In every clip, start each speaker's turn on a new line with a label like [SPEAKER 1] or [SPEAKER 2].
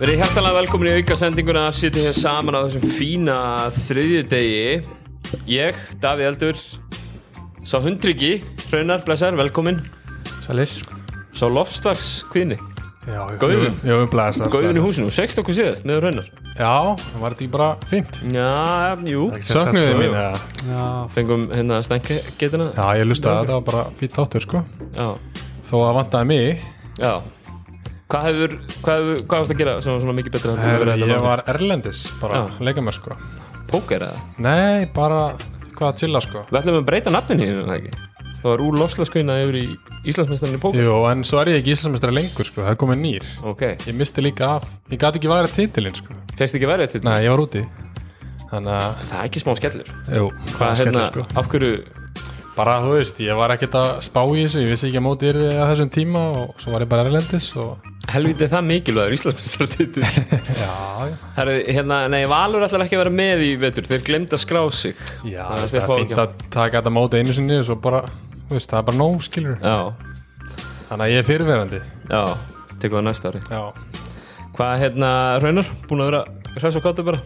[SPEAKER 1] Verið hjertalega velkomin í aukasendinguna að sitja hér saman á þessum fína þriðjudegi Ég, Davíð Eldur Sá hundryggi, Hraunar, blessar, velkomin
[SPEAKER 2] Sælis
[SPEAKER 1] Sá lofstvags kvinni,
[SPEAKER 2] Já,
[SPEAKER 1] Gauðun.
[SPEAKER 2] Jú, jú, blæsar
[SPEAKER 1] góðin í húsinu, sexta okkur síðast, meður Hraunar
[SPEAKER 2] Já, það var þetta ekki bara fínt
[SPEAKER 1] Já, jú,
[SPEAKER 2] Sögnuðu mín eða
[SPEAKER 3] Já,
[SPEAKER 1] fengum hérna stengi getina
[SPEAKER 2] Já, ég lustaði að þetta var bara fínt þáttur sko
[SPEAKER 1] Já,
[SPEAKER 2] Þó að það vantaði mig
[SPEAKER 1] já Hvað hefur, hvað hefur, hvað hefur að gera sem var svona mikið betra heldur en
[SPEAKER 2] Þegar
[SPEAKER 1] verið
[SPEAKER 2] ég
[SPEAKER 1] þetta
[SPEAKER 2] var erlendis bara
[SPEAKER 1] Já.
[SPEAKER 2] að leika mér sko
[SPEAKER 1] Póker eða?
[SPEAKER 2] Nei, bara hvað að chilla sko
[SPEAKER 1] Við ætlum að breyta nafninu í það ekki Það var úr lofslagskvinna yfir í Íslandsmeistarinni í póker
[SPEAKER 2] Jú, en svo er ég ekki íslensmestari lengur sko Það er komið nýr
[SPEAKER 1] Ok,
[SPEAKER 2] Ég misti líka af Ég gat ekki værið titilinn sko
[SPEAKER 1] fegst ekki hérna? verið til
[SPEAKER 2] Nei, ég var úti Þannig að,
[SPEAKER 1] Það er ekki smá skellur
[SPEAKER 2] jú,
[SPEAKER 1] Hvað
[SPEAKER 2] skellur,
[SPEAKER 1] hérna,
[SPEAKER 2] sko.
[SPEAKER 1] af hverju
[SPEAKER 2] bara þú veist, ég var ekkert að spá í þessu ég vissi ekki að móti yrði að þessum tíma og svo var ég bara erlendis og
[SPEAKER 1] helviti er það mikilvægur Íslandsmeistartitil
[SPEAKER 2] já,
[SPEAKER 1] Herru, hérna, nei, Valur ætlar ekki að vera með í vetur Þeir glemd að skrá sig Þannig
[SPEAKER 2] já
[SPEAKER 1] að
[SPEAKER 2] veist,
[SPEAKER 1] þeir
[SPEAKER 2] það
[SPEAKER 1] fá
[SPEAKER 2] er
[SPEAKER 1] ekki
[SPEAKER 2] fínt að taka þetta móti einu sinni og svo bara, þú veist, það er bara nóg skilur
[SPEAKER 1] Já,
[SPEAKER 2] þannig að ég er fyrirverandi
[SPEAKER 1] já, tekum við næsta ári
[SPEAKER 2] já,
[SPEAKER 1] Hvað, hérna, Raunar, búin að vera Hress og káttu bara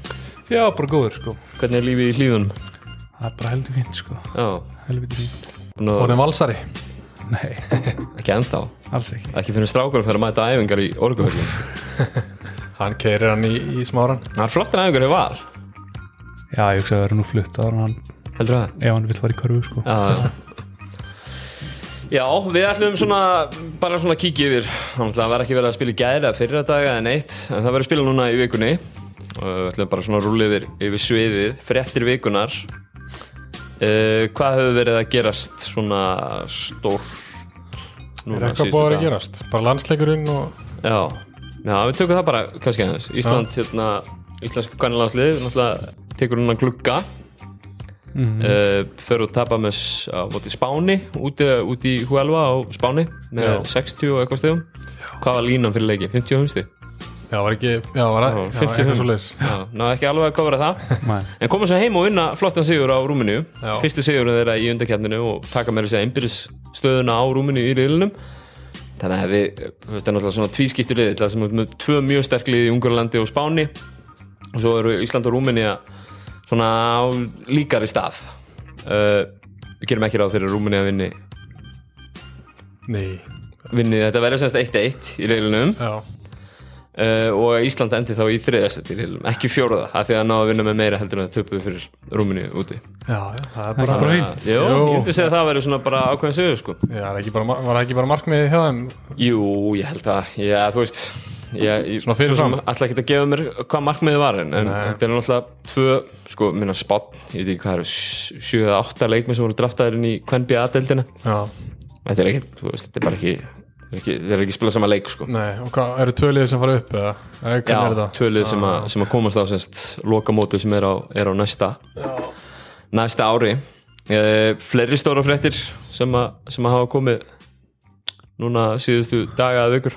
[SPEAKER 2] já bara góður sko
[SPEAKER 1] Hvernig er lífið í hlíðunum?
[SPEAKER 3] það er bara heldur fínt sko
[SPEAKER 1] Já,
[SPEAKER 3] Helviti fínt
[SPEAKER 1] búin að,
[SPEAKER 2] orðin valsari
[SPEAKER 3] Nei,
[SPEAKER 1] ekki ennþá
[SPEAKER 3] alls ekki
[SPEAKER 1] Ekki finnum strákur að fara að mæta æfingar í orguhöllum
[SPEAKER 2] hann keirir hann í, í smáran
[SPEAKER 1] Það er flottin æfingar í val
[SPEAKER 3] Já, ég hugsa að vera nú flutt ára hann
[SPEAKER 1] Heldur það?
[SPEAKER 3] Ef hann vill fara í körfu sko
[SPEAKER 1] Já, já Já, við ætlum svona bara svona að kíkja yfir þannig að það var ekki verið að spila í gæra fyrir að daga en eitt, en það verður að spila núna í vikunni og við ætlum bara svona að rúla yfir, yfir sviðið, fréttir vikunar uh, Hvað hefur verið að gerast svona stór
[SPEAKER 2] er eitthvað búið að vera að gerast bara landsleikurinn og
[SPEAKER 1] Já, já við tökum það bara kannski aðeins Ísland, hérna, íslensku kannilandslið náttúrulega tekur núna glugga mm fer og tapa með s- á móti Spáni úti, úti í Huelva á Spáni með
[SPEAKER 2] Já.
[SPEAKER 1] 60 og eitthvað stegum hvað var línan fyrir leiki? 50 humsti?
[SPEAKER 2] já, var ekki, já, var
[SPEAKER 1] Já,
[SPEAKER 2] að, já,
[SPEAKER 1] 50
[SPEAKER 2] eitthvað
[SPEAKER 1] hum.
[SPEAKER 2] svo leis
[SPEAKER 1] Já, ná ekki alveg að kofra það
[SPEAKER 3] Nei.
[SPEAKER 1] en koma svo heim og vinna flottan sigur á Rúminu
[SPEAKER 2] Já.
[SPEAKER 1] fyrsti sigurinn þeirra í undarkjarninu og taka með þessi einbyrðis stöðuna á Rúminu í riðlunum þannig að við, þetta er náttúrulega svona tvískiptur riðil það sem er með tvö mjög sterk lið í Ungurlandi og Spáni og svo eru Ísland og Rúmini svona á líkari stað uh, við gerum ekki ráð fyrir að Rúmini að vinni,
[SPEAKER 2] nei,
[SPEAKER 1] vinni þetta verður semst 1-1 í riðlunum
[SPEAKER 2] já,
[SPEAKER 1] uh, og að Ísland endi þá í þriðastætti í riðlunum, ekki fjórða af því að ná að vinna með meira heldur en að töpu fyrir Rúmini úti
[SPEAKER 2] já, já, það er
[SPEAKER 3] Það er
[SPEAKER 2] bara
[SPEAKER 3] ekki bara
[SPEAKER 1] Jú,
[SPEAKER 3] fínt
[SPEAKER 1] ég
[SPEAKER 2] Jú.
[SPEAKER 1] myndi segja að það verður svona bara ákveðin sigur sko
[SPEAKER 2] Já, það er ekki bara, var það ekki bara markmiðið hjá þeim
[SPEAKER 1] Jú, ég held að, já, þú veist ég, ég,
[SPEAKER 2] Svona fyrir
[SPEAKER 1] svo sem
[SPEAKER 2] fram.
[SPEAKER 1] ætla ekki að gefa mér hvað markmiðið var en, en
[SPEAKER 2] Nei.
[SPEAKER 1] þetta er náttúrulega tvö, sko, minna spott ég veit ekki hvað eru, sj- sjö eða átta leikmið sem voru draftaðir inn í Kvenbi A-deldina
[SPEAKER 2] já,
[SPEAKER 1] Þetta er ekki, þú veist, þetta er bara ekki þetta er ekki, þetta er ekki að spila sama leik, sko
[SPEAKER 2] nei, og hvað, eru tvö liðið sem fara upp eða, eða hvernig er
[SPEAKER 1] Já,
[SPEAKER 2] það?
[SPEAKER 1] tvölið sem, að- sem að komast á semst, lokamótið sem er á, er á næsta næsta ári e, fleiri stóra fréttir sem, að- sem að hafa komið núna síðustu daga að vikur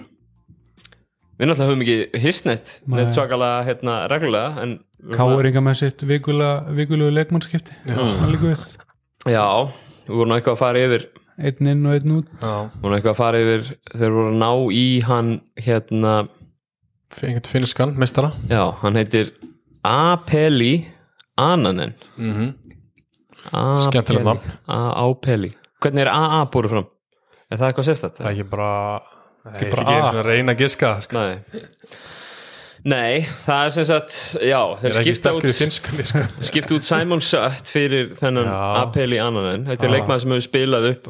[SPEAKER 1] við náttúrulega höfum ekki hissnett
[SPEAKER 3] Nei.
[SPEAKER 1] neitt svakalega hérna, reglulega en við vorum
[SPEAKER 3] Káringa með sitt vikula- vikulugu leikmannskipti Hann líka við
[SPEAKER 1] að- já, við vorum nú eitthvað að fara yfir
[SPEAKER 3] Einn inn og einn út
[SPEAKER 2] Já,
[SPEAKER 1] vorum nú eitthvað að fara yfir þeir voru að ná í hann hérna,
[SPEAKER 2] einhvern finnskan, mestara
[SPEAKER 1] já, hann heitir Apeli Ananen
[SPEAKER 2] mm
[SPEAKER 1] Apeli.
[SPEAKER 2] Skemmtilegt nafn.
[SPEAKER 1] A-A-Peli Hvernig er AA búið fram? Er það eitthvað sérstætt?
[SPEAKER 2] Það er ekki bara Það er
[SPEAKER 3] bara
[SPEAKER 2] ekki
[SPEAKER 3] A.
[SPEAKER 2] einu sinni að reyna að giska sko.
[SPEAKER 1] Nei Nei, það er sem sagt Já,
[SPEAKER 2] Það
[SPEAKER 1] þeir
[SPEAKER 2] er ekki
[SPEAKER 1] skipta
[SPEAKER 2] sterkur í
[SPEAKER 1] út,
[SPEAKER 2] finnskan sko.
[SPEAKER 1] skipta út Simon Sutt fyrir þennan
[SPEAKER 2] Já.
[SPEAKER 1] Apeli Ananen Þetta er
[SPEAKER 2] Já.
[SPEAKER 1] leikmaður sem hefur spilað upp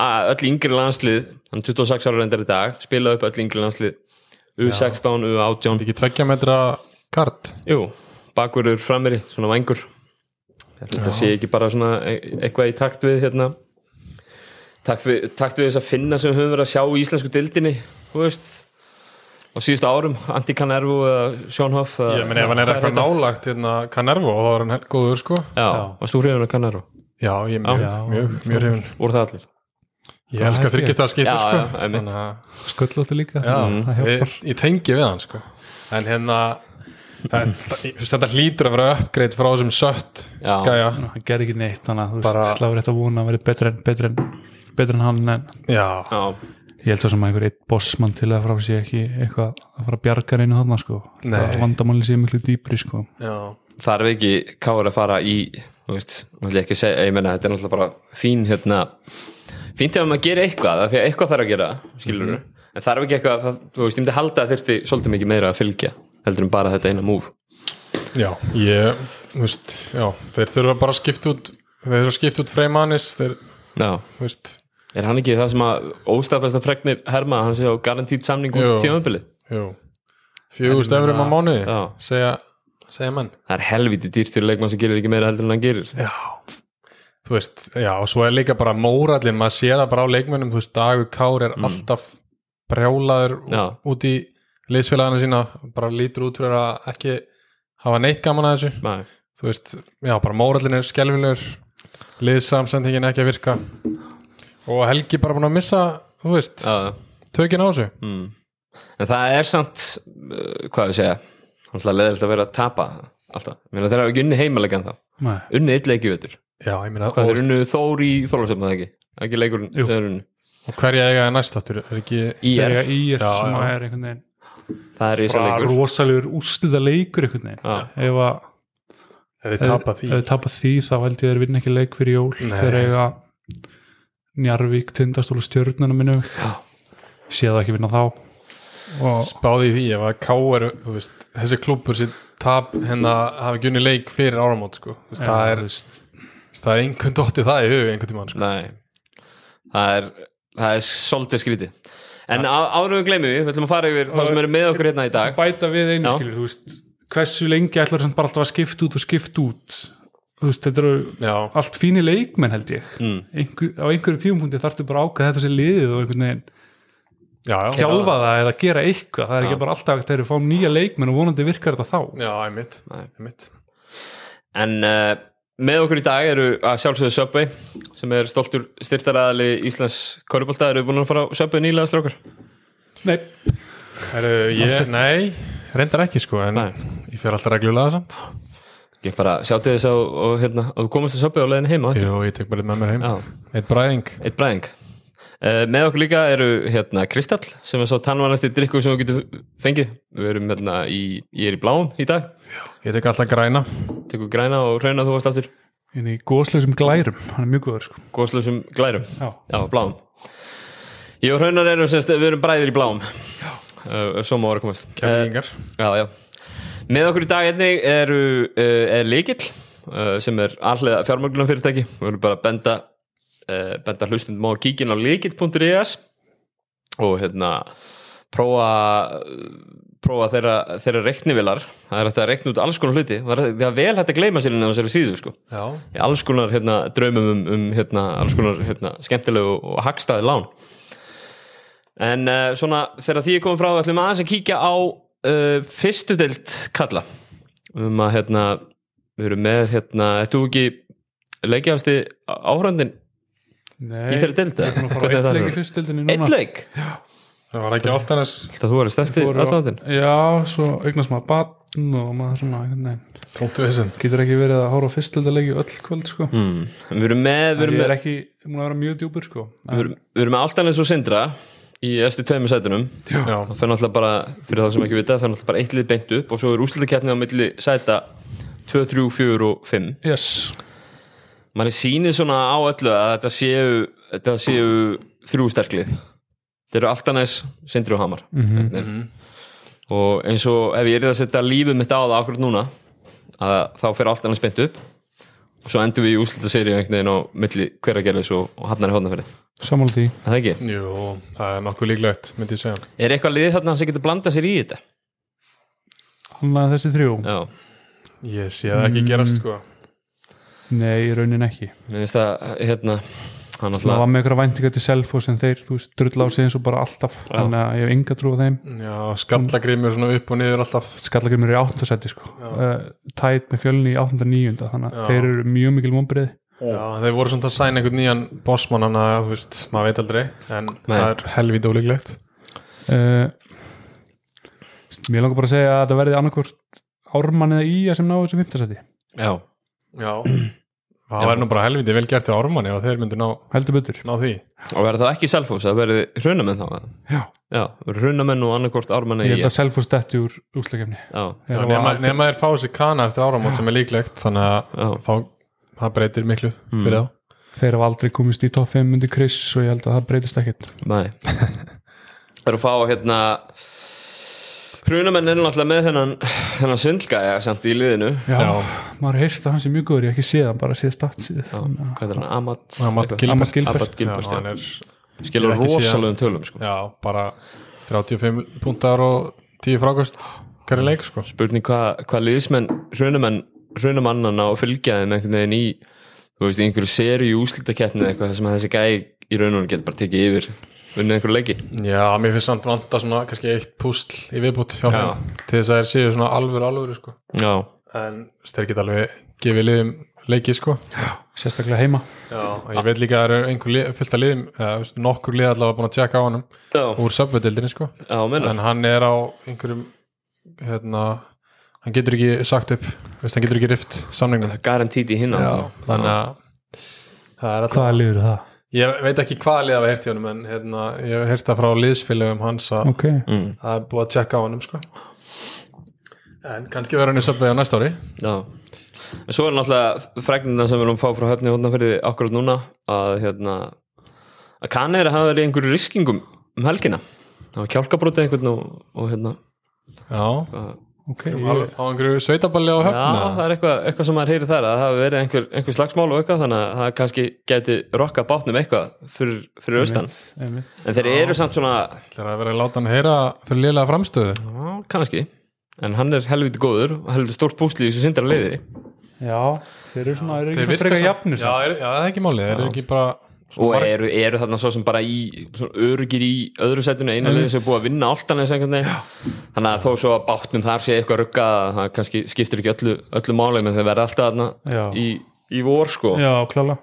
[SPEAKER 1] a- öll yngri landslið hann er 26 ára reyndar í dag, spilað upp öll yngri landslið U16,
[SPEAKER 2] Það er
[SPEAKER 1] U18
[SPEAKER 2] ekki tveggja metra kart
[SPEAKER 1] Jú, bakverður framir svona vængur Þetta sé ekki bara svona e- eitthvað í takt við hérna takt við, takt við þess að finna sem við höfum verið að sjá í íslensku dildinni þú veist á síðustu árum, Antti Canervo eða Sean Hoff eða-
[SPEAKER 2] Ég meni ef hann er
[SPEAKER 1] Hvað
[SPEAKER 2] eitthvað
[SPEAKER 1] þetta?
[SPEAKER 2] nálagt hérna Canervo þá er hann hel- góður sko
[SPEAKER 1] Já,
[SPEAKER 3] Já.
[SPEAKER 1] varst þú hrifin að Canervo?
[SPEAKER 2] Já, ég er mjög,
[SPEAKER 3] Já.
[SPEAKER 2] mjög, mjög hrifin
[SPEAKER 1] Voru það allir?
[SPEAKER 2] Ég elska
[SPEAKER 3] held ég.
[SPEAKER 2] þryggjast að
[SPEAKER 1] Já,
[SPEAKER 2] skipta sko.
[SPEAKER 1] já, einmitt.
[SPEAKER 2] Þannig að-
[SPEAKER 3] Sköllóttu líka
[SPEAKER 2] já,
[SPEAKER 3] Það
[SPEAKER 2] Mm. ég,
[SPEAKER 3] hjálpar
[SPEAKER 2] ég tengi við hann sko. En hérna það- það- ég- þú veist, Þetta hlýtur að vera uppgreitt frá þessum sött
[SPEAKER 1] Já.
[SPEAKER 2] gæja
[SPEAKER 3] Hann gerði ekki neitt Þannig að þú
[SPEAKER 2] Bara-
[SPEAKER 3] veist Það var rétt að vona að vera betra en betra en betra en hann en
[SPEAKER 2] Já,
[SPEAKER 1] Já,
[SPEAKER 3] Ég held svo sem að einhver eitt bossmann til að frá sé ekki eitthvað að fara að bjarga reynu þarna sko.
[SPEAKER 2] Nei.
[SPEAKER 3] Það vandamáli sé miklu dýpri sko.
[SPEAKER 2] Já,
[SPEAKER 1] þarf ekki káður að fara í þú veist, nú ætla ég ekki að segja, ég menna þetta er náttúrulega bara fín hérna fínt ef maður gerir eitthvað, af því að eitthvað þarf að gera skilur en þarf ekki eitthvað það- þú veist, ég myndi halda að þurfti svolítið mikið meira að fylgja heldur en bara þetta eina múf
[SPEAKER 2] já, ég, þú veist, já, þeir þurfa bara að skipta út, þeir þurfa að skipta út freymanis, þeir,
[SPEAKER 1] Já,
[SPEAKER 2] þú veist,
[SPEAKER 1] er hann ekki það sem að óstafasta fregnir herma, hann segja á garantít samning
[SPEAKER 2] Jú.
[SPEAKER 1] út tímabilið,
[SPEAKER 2] jú, fjögust efrum á mánuði,
[SPEAKER 1] hérna- Já.
[SPEAKER 2] segja, segja menn.
[SPEAKER 1] það er helviti dýrt fyrir leikmann sem gerir ekki meira heldur en hann gerir
[SPEAKER 2] Já, þú veist, já, og svo er líka bara mórallin, maður sé það bara á leikmönnum, þú veist, Dagur Kár er alltaf brjálaður ú-
[SPEAKER 1] Mm. Já.
[SPEAKER 2] út í liðsfélagana sína, bara lítur út fyrir að ekki hafa neitt gaman að þessu,
[SPEAKER 1] Nei.
[SPEAKER 2] þú veist, já, bara mórallin er skelfilegur, liðsamsendingin ekki að virka og Helgi bara búin að missa, þú veist,
[SPEAKER 1] Já,
[SPEAKER 2] tökin á þessu.
[SPEAKER 1] mm. en það er samt uh, hvað við segja, hann ætla leðilt að vera að tapa alltaf, ég meina þeir hafa ekki unni heimilegan þá
[SPEAKER 3] Nei.
[SPEAKER 1] unni eitt leik í vettur
[SPEAKER 2] Já, ég meina,
[SPEAKER 1] hvað þeir
[SPEAKER 2] og,
[SPEAKER 1] unnu Þór í Þorlásöfn það ekki ekki leikurinn
[SPEAKER 3] Jú.
[SPEAKER 1] þeir unnu
[SPEAKER 2] og hverja eiga er næst áttur, er ekki,
[SPEAKER 1] IR,
[SPEAKER 3] Þegar ég er
[SPEAKER 2] Já,
[SPEAKER 3] sem
[SPEAKER 2] já.
[SPEAKER 3] að er einhvern veginn
[SPEAKER 1] það er í þess
[SPEAKER 3] bara
[SPEAKER 1] leikur
[SPEAKER 3] rosalegur úsliða leikur einhvern veginn.
[SPEAKER 1] Já.
[SPEAKER 3] Ef að
[SPEAKER 2] ef þið
[SPEAKER 3] Ef-
[SPEAKER 2] tapa því,
[SPEAKER 3] ef þið tapa því þá held ég þeir vinna ekki leik fyrir jól
[SPEAKER 2] Nei.
[SPEAKER 3] þegar eiga Njarvík, Tindastól og Stjörnuna minnu sé það ekki vinna þá og
[SPEAKER 2] spáði í því ef að K.R. þú veist, þessi klúpur sér tap hérna hafi gjunni leik fyrir áramót sko. Þú veist,
[SPEAKER 3] Já,
[SPEAKER 2] það, er,
[SPEAKER 3] þú
[SPEAKER 2] það er einhvern dótti það í hug einhvern tímann sko.
[SPEAKER 1] nei það er það er svolítið skríti en á, árum við gleymum því, við ætlum að fara yfir þá sem eru með okkur hérna í
[SPEAKER 3] Svo
[SPEAKER 1] dag
[SPEAKER 3] bæta við einu
[SPEAKER 1] Já.
[SPEAKER 3] skilur, þú veist hversu lengi ætlar þetta bara alltaf að skipta út og skipta út þú veist, þetta eru
[SPEAKER 2] já,
[SPEAKER 3] allt fínir leikmenn held ég
[SPEAKER 1] Mm.
[SPEAKER 3] Einhver, á einhverju tímupunkti þarftu bara að ákveða þetta sem liðið og einhvern veginn
[SPEAKER 2] já, já,
[SPEAKER 3] þjálfa það eða gera eitthvað það er
[SPEAKER 1] Já.
[SPEAKER 3] ekki bara alltaf að þeir eru að fá nýja leikmenn og vonandi virkar þetta þá
[SPEAKER 2] já, einmitt,
[SPEAKER 1] Nei.
[SPEAKER 2] einmitt.
[SPEAKER 1] en uh, með okkur í dag eru að sjálfsögðu Subway sem er stoltur styrtaræðali Íslands Körubolta eru búin að fara á Subway nýlega strákar
[SPEAKER 3] Nei,
[SPEAKER 2] Heru, ég, nei, reyndar ekki sko, en
[SPEAKER 1] Nei.
[SPEAKER 2] ég fer alltaf reglulega samt
[SPEAKER 1] ég bara sjátti þess að og, hérna, að þú komast að Subway á leiðin heima
[SPEAKER 2] Jú, ég tek bara eitt með mér heim
[SPEAKER 1] Já.
[SPEAKER 2] eitt bræðing
[SPEAKER 1] Eitt bræðing uh, Með okkur líka eru hérna Kristall sem er svo tannvænasti drikku sem þú getur fengið Við erum hérna í, ég er í bláum í dag
[SPEAKER 2] ég tek alltaf græna
[SPEAKER 1] Tekur græna og hrauna þú varst aftur
[SPEAKER 3] inn í góðslausum glærum, hann er mjög góður sko.
[SPEAKER 1] Góðslausum glærum
[SPEAKER 3] Já.
[SPEAKER 1] bláum Ég og hraunar erum semst, við erum bræðir í bláum uh, Svo má vera komast Eh,
[SPEAKER 2] kemmingar
[SPEAKER 1] Já, já. Með okkur í dag einnig eru, uh, er Líkil uh, sem er allega fjármögnum fyrirtæki og við erum bara að benda, uh, benda hlustundum á að kíkja inn á líkil.is og hérna prófa, prófa þeirra, þeirra reiknivilar það er hægt að reikna út alls konar hluti það er, það er vel hægt að gleyma sér inn á þessari síðu sko.
[SPEAKER 2] já,
[SPEAKER 1] í alls konar hérna, draumum um, um hérna, alls konar hérna, skemmtilegu og, og hagstæði lán en uh, svona þegar því er komið frá ætlum við aðeins að kíkja á uh, fyrstu deild kalla um að hérna við erum með hérna, ertu ekki leikjafasti áhröndin
[SPEAKER 3] Nei,
[SPEAKER 1] Í þeirri deild,
[SPEAKER 3] Ég er búin að fara
[SPEAKER 1] hvernig er
[SPEAKER 3] á
[SPEAKER 1] það
[SPEAKER 3] eitt leik í
[SPEAKER 1] núna?
[SPEAKER 3] fyrstildinni
[SPEAKER 1] einn
[SPEAKER 3] núna
[SPEAKER 1] leik,
[SPEAKER 2] það var ekki oft annars
[SPEAKER 1] þetta þú verður stærsti
[SPEAKER 3] Fóru á-
[SPEAKER 1] aðláðin
[SPEAKER 3] Já, svo eignast maður batn og maður svona, nei,
[SPEAKER 2] tómt vissin
[SPEAKER 3] getur ekki verið að hóra á fyrstildalegi öll kvöld sko.
[SPEAKER 1] mm. við erum með, við
[SPEAKER 3] Ég
[SPEAKER 1] erum með
[SPEAKER 3] er ekki, múin að vera mjög djúpur sko.
[SPEAKER 1] við erum, við erum með Altanes og Sindra í eftir tveimur sætunum
[SPEAKER 2] já,
[SPEAKER 1] það fer náttúrulega bara, fyrir það sem ekki vita það fer náttúrulega bara eitt lið beint upp og svo er úrslitakeppnið á milli sæta 2, 3, 4 og 5
[SPEAKER 3] Yes,
[SPEAKER 1] manni sýnir svona á öllu að þetta séu, þetta séu þrjú sterklið þetta eru Altanæs, Sindri og Hamar mm og eins og ef ég er að setja lífið mitt á það akkurat núna að þá fer Altanæs beint upp og svo endur við í úrslitaserið einhvern veginn á milli hveragerðis og, og hafnar í hóðnafyrir
[SPEAKER 3] sammála því
[SPEAKER 1] það ekki?
[SPEAKER 2] jú, það er nokkuð líklegt myndi ég segja
[SPEAKER 1] Er eitthvað lið þarna sem getur blandað sér í þetta?
[SPEAKER 3] Hann að þessi þrjú
[SPEAKER 1] Já,
[SPEAKER 2] ég sé það ekki gerast sko
[SPEAKER 3] Nei, í raunin ekki
[SPEAKER 1] mér finnst það hérna hann
[SPEAKER 3] Það
[SPEAKER 1] alltaf
[SPEAKER 3] var með ykkur að væntinga til Selfoss en þeir, þú veist, drull á sig eins og bara alltaf Þannig að ég hef enga trú á þeim
[SPEAKER 2] Já, skallagrimur svona upp og niður alltaf
[SPEAKER 3] Skallagrimur er í áttasæti sko. uh, Tæt með fjölni í 8.9 Þannig að
[SPEAKER 2] Já.
[SPEAKER 3] þeir eru mjög mikil vombriði
[SPEAKER 2] Já, þeir voru svona að sæna einhvern nýjan bossmann hann að, þú veist, maður veit aldrei en það er helvít ólíklegt
[SPEAKER 3] uh, Mér langar bara að segja að þetta verði annarkvort Ármann eða Ía sem náðu þessu 15 seti
[SPEAKER 1] Já,
[SPEAKER 2] Já, það væri nú bara helviti vel gert til Ármanni og þeir myndu ná,
[SPEAKER 3] heldur betur
[SPEAKER 2] ná því
[SPEAKER 1] og verður það ekki Selfoss, það verður hrunamenn þá eða?
[SPEAKER 3] já,
[SPEAKER 1] já, hrunamenn og annarkort ármann eða
[SPEAKER 3] ég held
[SPEAKER 1] ég
[SPEAKER 3] að Selfoss detti úr úslakefni
[SPEAKER 1] já,
[SPEAKER 2] Já, nema, nema þeir fá sér kana eftir áramót sem er líklegt þannig
[SPEAKER 1] Já.
[SPEAKER 2] að þá, það breytir miklu fyrir þá
[SPEAKER 3] þeir hafa aldrei komist í topp 5 myndi Chris og ég held að það breytist ekkit
[SPEAKER 1] nei það eru að fá hérna hrunamenn er náttúrulega með þennan þennan svindlgæja samt í liðinu
[SPEAKER 3] já,
[SPEAKER 2] Já.
[SPEAKER 3] maður hefur heyrt að hans er mjög góður ég hef ekki séð hann, bara séð statsið
[SPEAKER 1] já, hvað er hann, Amat
[SPEAKER 2] Amat
[SPEAKER 1] eitthvað?
[SPEAKER 2] Gilbert.
[SPEAKER 1] Amat Gilbert,
[SPEAKER 3] Amat
[SPEAKER 2] Já, hann
[SPEAKER 1] já,
[SPEAKER 2] er,
[SPEAKER 1] skilur
[SPEAKER 2] Ég hef ekki séð
[SPEAKER 1] rosalegum tölum sko.
[SPEAKER 2] já, bara 35 púntar og 10 frákvöst hverju leik sko
[SPEAKER 1] spurning hvað hva liðsmenn hrunamenn, hrunamannana og fylgjaðum einhvern veginn í þú veist, í einhverju seri úslitakeppni eða eitthvað þar sem að þessi gæi í raununum getur bara tekið yfir unnið einhverju leiki
[SPEAKER 2] já, mér finnst samt vanta svona kannski eitt púsl í viðbútt hjá
[SPEAKER 1] Já.
[SPEAKER 2] þeim til þess að þeir séu svona alvöru alvöru sko
[SPEAKER 1] já,
[SPEAKER 2] en þeir geta alveg gefið liðum leiki sko
[SPEAKER 3] sérstaklega heima
[SPEAKER 2] já, og ég veit líka að það eru einhver lið, fyllt að liðum eða þú veist, nokkur lið allavega búin að tjekka á hann
[SPEAKER 1] já,
[SPEAKER 2] úr söpvöldildinni sko
[SPEAKER 1] já, menna
[SPEAKER 2] en hann er á einhverjum hérna, hann getur ekki sagt upp veist, hann getur ekki rift samningum
[SPEAKER 1] garantít í hinna
[SPEAKER 2] Já, þannig að það er alltaf
[SPEAKER 3] hvaða liður það?
[SPEAKER 2] ég veit ekki hvað lið að við hérti honum en hérna, ég hef hérta frá liðsfélögum hans að
[SPEAKER 3] ok,
[SPEAKER 1] mm,
[SPEAKER 2] það er búið að tjekka á honum sko. en kannski verður hann í söpvei á næsta ári
[SPEAKER 1] já en svo er náttúrulega fregnina sem við erum að fá frá höfni hóna fyrir akkurat núna að hérna að kannir að hafa verið í einhverju riskingum um helgina það var kjálkabrótið einhvern og, og hérna
[SPEAKER 2] já,
[SPEAKER 1] að
[SPEAKER 3] ok
[SPEAKER 2] á,
[SPEAKER 3] ég,
[SPEAKER 2] á einhverju sveitaballi á höfna
[SPEAKER 1] Já, það er eitthvað, eitthvað sem maður heyri þar að það hafi verið einhver, einhver slagsmál og eitthvað þannig að það kannski geti rokkað bátnum eitthvað fyrir, fyrir austan
[SPEAKER 3] einmitt.
[SPEAKER 1] en þeir eru samt svona,
[SPEAKER 2] Það er að vera að láta hann heyra fyrir liðlega framstöðu
[SPEAKER 1] já, kannski en hann er helviti góður og helviti stórt púsli í þessu sindara leiði
[SPEAKER 3] já, þeir eru svona, þeir eru
[SPEAKER 2] Þeir
[SPEAKER 3] ekki
[SPEAKER 2] virka
[SPEAKER 3] frekar
[SPEAKER 2] samt-
[SPEAKER 3] jafnir
[SPEAKER 2] Já, er- sko. já, það er ekki málið, þeir eru ekki bara
[SPEAKER 3] Sko,
[SPEAKER 1] og
[SPEAKER 2] marg-
[SPEAKER 1] eru, eru þarna svo sem bara í svona örgir í öðru setinu eina leiði sem er búið að vinna alltaf neins einhvern veginn þannig að þó svo að bátnum þar sé eitthvað ruggað að það kannski skiptir ekki öllu, öllu máli menn þeir verða alltaf þarna
[SPEAKER 3] Já.
[SPEAKER 1] í, í vor sko
[SPEAKER 3] já, klála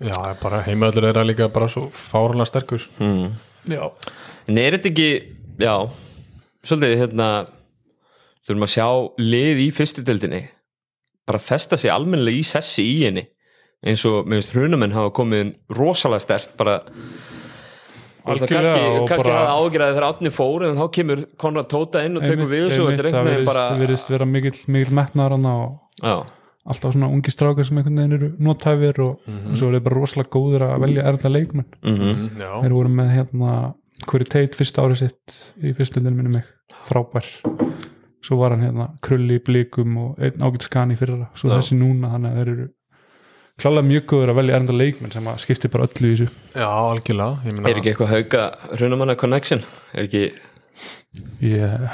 [SPEAKER 2] Já, það er bara heimöður þeirra líka bara svo fárunlega sterkur
[SPEAKER 1] mm.
[SPEAKER 3] já,
[SPEAKER 1] En er þetta ekki, já, svolítið hérna, þurfum að sjá lið í fyrstu deildinni, bara festa sig almennilega í sessi í henni, eins og mér finnst hrunamenn hafa komið inn rosalega stert, bara, Þú veist, það
[SPEAKER 3] Algjörlega,
[SPEAKER 1] kannski,
[SPEAKER 3] og
[SPEAKER 1] kannski
[SPEAKER 3] bara-
[SPEAKER 1] hafa ágjörði þegar átni fór, en þá kemur Konrad Tóta inn og tekur við þessu og þetta er einhvern veginn bara,
[SPEAKER 3] það virðist vera mikill, mikill metnar hann og
[SPEAKER 1] já,
[SPEAKER 3] alltaf svona ungi strákar sem einhvern veginn eru nothæfir og,
[SPEAKER 1] Mhm.
[SPEAKER 3] og svo eru þeir bara rosalega góðir að velja erða leikmenn
[SPEAKER 1] mm
[SPEAKER 2] Já,
[SPEAKER 3] þeir voru með hérna hverju teit fyrsta árið sitt í fyrstöldinu minni mig frábær svo var hann hérna krulli í blikum og einn ágætt skan í fyrra svo
[SPEAKER 1] Já.
[SPEAKER 3] þessi núna þannig að þeir eru klálega mjög góður að velja erða leikmenn sem að skipti bara öllu í þessu
[SPEAKER 2] já algjörlega ég meina-
[SPEAKER 1] er ekki eitthvað hauka hrunamanna connection, er ekki,
[SPEAKER 3] ég,
[SPEAKER 1] er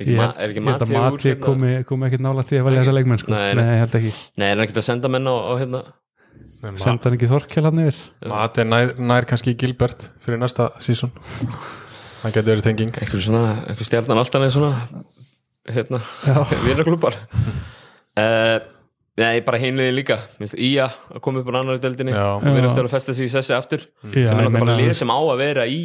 [SPEAKER 1] ekki,
[SPEAKER 3] ég,
[SPEAKER 1] ma-
[SPEAKER 3] held-
[SPEAKER 1] er ekki
[SPEAKER 3] ég held að
[SPEAKER 1] matið úr,
[SPEAKER 3] mati
[SPEAKER 1] hérna?
[SPEAKER 3] komi, komi ekkert nála því að velja þessa leikmenn sko.
[SPEAKER 1] Nei,
[SPEAKER 3] nei,
[SPEAKER 1] nei.
[SPEAKER 3] ég held ekki,
[SPEAKER 1] nei, er hann ekki að senda menn á, á hérna,
[SPEAKER 2] Nei, ma-
[SPEAKER 3] senda hann ekki þorkjál hann yfir
[SPEAKER 1] Mm.
[SPEAKER 2] Mat er nær, nær kannski Gilbert fyrir næsta sísón hann getur verið tenging
[SPEAKER 1] einhver svona, einhver stjarnan alltaf neð svona hérna, vinnaklúpar uh, Nei, bara heimliðin líka Minnst, Ía að koma upp á annari deldinni
[SPEAKER 2] Já.
[SPEAKER 1] og verðast að festa sig í sessi aftur sem
[SPEAKER 3] Já,
[SPEAKER 1] er
[SPEAKER 3] ég
[SPEAKER 1] náttúrulega bara
[SPEAKER 3] meina,
[SPEAKER 1] lið sem á að vera í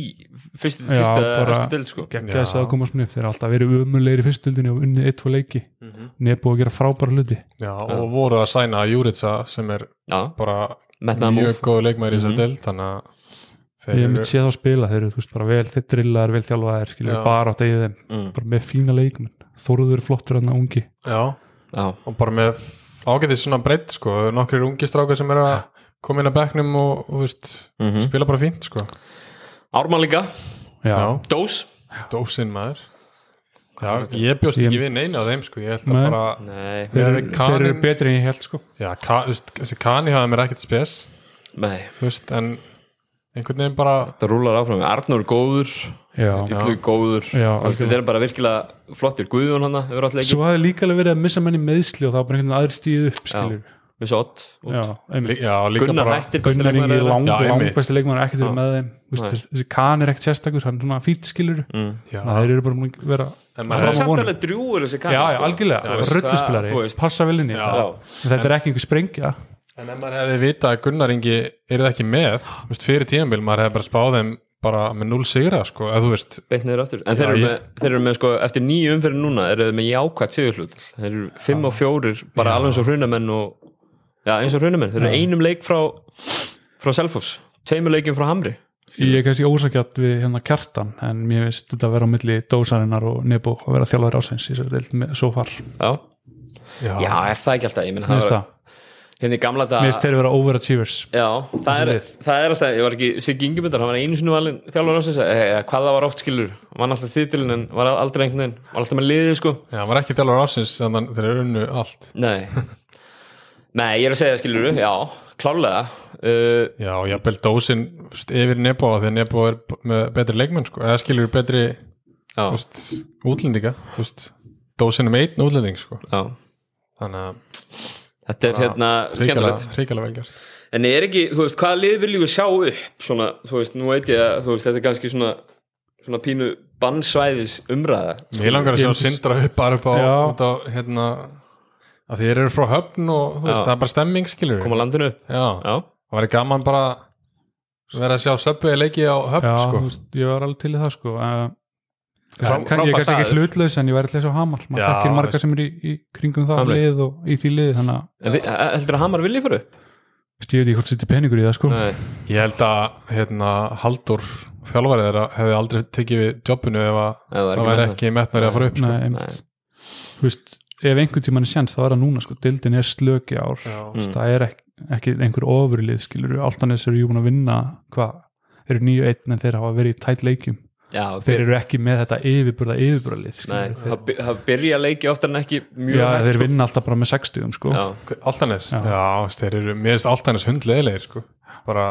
[SPEAKER 1] fyrstu,
[SPEAKER 3] Já,
[SPEAKER 1] fyrstu,
[SPEAKER 3] bara-
[SPEAKER 1] fyrstu deld sko.
[SPEAKER 3] geggja þess að koma svona upp þeir eru alltaf verið umulegir í fyrstöldinni og unnið eitt og leiki mm -hmm. nefn að gera frábæra hluti
[SPEAKER 2] já, og voru að sæna Júritsa sem er
[SPEAKER 1] Já,
[SPEAKER 2] bara
[SPEAKER 1] metnaða múf
[SPEAKER 2] mjög góð leikmæri í
[SPEAKER 1] Mhm.
[SPEAKER 2] þessar deild þannig að þeir
[SPEAKER 3] ég hef
[SPEAKER 2] eru
[SPEAKER 3] mitt séð þá spila, þeir eru þú veist bara vel þeir drillaðar, vel þjálfaðar,
[SPEAKER 2] Já.
[SPEAKER 3] skiljum bara átt eigið þeim,
[SPEAKER 1] Mm.
[SPEAKER 3] bara með fína leikmenn Þorður er flottur hann að ungi
[SPEAKER 2] já,
[SPEAKER 1] Já,
[SPEAKER 2] og bara með ágætið svona breytt sko nokkrir ungi strákar sem eru að koma inn að bekknum og, og veist,
[SPEAKER 1] Mhm.
[SPEAKER 2] spila bara fínt sko
[SPEAKER 1] Ármann líka,
[SPEAKER 2] já,
[SPEAKER 1] Dós
[SPEAKER 2] dósin maður já, ég bjóst
[SPEAKER 3] Ég-
[SPEAKER 2] ekki við neina á þeim sko ég held
[SPEAKER 3] Nei.
[SPEAKER 2] að bara
[SPEAKER 1] Nei,
[SPEAKER 3] þeir,
[SPEAKER 2] Miðað
[SPEAKER 3] eru,
[SPEAKER 2] við
[SPEAKER 3] þeir eru
[SPEAKER 2] Kaninn-
[SPEAKER 3] betri en ég held sko
[SPEAKER 2] já, ka, þú veist, þessi kani hafa mér ekkert spes
[SPEAKER 1] nei
[SPEAKER 2] þú veist, en einhvern veginn bara
[SPEAKER 1] Það rúlar áfram, Arnur góður
[SPEAKER 3] Já.
[SPEAKER 1] Illu góður,
[SPEAKER 3] Já,
[SPEAKER 1] Þú veist, þetta er bara virkilega flottir Guðjón hana, hefur alltaf ekki
[SPEAKER 3] svo hafði líka alveg verið að missa menni meðsli og það var bara einhvern veginn aðri stíð upp skiljum
[SPEAKER 1] Við svo odd
[SPEAKER 3] já, einmitt.
[SPEAKER 2] lí- já, líka
[SPEAKER 1] Gunnar
[SPEAKER 2] bara
[SPEAKER 1] hættir besti
[SPEAKER 3] Gunnar Ingi
[SPEAKER 1] leikmaður
[SPEAKER 3] lang,
[SPEAKER 2] Já, einmitt.
[SPEAKER 3] langbæsti leikmann er ekkert
[SPEAKER 1] Já.
[SPEAKER 3] verið með þeim Þú
[SPEAKER 1] Nei.
[SPEAKER 3] veist, þessi kan er ekkert sérstakur, hann er svona fýtt skiljur
[SPEAKER 1] Mm.
[SPEAKER 2] já,
[SPEAKER 3] þeir eru bara búin að vera
[SPEAKER 2] en
[SPEAKER 1] Það er
[SPEAKER 2] maður
[SPEAKER 3] Fram á
[SPEAKER 2] er,
[SPEAKER 1] samt
[SPEAKER 3] vonum.
[SPEAKER 1] alveg drjúur þessi
[SPEAKER 3] já,
[SPEAKER 1] kanni
[SPEAKER 3] já,
[SPEAKER 1] veist,
[SPEAKER 3] algjörlega,
[SPEAKER 1] það- sko- þú
[SPEAKER 3] rullispilari
[SPEAKER 1] veist.
[SPEAKER 3] passa vel inn í
[SPEAKER 2] Já.
[SPEAKER 3] það.
[SPEAKER 1] Já,
[SPEAKER 3] En þetta er ekki einhver sprengja
[SPEAKER 2] en ef maður hefði vitað að Gunnar Ingi er ekki með, þú veist, fyrir tíðanbíl maður hefði bara spáð þeim bara með 0 sigra sko, eða þú veist,
[SPEAKER 1] beint niður aftur en þeir eru,
[SPEAKER 2] ég-
[SPEAKER 1] með, þeir eru með sko, eftir nýju umferðin núna þeir eru með jákvætt sigurhlut þeir eru fimm og fjórir, bara alveg svo hrunamenn og Já, eins og raunumenn, þeir eru einum leik frá frá Selfoss, tveimur leikjum frá Hamri
[SPEAKER 3] Ég er kannski ósakjart við hérna kjartan en mér finnst þetta að vera á milli dósarinnar og nebo að vera þjálfur ásins í þessari deild með- svo far,
[SPEAKER 1] Já, já er það ekki alltaf, ég meina
[SPEAKER 3] mér finnst
[SPEAKER 1] það
[SPEAKER 3] það
[SPEAKER 1] var- hérna í gamla
[SPEAKER 3] Mér finnst
[SPEAKER 1] dag
[SPEAKER 3] þeir vera overachievers
[SPEAKER 1] Já, það
[SPEAKER 3] Þessi
[SPEAKER 1] er,
[SPEAKER 3] lið.
[SPEAKER 1] það er alltaf, ég var ekki Siggi Ingimundar, hann var einu sinni valinn þjálfur ásins, eða eh, hvað það var oft skilur hann var alltaf titilinn en var aldrei einhvern veginn var alltaf með liðið sko
[SPEAKER 2] Já, hann var ekki þjálfur ásins þannig að þeir eru unnu allt
[SPEAKER 1] Nei, Nei ég er að segja skilur já, klálega uh,
[SPEAKER 2] Já, og jafnvel dósin veist, yfir Nebo því að Nebo er b- með betri leikmenn sko. eða skilur betri
[SPEAKER 1] Já,
[SPEAKER 2] veist, útlendinga þú veist, dósin er með einn útlending sko.
[SPEAKER 1] já
[SPEAKER 2] þannig að
[SPEAKER 1] Þetta er hérna skemmtilegt
[SPEAKER 2] hrikalega- hrikalega velgjast
[SPEAKER 1] En er ekki, þú veist, hvaða lið viljum við sjá upp svona, þú veist, nú veit ég að þú veist, þetta er kannski svona, svona pínu bannsvæðis umræða
[SPEAKER 2] Mér langar að
[SPEAKER 3] Ég
[SPEAKER 2] sjá
[SPEAKER 3] myndi-
[SPEAKER 2] sindra upp bara upp á,
[SPEAKER 3] Já.
[SPEAKER 2] út á hérna, að þeir eru frá höfn og þú veist,
[SPEAKER 1] Já.
[SPEAKER 2] það er bara stemming skilur
[SPEAKER 1] koma landinu upp,
[SPEAKER 2] Já,
[SPEAKER 1] já,
[SPEAKER 2] það væri gaman bara að vera að sjá söpbuði leiki á höfn
[SPEAKER 3] Já,
[SPEAKER 2] sko.
[SPEAKER 3] þú veist, ég var alveg til í það sko uh,
[SPEAKER 1] Það er
[SPEAKER 3] frá, kann, Ég
[SPEAKER 1] frábær
[SPEAKER 3] er kannski ekki
[SPEAKER 1] staður.
[SPEAKER 3] hlutlaus en ég væri til þess á Hamar maður
[SPEAKER 2] Já,
[SPEAKER 3] þekkir marga
[SPEAKER 2] veist.
[SPEAKER 3] sem er í, í kringum það
[SPEAKER 1] Hamri.
[SPEAKER 3] lið og í því liði þannig að
[SPEAKER 1] en við, heldur að Hamar vilji fyrir upp?
[SPEAKER 3] veist, ég veit ekki hvort setja peningur í það sko
[SPEAKER 1] Nei,
[SPEAKER 2] Ég held að hérna, Haldur þjálfarið þeirra hefði aldrei tekið við jobbinu ef að
[SPEAKER 1] það
[SPEAKER 2] það væri ekki metnari að fara upp sko.
[SPEAKER 3] Nei, einmitt. Þú veist, ef einhvern tímann er sjans þá er það núna sko, dildin er slöki ár
[SPEAKER 1] Mm.
[SPEAKER 2] Já.
[SPEAKER 3] Þú veist, það er ekki, ekki einhver ofurlið skilur, Altanes eru jú búin að vinna hvað, eru nýju einn en þeir hafa verið í tætt leikjum,
[SPEAKER 1] Já,
[SPEAKER 3] þeir eru ekki með þetta yfirburða yfirburðalið
[SPEAKER 1] Nei,
[SPEAKER 3] skilurðu.
[SPEAKER 1] það by- það byrja leiki oftar en ekki mjög
[SPEAKER 3] Já,
[SPEAKER 1] hægt
[SPEAKER 3] þeir
[SPEAKER 1] sko.
[SPEAKER 3] vinna alltaf bara með 60 sko.
[SPEAKER 1] Já,
[SPEAKER 2] Altanes,
[SPEAKER 3] Já.
[SPEAKER 2] já, já veist, þeir eru mér finnst Altanes hundleðilegir sko. bara,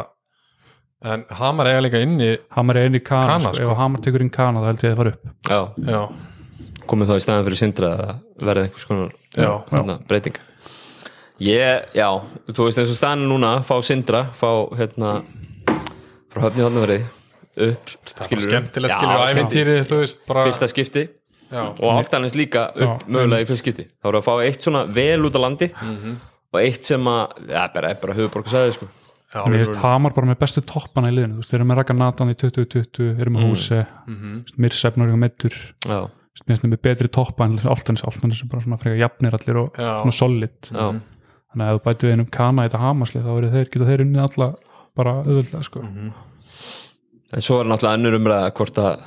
[SPEAKER 2] en Hamar eiga líka inni
[SPEAKER 3] Hamar er einn í Kana,
[SPEAKER 2] Kana,
[SPEAKER 3] sko.
[SPEAKER 2] sko.
[SPEAKER 3] ef Hamar tekur inn Kana þá held ég að það fara upp
[SPEAKER 1] já,
[SPEAKER 2] já,
[SPEAKER 1] komið þá í staðan fyrir sindra að það verði einhvers konar
[SPEAKER 2] já,
[SPEAKER 1] hérna, breyting Ég, já, þú veist eins og staðan er núna fá sindra, fá hérna frá höfni hóðnaverði upp,
[SPEAKER 2] Bara
[SPEAKER 1] skilurðu?
[SPEAKER 2] skemmtilegt
[SPEAKER 1] Já,
[SPEAKER 2] skilur æfintýri, þú veist, bara
[SPEAKER 1] fyrsta skipti
[SPEAKER 2] já,
[SPEAKER 1] og Altanes líka upp
[SPEAKER 3] Já.
[SPEAKER 1] mögulega í fyrst skipti þá voru að fá eitt svona vel út á landi og eitt sem að, ja, bara, bara höfuborgarsæði sko.
[SPEAKER 2] já,
[SPEAKER 3] Mér
[SPEAKER 2] við-
[SPEAKER 3] finnst Hamar bara með bestu toppana í liðinu þú veist, þeir eru með Raka Natan í 2020 þeir eru með Húse, mm. Mirsefnur og Metur, Þú
[SPEAKER 1] já,
[SPEAKER 3] veist, mér finnst þeir með betri toppa en Altanes, Altanes er bara svona frekar jafnir allir og
[SPEAKER 2] Já.
[SPEAKER 3] svona solid
[SPEAKER 1] já,
[SPEAKER 3] þannig að ef þú bæti við einum Kana í þetta Hamarslið þá eru þeir, geta þeir unnið alla bara auðvöldlega sko.
[SPEAKER 1] Mhm. en svo er náttúrulega önnur umræða hvort að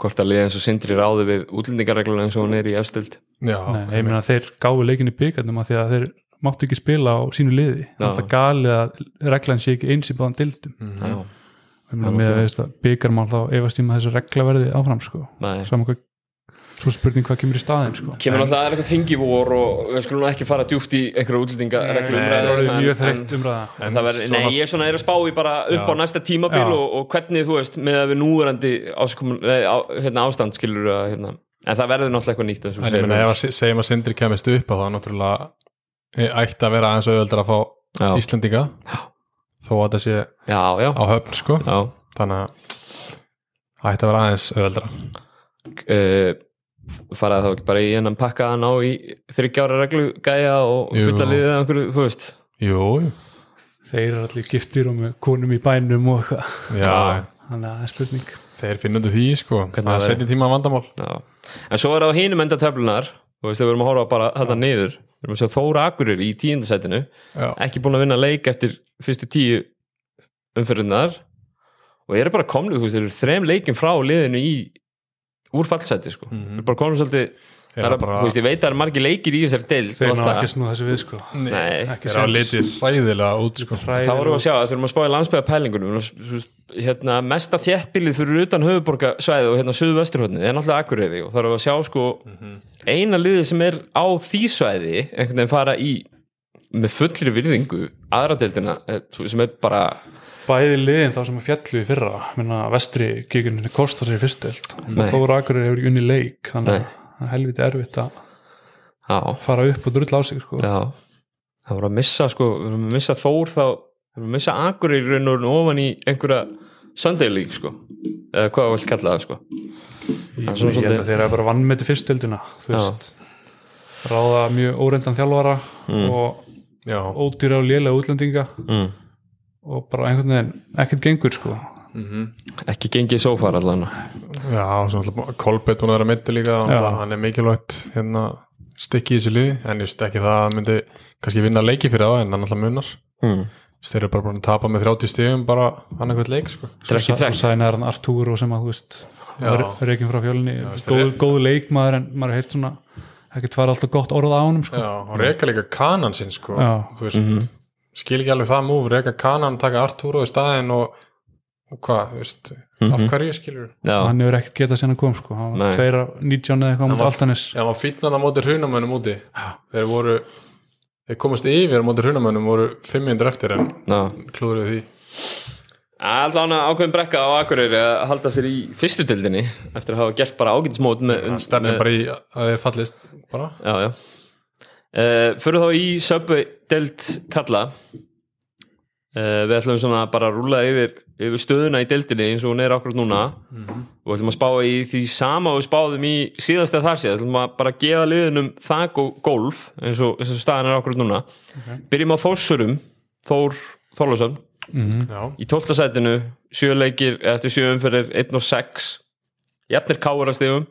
[SPEAKER 1] hvort að liða eins og sindri ráði við útlendingarregluna eins og hún er í efstild
[SPEAKER 2] já,
[SPEAKER 3] Nei, ég meina þeir gáðu leikin í byggarnum að því að þeir máttu ekki spila á sínu liði
[SPEAKER 1] Já.
[SPEAKER 3] það
[SPEAKER 1] Mhm.
[SPEAKER 3] er alltaf galið að reglan sé ekki eins í báðan dildum
[SPEAKER 1] já,
[SPEAKER 3] Ég meina, með að veist að byggarmál þá efast ég með þessu regla verði áfram sko.
[SPEAKER 1] nei
[SPEAKER 3] Sama hvað, svo spurning hvað kemur í staðin sko.
[SPEAKER 1] kemur náttúrulega eitthvað þingi vor og við skulum nú ekki fara djúft í einhverja útlendingarreglu
[SPEAKER 2] Nei,
[SPEAKER 1] umræðu,
[SPEAKER 3] það er
[SPEAKER 1] en-
[SPEAKER 3] mjög
[SPEAKER 1] en-
[SPEAKER 3] þreytt umræða
[SPEAKER 2] En
[SPEAKER 1] Það verður, nei, ég er svona er að spá í bara upp
[SPEAKER 2] Já.
[SPEAKER 1] á næsta tímabil
[SPEAKER 3] Já.
[SPEAKER 1] og, og hvernig, þú veist, með að við núverandi áskomun, nei, á, hérna, ástand skilur að, hérna, en það verður náttúrulega eitthvað nýtt eins og
[SPEAKER 2] en ég
[SPEAKER 1] segir.
[SPEAKER 2] meina ef að se- segjum að Sindri kemist upp að það náttúrulega eh, ætti að vera aðeins auðveldur að fá
[SPEAKER 1] Já.
[SPEAKER 2] Íslendinga þó að það sé
[SPEAKER 1] Já, já,
[SPEAKER 2] á höfn sko
[SPEAKER 1] já
[SPEAKER 2] þannig að það ætti að vera aðeins auðveldra
[SPEAKER 1] uh, farað þá ekki bara í hennan pakka að ná í þryggjára reglu gæja og
[SPEAKER 2] Jú.
[SPEAKER 1] fulla liðið eða einhverju, þú veist
[SPEAKER 2] Jú, jú.
[SPEAKER 3] þeir eru allir giftir og með konum í bænum og eitthvað
[SPEAKER 2] já,
[SPEAKER 3] þannig að það er spurning
[SPEAKER 2] þeir finnum því sko
[SPEAKER 1] Hvernig
[SPEAKER 2] það
[SPEAKER 1] það
[SPEAKER 2] er
[SPEAKER 1] verður?
[SPEAKER 2] setjum tíma vandamál
[SPEAKER 1] já. en svo er það á hinum enda töflunar þú veist, þegar við erum að horfa bara þetta niður við erum að segja Þóra Akurir í tíundasætinu
[SPEAKER 2] já,
[SPEAKER 1] ekki búin að vinna leik eftir fyrstu tíu umferðunar og ég er bara komnið, þú veist, þeir eru þrem leikin frá liðinu í úr fallseti, sko,
[SPEAKER 3] Mhm.
[SPEAKER 1] mm bara komnið svolítið
[SPEAKER 2] Já,
[SPEAKER 1] það er,
[SPEAKER 2] bara-
[SPEAKER 1] þú veist, ég veit að það eru margir leikir í þessari deil
[SPEAKER 3] þeir ná ekki snúð þessu við sko.
[SPEAKER 1] Nei,
[SPEAKER 3] ekki
[SPEAKER 2] þeir á
[SPEAKER 3] séns.
[SPEAKER 2] litið hræðilega út sko
[SPEAKER 1] þá vorum við að sjá að þurfum að spá í landsbyða pælingunum hérna, mesta þjættbílið fyrir utan höfuborgarsvæði og hérna suðvesturhóttni, það er náttúrulega akkureyri og þá erum við að sjá sko
[SPEAKER 3] Mhm.
[SPEAKER 1] eina liðið sem er á því svæði einhvern veginn fara í með fullri virðingu aðradeldina sem er bara
[SPEAKER 3] bæði liðin þá sem að fjallu í fyrra minna vestri gigurinn kosta sér í fyrstöld
[SPEAKER 1] Nei.
[SPEAKER 3] og Þóra Akurir hefur ekki unni leik þannig að
[SPEAKER 1] Nei.
[SPEAKER 3] það er helviti erfitt að
[SPEAKER 1] já,
[SPEAKER 3] fara upp og drull á sig sko.
[SPEAKER 1] Já, það voru að missa sko, við vorum að missa Þór þá, við vorum að missa Akureyri raun og raun ofan í einhverja Sunday League sko, eða hvað þú vilt kalla það sko
[SPEAKER 3] ég,
[SPEAKER 1] er svona
[SPEAKER 3] ég held
[SPEAKER 1] svolítið-
[SPEAKER 3] að þeir eru bara vannmeti fyrstöldina þú
[SPEAKER 1] Já.
[SPEAKER 3] veist ráða mjög óreyndan þjálfara og
[SPEAKER 2] já,
[SPEAKER 3] ódýra og lélega útlendinga
[SPEAKER 1] mm.
[SPEAKER 3] og bara einhvern veginn ekkert gengur sko
[SPEAKER 1] Ekki gengið svo far allan
[SPEAKER 2] já, svo alltaf Kolbett hún er að mitti líka
[SPEAKER 3] Já.
[SPEAKER 2] hann er mikilvægt hérna stikki í þessu liði en ég veist ekki það að myndi kannski vinna leiki fyrir það en hann alltaf munar
[SPEAKER 1] mm.
[SPEAKER 2] Þeir eru bara búin að tapa með 30 stigum bara annarkvæmt leik sko.
[SPEAKER 1] Trekk í trekk.
[SPEAKER 3] sæna er hann Arturo sem að þú veist
[SPEAKER 2] Já.
[SPEAKER 3] reikin frá fjölni,
[SPEAKER 2] veist,
[SPEAKER 3] góð,
[SPEAKER 2] re-
[SPEAKER 3] góð leikmaður en maður heilt svona, ekkert var alltaf gott orð á honum sko,
[SPEAKER 2] Já, og reyka líka kanan sinn sko.
[SPEAKER 3] Já.
[SPEAKER 2] þú veist, skil ekki alveg það múf reyka kanan, taka Arturo í staðin og, og hvað, þú veist af hverju skilur
[SPEAKER 1] Já,
[SPEAKER 3] hann hefur ekkert getað sinna kom sko, hann
[SPEAKER 1] Nei.
[SPEAKER 3] var tveira 19 eða eitthvað á
[SPEAKER 2] Hann
[SPEAKER 3] mútið
[SPEAKER 2] var-
[SPEAKER 3] Altanis
[SPEAKER 2] Já, maður fýtnaði á móti hrunamönnum úti Þeir voru, þeir komast yfir á móti hrunamönnum voru 500 eftir en
[SPEAKER 1] já
[SPEAKER 2] klúðuðu því
[SPEAKER 1] Alltaf hann ákveðin brekka á Akureyri að halda sér í fyrstu dildinni eftir að hafa gert bara ágætismót með,
[SPEAKER 2] Það stefnir bara í að þeir fallist bara
[SPEAKER 1] Já, já uh, Fyrir þá í söpudeld kalla uh, Við ætlum svona bara að rúla yfir, yfir stöðuna í deldinni eins og hún er akkurat núna og ætlum að spá í því sama og við spáðum í síðast eða þar síðast ætlum að bara gefa liðunum þak og golf eins og, eins og staðan er akkurat núna Byrjum á Þórsurum Þór Þorlásson
[SPEAKER 2] Já,
[SPEAKER 1] í 12. sætinu sjö leikir eftir sjö umferðir 1 og 6 jafnir káara stegum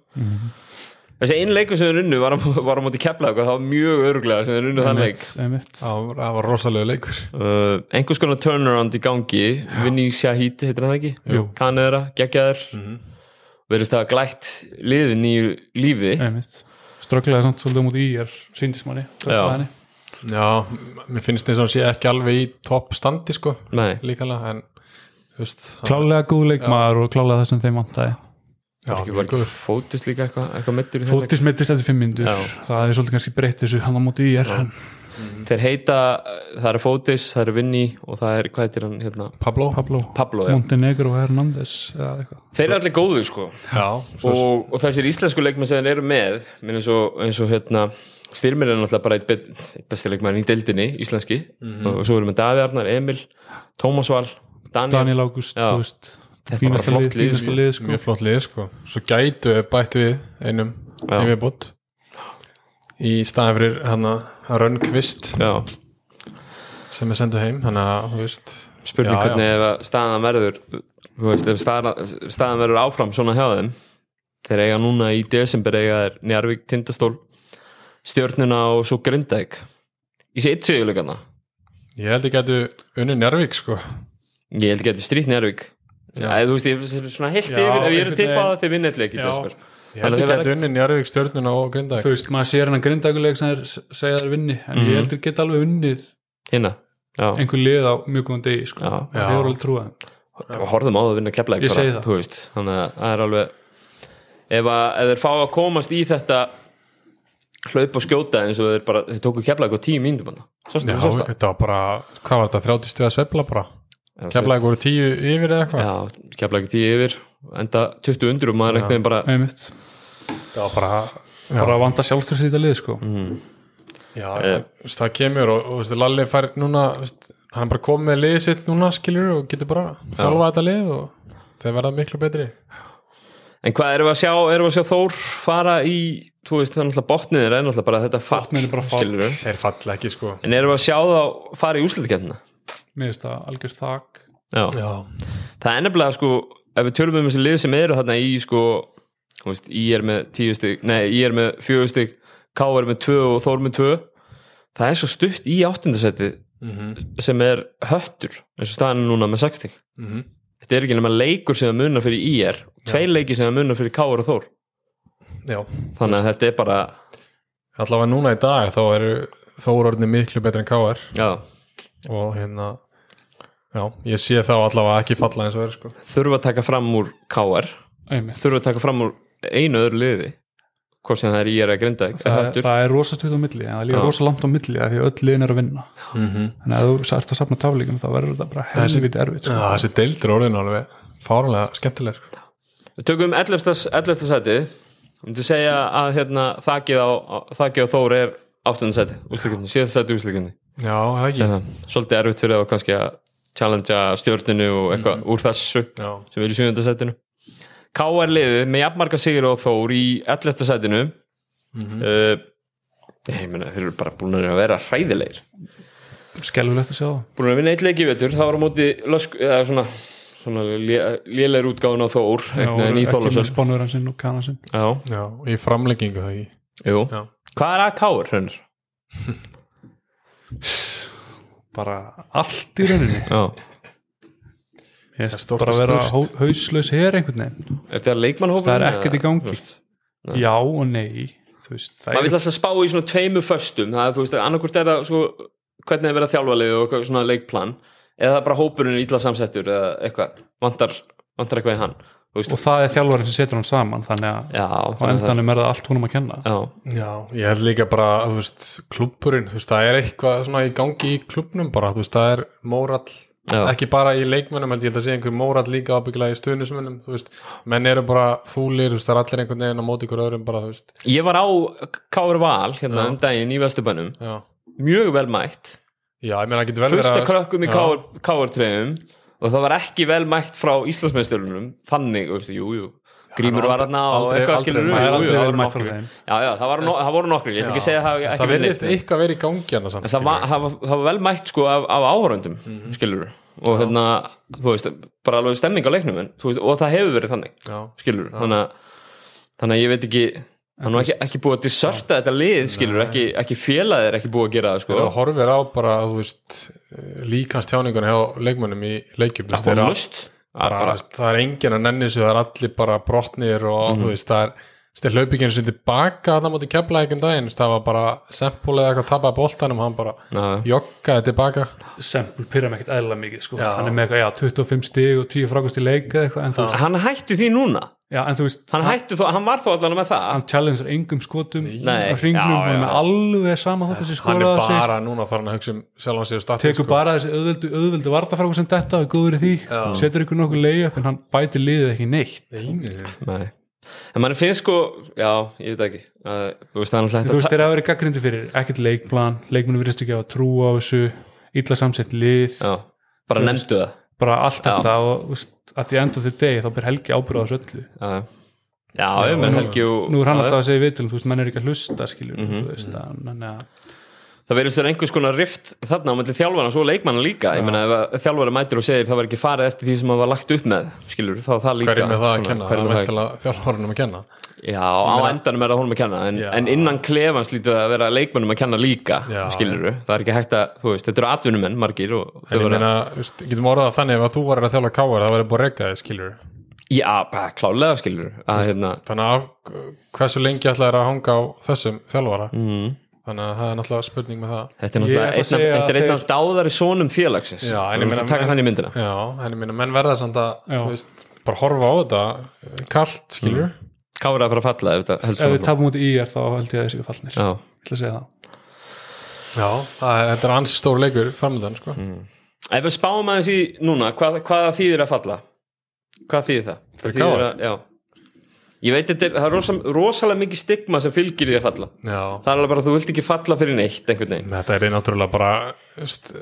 [SPEAKER 1] þessi einn leikur sem þeir unnu var, á- var á móti kepla það var mjög öruglega sem þeir unnu þann leik
[SPEAKER 3] einmitt,
[SPEAKER 2] það var- það var rosalega leikur
[SPEAKER 1] uh, einhvers konar turnaround í gangi Vinni Shahid heitir hann það ekki
[SPEAKER 3] Jú.
[SPEAKER 1] kanera, geggjaður verðist það glætt liðin í lífi
[SPEAKER 3] einmitt strögglaði samt svolítið mútið í er síndismanni,
[SPEAKER 1] Já.
[SPEAKER 2] Já, mér finnst þess að hann sé ekki alveg í topp standi sko
[SPEAKER 1] Nei.
[SPEAKER 2] líkala en þú veist hann-
[SPEAKER 3] klálega góð leikmaður og klálega það sem þeim vantaði
[SPEAKER 2] Já,
[SPEAKER 1] ekki var
[SPEAKER 2] leikur.
[SPEAKER 1] ekki fótist líka eitthvað eitthva mittur í þeim leik
[SPEAKER 3] Fótis mittist eftir 5 myndur
[SPEAKER 1] Já.
[SPEAKER 3] það er svolítið kannski breytt þessu hann á mútið í er
[SPEAKER 1] þeir heita, það er fótis, það er Vinni og það er, hvað heitir hann hérna
[SPEAKER 2] Pablo
[SPEAKER 3] Pablo,
[SPEAKER 1] Pablo, já.
[SPEAKER 3] Montenegro Hernandez eða eitthvað
[SPEAKER 1] þeir eru allir góður sko
[SPEAKER 2] Já, svo,
[SPEAKER 1] og, og þessir íslensku leikmenn sem þeir eru með minn eins og, eins og hérna styrmir er náttúrulega bara eitt, bet, eitt besti leikmenn í deildinni, íslenski
[SPEAKER 2] Mhm.
[SPEAKER 1] og svo erum við Davi Arnar, Emil, Tómas Val Daniel,
[SPEAKER 3] Daniel August,
[SPEAKER 1] Já.
[SPEAKER 3] þú veist
[SPEAKER 1] Þetta er
[SPEAKER 3] fínasta
[SPEAKER 1] bara flott
[SPEAKER 3] lið,
[SPEAKER 1] lið,
[SPEAKER 3] fínasta
[SPEAKER 1] sko.
[SPEAKER 3] lið sko.
[SPEAKER 2] mjög flott lið sko Svo gætu við bætt við einum
[SPEAKER 1] Já.
[SPEAKER 2] yfirbútt í staðan fyrir hann að Rönnkvist
[SPEAKER 1] Já,
[SPEAKER 2] sem er sendu heim þannig að þú veist
[SPEAKER 1] spurning
[SPEAKER 2] Já, já.
[SPEAKER 1] hvernig ef að staðan verður þú veist, ef staðan, staðan verður áfram svona hjá þeim þeir eiga núna í desember eiga þeir Njarvík, Tindastól Stjörnuna og svo Grindæk í sér eitt sigurleikana
[SPEAKER 2] Ég held ég gætu unni Njárvík sko
[SPEAKER 1] ég held ekki að þetta er strýtt Njarvík
[SPEAKER 2] Já.
[SPEAKER 1] Æ, þú veist, ég, svona heilt yfir, ef
[SPEAKER 2] Já,
[SPEAKER 1] ég er að
[SPEAKER 2] einhvern
[SPEAKER 1] tippa
[SPEAKER 2] veginn.
[SPEAKER 1] það þeir vinna eitthvað ekki
[SPEAKER 2] Já.
[SPEAKER 1] desember
[SPEAKER 2] Ég held
[SPEAKER 1] Þannig að
[SPEAKER 2] ég
[SPEAKER 1] þeir
[SPEAKER 2] gætu unni Njárvík stjórnuna og Grindavík
[SPEAKER 3] þú veist, maður sér hennan grindaguleik sem þeir segja þeir vinni en
[SPEAKER 1] Mhm.
[SPEAKER 3] ég heldur geta alveg unnið
[SPEAKER 1] hérna já,
[SPEAKER 3] einhver lið á mjög góðan degi sko.
[SPEAKER 1] já.
[SPEAKER 3] það hefur alveg trúið
[SPEAKER 1] og horfðum á það að vinna keflæk
[SPEAKER 3] Ég segi það.
[SPEAKER 1] veist, þannig að það er alveg ef, að, ef þeir fá að komast í þetta hlaup og skjóta eins og þeir bara, þeir tóku keflæk á tíu mínútum hann
[SPEAKER 2] Já, þetta var bara, hvað var þetta, 30 stuða svefla bara Keflaði voru 10 yfir eða eitthvað
[SPEAKER 1] já, keflæk tíu yfir enda 20 undur og maður einhvern veginn bara
[SPEAKER 3] einmitt,
[SPEAKER 2] Það var bara Já.
[SPEAKER 3] bara að vanda sjálfstöðs í þetta lið sko.
[SPEAKER 2] Já, Eh, þú veist, það kemur og, og þú veist, Lalli fær núna þú veist, hann er bara komið með liðið sitt núna skilur og getur bara þjálfað þetta lið og það verða miklu betri
[SPEAKER 1] en hvað erum við að sjá, erum við að sjá Þór fara í, þú veist, það er náttúrulega botnið er náttúrulega bara þetta fall,
[SPEAKER 3] Botnið er bara fall.
[SPEAKER 1] skilurðu.
[SPEAKER 2] Þeir falla ekki sko
[SPEAKER 1] en erum við að sjá þá fara í úslitkefna
[SPEAKER 3] mér finnst það algjör þak
[SPEAKER 1] já,
[SPEAKER 2] Já,
[SPEAKER 1] Það er nefnilega sko, ef við tölum um þessi lið sem eru þarna í sko, þú veist, í er með tíu stygg, nei, í er með fjögur stygg, K er með tvö og Þór með tvö, það er svo stutt í áttundasæti
[SPEAKER 2] mm -hmm.
[SPEAKER 1] sem er höttur, eins og staðan er núna með sex stygg.
[SPEAKER 2] mhm.
[SPEAKER 1] Þetta er ekki nema leikur sem er munna fyrir í er, tvei leiki sem er munna fyrir K og Þór,
[SPEAKER 2] Já.
[SPEAKER 1] þannig að þetta er bara,
[SPEAKER 2] Allavega núna í dag þá eru þórorðni miklu betri en K.R.
[SPEAKER 1] já,
[SPEAKER 2] og hérna Já, ég sé þá allavega ekki falla eins og er sko
[SPEAKER 1] þurfa að taka fram úr K er,
[SPEAKER 3] einmitt,
[SPEAKER 1] þurfa að taka fram úr einu öðru liði, hvort sem það er í er að grinda,
[SPEAKER 3] það,
[SPEAKER 1] höttur.
[SPEAKER 3] það er rosa stuð á milli en það er líka
[SPEAKER 1] Já.
[SPEAKER 3] rosa langt á milli af því að öll liðin er að vinna
[SPEAKER 2] mm -hmm.
[SPEAKER 3] þannig að þú ert að safna taflíkum þá verður þetta bara helviti erfitt sko.
[SPEAKER 2] Þessi deildir orðin alveg fárlega skemmtileg sko.
[SPEAKER 1] Við tökum 11. 11. sæti Ég myndi segja að hérna, þakið, á, á- þakið á Þór er 8. sæti úslikunni, síðast sæti úslikunni
[SPEAKER 2] Já, það ekki
[SPEAKER 1] Hérna, Svolítið erfitt fyrir þá kannski að challengea stjórninu og eitthvað
[SPEAKER 3] Mhm.
[SPEAKER 1] úr þessu
[SPEAKER 2] Já,
[SPEAKER 1] sem er í 7. sætinu K.R. liðið með jafnmarka sigur og Þór í 11. sætinu mm
[SPEAKER 3] Mhm.
[SPEAKER 1] ég meina, þeir eru bara búin að vera hræðilegir
[SPEAKER 3] skelfulegt að sjá það
[SPEAKER 1] búin að vinna eitt leik í vetur, það var á móti lösk, eða svona, svona lé- lélegir útgáðun á Þór,
[SPEAKER 3] Já,
[SPEAKER 1] eitthvað
[SPEAKER 3] ekki með
[SPEAKER 1] nýþólasöld
[SPEAKER 3] spánverðan sinn og kana sinn
[SPEAKER 1] Já,
[SPEAKER 2] já, í framleggingu það ekki
[SPEAKER 1] jú
[SPEAKER 2] Já,
[SPEAKER 1] Hvað er að káur, hrönnur?
[SPEAKER 3] bara allt í rauninni
[SPEAKER 1] Já,
[SPEAKER 3] Ég veist,
[SPEAKER 2] stórt
[SPEAKER 3] bara
[SPEAKER 2] að
[SPEAKER 3] að vera
[SPEAKER 2] spurt.
[SPEAKER 3] hó- hauslaus hér einhvern veginn
[SPEAKER 1] er það leikmannhópur?
[SPEAKER 3] Það er ekkert í gangi.
[SPEAKER 1] Nei.
[SPEAKER 3] já og nei þú veist, það
[SPEAKER 1] maður
[SPEAKER 3] er
[SPEAKER 1] vil alltaf spá í svona tveimu föstum það er, þú veist, annarkvort er það svo, hvernig er verið að þjálfa liðið og hvað- svona leikplan eða það er bara hópurinn er illa samsettur eða eitthvað, vantar, vantar eitthvað í hann þú veist,
[SPEAKER 3] og það er þjálfarinn sem setur hann saman þannig að
[SPEAKER 1] já,
[SPEAKER 3] á
[SPEAKER 1] þannig að það-
[SPEAKER 3] endanum er það allt húnum að kenna
[SPEAKER 1] já,
[SPEAKER 2] Já, ég held líka bara, þú veist, klúppurinn, þú veist, það er eitthvað svona í gangi í klúppnum bara, þú veist, það er mórall,
[SPEAKER 1] Já.
[SPEAKER 2] ekki bara í leikmönnum, held ég held að sé einhver mórall líka ábygglega í stuðnismönnum, þú veist, menn eru bara fúlir, þú veist, það er allir einhvern veginn á móti ykkur öðrum bara, þú veist,
[SPEAKER 1] ég var á Káur Val hérna um daginn í Vesturbænum
[SPEAKER 2] já,
[SPEAKER 1] mjög vel mætt,
[SPEAKER 2] já, ég meina, það getur vel
[SPEAKER 1] fullt af
[SPEAKER 2] verið
[SPEAKER 1] krökkum í
[SPEAKER 2] Já.
[SPEAKER 1] Káur trefum og það var ekki vel mætt frá Íslandsmeisturunum þannig, þú veist, jú, jú Grímur var þarna og
[SPEAKER 2] aldrei-
[SPEAKER 1] eitthvað
[SPEAKER 2] aldrei-
[SPEAKER 1] skilur
[SPEAKER 2] maður er
[SPEAKER 3] aldrei vel mætt frá þeim.
[SPEAKER 1] Já, já, það, var, no, það voru nokkri, ég ætla ekki að segja að hafi
[SPEAKER 2] Já,
[SPEAKER 1] ekki
[SPEAKER 2] það
[SPEAKER 1] verið
[SPEAKER 2] verðist
[SPEAKER 1] neitt.
[SPEAKER 2] eitthvað verið í gangi annars samt,
[SPEAKER 1] En það var,
[SPEAKER 2] skilurðu.
[SPEAKER 1] það, var, það var vel mætt sko af, af áhöröndum mm skilur og hérna, þú veist, bara alveg stemming á leiknum en, þú veist, og það hefur verið þannig
[SPEAKER 2] já,
[SPEAKER 1] skilur, þannig að þannig að ég veit ekki, hann var ekki, ekki búið að disserta þetta lið, skilur, ekki, ekki félagir ekki búið að gera það sko
[SPEAKER 2] og horfir á bara, þú veist, líkans tjáningun hjá leikmönnum í leikjum, þú veist,
[SPEAKER 1] það
[SPEAKER 2] þeir
[SPEAKER 1] var
[SPEAKER 2] eru
[SPEAKER 1] lust
[SPEAKER 2] bara, það er enginn að nenni sig það er allir bara brotnir og þú veist, það er stið hlaupingin sem tilbaka þannig mútið kepla ekki um daginn þú veist, það var bara sempúl eða eitthvað tapaði boltanum hann bara
[SPEAKER 1] Já.
[SPEAKER 2] joggaði tilbaka
[SPEAKER 3] Sempul pyrra mig ekkert eðla mikið sko.
[SPEAKER 2] Já.
[SPEAKER 3] hann er með eitthvað, já, 25 stig og 10 frákvæmst í leik eða eitthvað, en þú, veist,
[SPEAKER 1] hann hættu því núna
[SPEAKER 3] já, en þú veist
[SPEAKER 1] hann, hættu þó, hann var þó allan með það
[SPEAKER 3] hann challengear engum skotum
[SPEAKER 1] Nei.
[SPEAKER 3] á
[SPEAKER 1] Já,
[SPEAKER 3] hringnum, hann er
[SPEAKER 1] já.
[SPEAKER 3] með alveg sama þótt þessi
[SPEAKER 2] hann er
[SPEAKER 3] skoraða sig
[SPEAKER 2] bara núna farin að hugsa um sjálf hann sér statið
[SPEAKER 1] sko.
[SPEAKER 3] tekur bara þessi auðvöldu, auðvöldu vartafrákum sem þetta og er góður í því, setur ykkur nokkuð leið upp en hann bætir liðið ekki neitt
[SPEAKER 2] bara
[SPEAKER 1] Nei. en mann finnst sko, já, ég veit ekki uh, þú veist, það er
[SPEAKER 3] þú
[SPEAKER 1] náttúrulega
[SPEAKER 3] veist
[SPEAKER 1] hægt að
[SPEAKER 3] þeir hafa verið gaggrindi fyrir, ekkert leikplan leikmennu virðist ekki að trú á þessu illa samsett lið,
[SPEAKER 1] já, bara nefndu það
[SPEAKER 3] bara allt
[SPEAKER 1] Já.
[SPEAKER 3] þetta og þú veist, at the end of the day þá ber Helgi ábyrða þessu öllu
[SPEAKER 1] Já, já, já, menn helgi og
[SPEAKER 3] nú er hann
[SPEAKER 1] Já, Mhm. já.
[SPEAKER 3] alltaf að segja viðtölum, þú veist, menn er ekki að hlusta skilur, þú veist, að- þannig að
[SPEAKER 1] það verður sér einhvers konar rift þarna á melli þjálfana og leikmanna líka ég meina ef að þjálfari mætir og segir það var ekki farið eftir því sem hann var lagt upp með skilur þá er það líka
[SPEAKER 2] hverjum er það að
[SPEAKER 1] svona,
[SPEAKER 2] kenna, það
[SPEAKER 1] hverjum er
[SPEAKER 2] er
[SPEAKER 1] það að-
[SPEAKER 2] mæntilega þjálfhórunum að kenna
[SPEAKER 1] já, á endanum er það honum að kenna en,
[SPEAKER 2] Já.
[SPEAKER 1] en innan klefans lítið að vera leikmannum að kenna líka
[SPEAKER 2] Já,
[SPEAKER 1] skilur það er ekki hægt að, þú veist, þetta eru atvinnumenn margir og þau
[SPEAKER 2] en ég
[SPEAKER 1] verða,
[SPEAKER 2] meina, þú veist, getum orðað það þannig ef að þú varir að þjálfa káar það væri búið að reyka þig skilur
[SPEAKER 1] já, bara klálega skilur að hérna,
[SPEAKER 2] þannig að af- hversu lengi ætlaðir að hanga á þessum þjálfara
[SPEAKER 1] Mhm.
[SPEAKER 2] þannig að það er náttúrulega spurning með það
[SPEAKER 1] þetta er
[SPEAKER 3] Ég ætla
[SPEAKER 1] náttúrulega
[SPEAKER 3] að
[SPEAKER 1] einn af-
[SPEAKER 3] segja
[SPEAKER 1] þetta er
[SPEAKER 3] að
[SPEAKER 1] einn af dáðari sónum félagsins
[SPEAKER 2] Já,
[SPEAKER 1] Þú
[SPEAKER 2] en ég
[SPEAKER 1] veist
[SPEAKER 2] meina-
[SPEAKER 1] að taka þannig myndina
[SPEAKER 2] Já, en ég minna, menn verða samt að
[SPEAKER 3] Já.
[SPEAKER 2] þú veist, bara horfa á þetta eh, kallt, skilur
[SPEAKER 1] kára að fara að falla ef þetta
[SPEAKER 3] ef við
[SPEAKER 1] heldur
[SPEAKER 3] tapum út í er þá held ég að þessu fallnir ég
[SPEAKER 1] svona
[SPEAKER 3] ætla að segja það
[SPEAKER 2] Já, það, þetta er ansi stór leikur framöndan, sko
[SPEAKER 1] Ef við spáum aðeins í núna, hvað, hvað þýðir að falla? Hvað þýðir það? Það
[SPEAKER 2] Fyrir
[SPEAKER 1] þýðir
[SPEAKER 2] KR?
[SPEAKER 1] að- Já Ég veit, þetta er, það er rosa, rosalega mikið stigma sem fylgir því að falla
[SPEAKER 2] Já,
[SPEAKER 1] Það er alveg bara að þú vilt ekki falla fyrir neitt einhvern veginn
[SPEAKER 2] þetta er náttúrulega bara þú veist,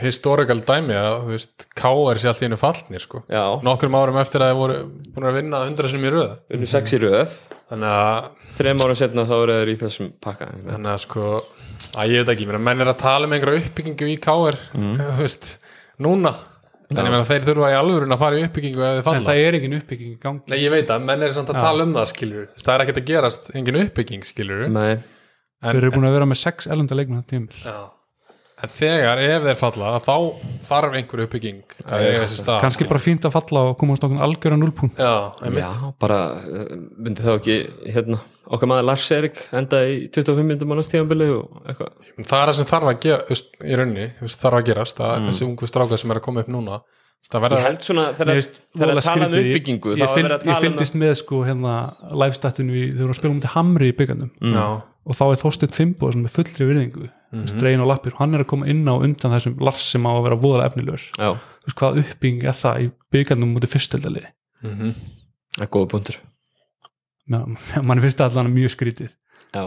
[SPEAKER 2] historical dæmi að, þú veist, K.R. sé allt í einu fallnir, sko
[SPEAKER 1] Já,
[SPEAKER 2] Nokkrum árum eftir að þið voru búin að vinna hundra sem í röð
[SPEAKER 1] unnu sex í röð
[SPEAKER 2] Þannig að,
[SPEAKER 1] Þrem ára setna þá eru þeir í þessum pakka einhvern veginn.
[SPEAKER 2] þannig að sko að ég veit ekki, ég meina, menn er að tala um einhverja uppbyggingu í K.R. þú veist, núna Þannig að þeir þurfa í alvörun að fara í uppbyggingu ef þið
[SPEAKER 3] en
[SPEAKER 2] falla
[SPEAKER 3] það er engin uppbygging í gangi
[SPEAKER 2] Nei, ég veit að menn er samt að tala um það, skilur Það er ekkert að gerast, engin uppbygging, skilur
[SPEAKER 1] Nei,
[SPEAKER 3] við erum búin að vera með sex ellenda leikmenn þetta tímil
[SPEAKER 2] En þegar, ef þeir falla, þá þarf einhver uppbygging að eiga þessi stað
[SPEAKER 3] kannski bara fínt að falla og komast okkur algjörða núlpunkt
[SPEAKER 2] Já, einmitt.
[SPEAKER 1] já, bara eh, myndi þá ekki hérna, okkar maður Lars Erik endaði í 25 myndum mannast tíðanbili og eitthvað
[SPEAKER 2] Það er það sem þarf að gera, þú veist, í raunni þú veist, þarf að gerast, að þessi ungu stráka sem er að koma upp núna þú veist, það
[SPEAKER 1] Ég
[SPEAKER 2] verða
[SPEAKER 1] held svona, þegar
[SPEAKER 3] Mér finnst
[SPEAKER 1] þegar
[SPEAKER 3] voðalega
[SPEAKER 1] að tala um
[SPEAKER 3] skrítið.
[SPEAKER 1] uppbyggingu þá
[SPEAKER 3] ég,
[SPEAKER 1] er verið
[SPEAKER 3] fylg,
[SPEAKER 1] að
[SPEAKER 3] ég
[SPEAKER 1] tala um
[SPEAKER 3] fylgdist með sko hérna livestatinu í, þau voru að spila um til Hamri í byggandum
[SPEAKER 1] Mm.
[SPEAKER 2] Já,
[SPEAKER 3] og þá er Þorsteinn Fimbo sem er fullri virðingu mm
[SPEAKER 1] Mhm.
[SPEAKER 3] -hmm. og lappir og hann er að koma inn á undan þessum Lars sem á að vera voðalega efnilegur
[SPEAKER 1] Já,
[SPEAKER 3] þú veist hvað uppbygging er það í byggandum mútið fyrsteldali
[SPEAKER 2] Mhm.
[SPEAKER 1] það er góða punktur
[SPEAKER 3] mann finnst það allan mjög skrítið
[SPEAKER 1] Já,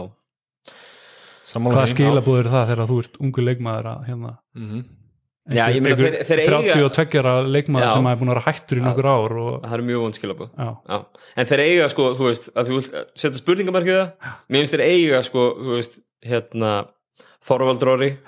[SPEAKER 2] sammála
[SPEAKER 3] hvaða
[SPEAKER 2] því.
[SPEAKER 3] skilabóð eru það þegar þú ert ungu leikmaður að hérna
[SPEAKER 2] Mhm.
[SPEAKER 1] Já, ég meina,
[SPEAKER 3] einhver-
[SPEAKER 1] þeir- þeir eiga-
[SPEAKER 3] 32 ára leikmaður
[SPEAKER 1] Já.
[SPEAKER 3] sem er búin að vera hættur í nokkur ár og,
[SPEAKER 1] það er mjög vondskilabóð
[SPEAKER 3] já,
[SPEAKER 1] Já. En þeir eiga sko, þú veist, að þú vilt setja spurningamarkið það, mér finnst þeir eiga sko, þú veist, hérna Þorvaldróri,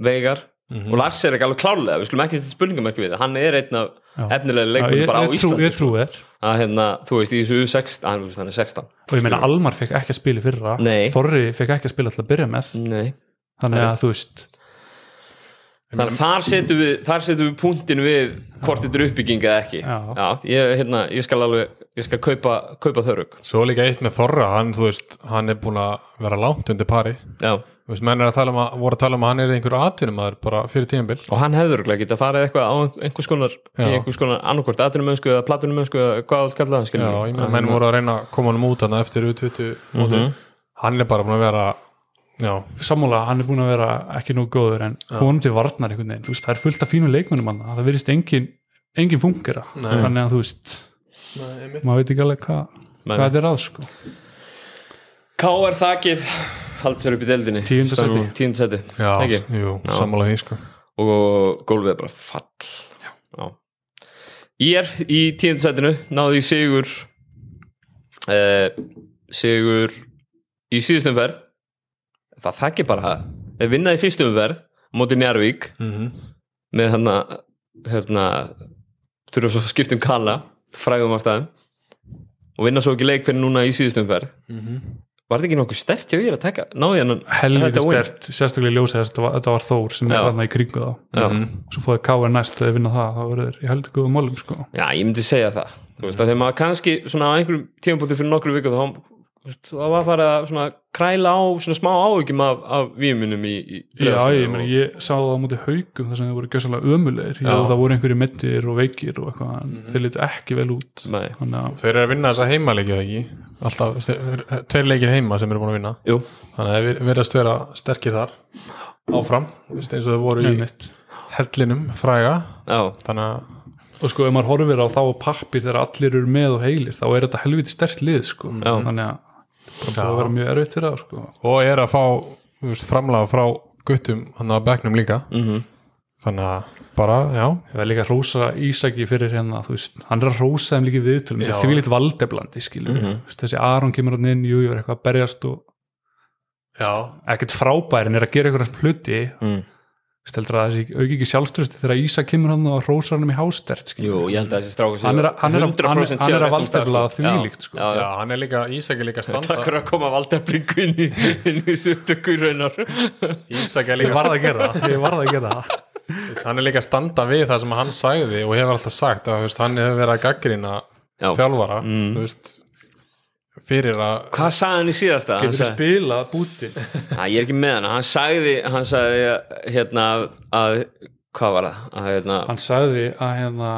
[SPEAKER 1] Veigar og Lars er ekki alveg klálega, við skulum ekki setja spurningamarki við það, hann er einn af
[SPEAKER 3] Já.
[SPEAKER 1] efnilega
[SPEAKER 3] Já, ég,
[SPEAKER 1] leikunum bara á
[SPEAKER 3] ég, trú,
[SPEAKER 1] Íslandi sko.
[SPEAKER 3] ég trú þér
[SPEAKER 1] að hérna, þú veist, í þessu 16 að, þú veist, hann er 16
[SPEAKER 3] og ég meina Almar fekk ekki að spila í fyrra
[SPEAKER 1] Nei. Mm.
[SPEAKER 3] Þorri fekk ekki að spila alltaf að byrja með
[SPEAKER 1] Nei.
[SPEAKER 3] þannig að þú veist
[SPEAKER 1] Þannig, að þar setjum við, þar setjum við punktin við hvort þetta er uppbygging eða ekki
[SPEAKER 3] Já.
[SPEAKER 1] ég, hérna, ég skal alveg ég skal kaupa, kaupa þörug
[SPEAKER 2] Svo líka eitt með Þorra, hann, þú veist, hann er búin að vera langt undir pari.
[SPEAKER 1] Já.
[SPEAKER 2] Þú veist, menn er að tala um að, voru að tala um að hann er einhver atvinnumæður bara fyrir tíðanbíl.
[SPEAKER 1] og hann hefður ekki að fara eitthvað á einhvers konar
[SPEAKER 2] Já.
[SPEAKER 1] í einhvers konar annarkvort atunumönsku eða platunumönsku eða hvað allt kalla það
[SPEAKER 2] Já,
[SPEAKER 1] skilur við.
[SPEAKER 2] ég meina,
[SPEAKER 1] Að
[SPEAKER 2] menn
[SPEAKER 1] hérna-
[SPEAKER 2] voru að reyna að koma hann út hann eftir U20 mótið. Hann er bara búin að vera, já,
[SPEAKER 3] sammála hann er búin að vera ekki nóg góður en honum til varnar einhvern veginn þú veist, það er fullt af fínum leikmönnum hann það verðist engin, engin fungera
[SPEAKER 2] Nei.
[SPEAKER 3] þannig að þú veist maður veit ekki alveg hvað
[SPEAKER 1] Nei.
[SPEAKER 3] hvað þetta er að sko
[SPEAKER 1] K.R. þakið haldi sér upp í deildinni
[SPEAKER 3] Tíunda sæti.
[SPEAKER 1] Tíundasæti
[SPEAKER 2] já,
[SPEAKER 1] Ekki?
[SPEAKER 2] jú,
[SPEAKER 1] Já.
[SPEAKER 2] sammála því, sko.
[SPEAKER 1] og gólfið er bara fall Já. Já. Ég er í tíundasætinu náði ég sigur eh, sigur í síðustum verð það þakki bara þeir vinnaði í fyrstum verð móti Njarvík með hérna hérna þurfa svo að skipta um kala fræðum af staðum og vinna svo ekki leik fyrir núna í síðustum verð var þetta ekki nokkuð stert hjá ég að taka náði hennan
[SPEAKER 3] helviti
[SPEAKER 1] þetta win?
[SPEAKER 3] stert, sérstaklega í ljósi þess að þetta var- þetta var Þór sem
[SPEAKER 1] Já.
[SPEAKER 3] er hann í kringu þá Mm.
[SPEAKER 1] Já.
[SPEAKER 3] svo fóðið K.R. næst þegar þeir vinna það þá verður þeir í heldur góðum málum sko
[SPEAKER 1] Já, ég myndi segja það Þú veist, að þegar maður kannski svona á einhverjum tímapunkti fyrir nokkru viku þá, þú veist, þá var farið að svona kræla á svona smá áhugjum af, af vímunum í, sko. í
[SPEAKER 3] Já,
[SPEAKER 1] Breiðholtinu
[SPEAKER 3] ég, meni,
[SPEAKER 1] og-
[SPEAKER 3] ég sá það á móti haugum þar sem þeir voru gjössalega ömulegir
[SPEAKER 1] Já. Mhm.
[SPEAKER 3] og það voru einhverju mittir og veikir og eitthvað en þeir litu ekki vel út
[SPEAKER 1] Nei.
[SPEAKER 3] þannig að
[SPEAKER 2] Þeir eru að vinna þessa heimaleikið ekki Alltaf, þeir- þeir- tveir leikir heima sem eru búin að vinna
[SPEAKER 1] Jú,
[SPEAKER 2] Þannig að þeir verðast vera sterkir þar Áfram, þú veist, eins og þeir voru í
[SPEAKER 3] Einmitt.
[SPEAKER 2] hellinum fræga
[SPEAKER 1] já,
[SPEAKER 2] Þannig að
[SPEAKER 3] og sko ef maður horfir á þá og pappir þegar allir eru með og heilir þá er þetta helviti stert lið sko
[SPEAKER 1] Já.
[SPEAKER 3] þannig að það búið
[SPEAKER 2] Já.
[SPEAKER 3] að vera mjög erfitt fyrir það sko
[SPEAKER 2] Og er að fá þú veist, framlaga frá guttum Þannig að bekknum líka
[SPEAKER 1] Mhm.
[SPEAKER 2] Þannig að bara, já
[SPEAKER 3] ég var líka að hrósa Ísaki fyrir hérna þú veist, hann er að hrósa þeim líka í viðtölum þetta er því litt valdeblandi skilur mm -hmm. þessi Aron kemur hann inn, jú ég var eitthvað að berjast og
[SPEAKER 2] Já,
[SPEAKER 3] ekkert frábær en er að gera einhverjum hluti
[SPEAKER 1] Mm.
[SPEAKER 3] steldur að þessi auki ekki sjálfströsti þegar Ísak kemur hann og hrósar hann um í hástert skilur
[SPEAKER 1] jú, ég held að þessi stráku séu
[SPEAKER 3] Hann er að- hann er að-
[SPEAKER 1] 100% séu
[SPEAKER 3] hann er- hann er að
[SPEAKER 1] á réttum stað,
[SPEAKER 3] valdefla
[SPEAKER 1] sko.
[SPEAKER 3] þvílíkt, sko.
[SPEAKER 1] Já, já,
[SPEAKER 2] já,
[SPEAKER 1] já.
[SPEAKER 2] hann er líka, Ísak er líka að
[SPEAKER 1] Takk
[SPEAKER 2] standa
[SPEAKER 1] fyrir að koma valdeflingu inn í, inn í söttökur raunar
[SPEAKER 2] Ísak er
[SPEAKER 3] ég
[SPEAKER 2] líka,
[SPEAKER 3] varð að gera það, ég varð að gera það
[SPEAKER 2] þú veist, hann er líka að standa við það sem hann sagði og hefur alltaf sagt að þú veist, hann hefur verið að gaggrina
[SPEAKER 1] Já. Mm.
[SPEAKER 2] þjálfara, þú veist fyrir að
[SPEAKER 1] Hvað sagði hann í síðasta? Hann
[SPEAKER 3] getur
[SPEAKER 1] sagði-
[SPEAKER 3] spila búti
[SPEAKER 1] Æ, ég er ekki með hann, hann sagði hann sagði hérna að, hvað var það? Að, hérna,
[SPEAKER 3] hann sagði að hérna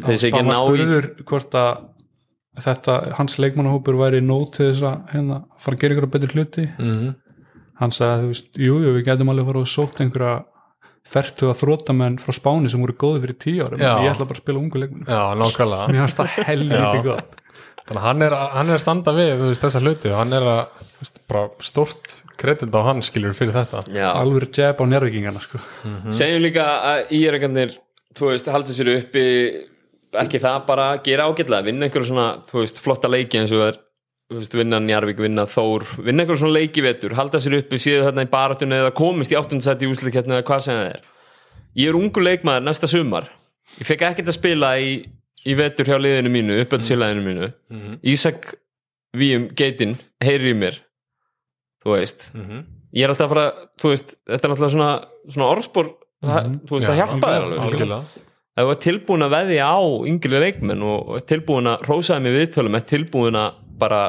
[SPEAKER 1] Þeir séu ekki
[SPEAKER 3] hann var
[SPEAKER 1] ná í-
[SPEAKER 3] spurður hvort að þetta, hans leikmannahópur væri nót til þess að hérna, fara að gera einhverja betur hluti
[SPEAKER 2] Mhm.
[SPEAKER 3] hann sagði, þú veist, jú, jú, við getum alveg fara og sótt einhverja fertuga þrótamenn frá Spáni sem voru góði fyrir tíu árum
[SPEAKER 2] Já.
[SPEAKER 3] en ég ætla bara að spila ungu leikmann
[SPEAKER 2] Já, nákvæmlega
[SPEAKER 3] mér fannst það helviti
[SPEAKER 2] Já.
[SPEAKER 3] gott
[SPEAKER 2] Þannig að hann er, hann er að standa við þú veist, þessa hluti og hann er að þú veist, bara stórt kredit á hann skilur fyrir þetta
[SPEAKER 1] já,
[SPEAKER 3] alveg jeb á njárvíkingana sko.
[SPEAKER 1] Mhm. segjum líka að írækarnir þú veist, halda sér uppi ekki það bara gera ágætlega vinna einhverju svona, þú veist, flotta leiki eins og það er þú veist, vinna Njarvík, vinna Þór vinna einhverju svona leiki vetur, halda sér uppi séu þarna í baratunni eða komist í áttundsæti í úsliketni eða hvað sem það er ég er ungu leikmaður næsta sumar ég fekk ekkert að spila í, í vetur hjá liðinu mínu, uppöldsýlaðinu mínu Ísak Víum Geitin heyri í mér þú veist,
[SPEAKER 2] Mhm.
[SPEAKER 1] ég er alltaf að fara þú veist, þetta er alltaf svona, svona orðspor það, þú veist,
[SPEAKER 2] Já,
[SPEAKER 1] það hjálpa þér alveg skilur.
[SPEAKER 2] Algjörlega
[SPEAKER 1] ef þú er tilbúin að veðja á yngri leikmenn og og ert tilbúin að rósaði mig viðtölum er tilbúin að bara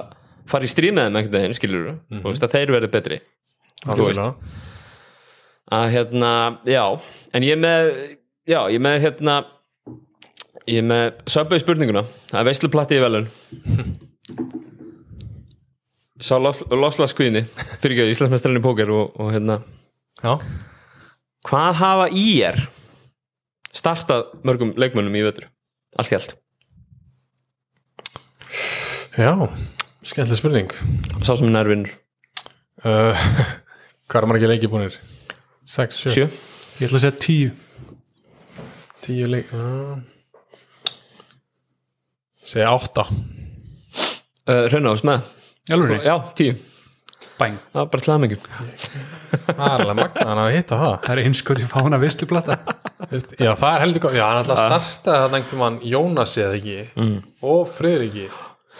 [SPEAKER 1] fara í stríð með þeim einhvern veginn, skilur
[SPEAKER 2] Mhm.
[SPEAKER 1] þú veist, að þeir verði betri þú veist,
[SPEAKER 2] Algjörlega.
[SPEAKER 1] að hérna, já en ég er með, já, ég er með hérna, ég er með söpbæði spurninguna, að veisluplatti í velun sá lofslagskvíðni fyrir ekki Íslandsmestrarinn í póker og, og hérna
[SPEAKER 2] Já,
[SPEAKER 1] Hvað hafa IR startað mörgum leikmönnum í vetur? Allt í allt.
[SPEAKER 2] já skemmtileg spurning
[SPEAKER 1] Sá sem er nærvinnur.
[SPEAKER 2] uh, Hvað er margir leiki búinir? 6, 7,
[SPEAKER 1] Sjö.
[SPEAKER 3] ég ætla að segja tíu
[SPEAKER 2] 10 leiki uh. Segja 8
[SPEAKER 1] Uh, Raunáðs með.
[SPEAKER 3] Alveg?
[SPEAKER 1] Já, tíu.
[SPEAKER 3] bæn
[SPEAKER 1] það er bara til aðmengjum
[SPEAKER 2] það er alveg magna hann að hitta það
[SPEAKER 3] það er einskot í fána vislublata
[SPEAKER 2] Veist, já, það er heldur góð, já, hann ætla að starta það nægtum hann Jónasi eða ekki mm. og Friðriki,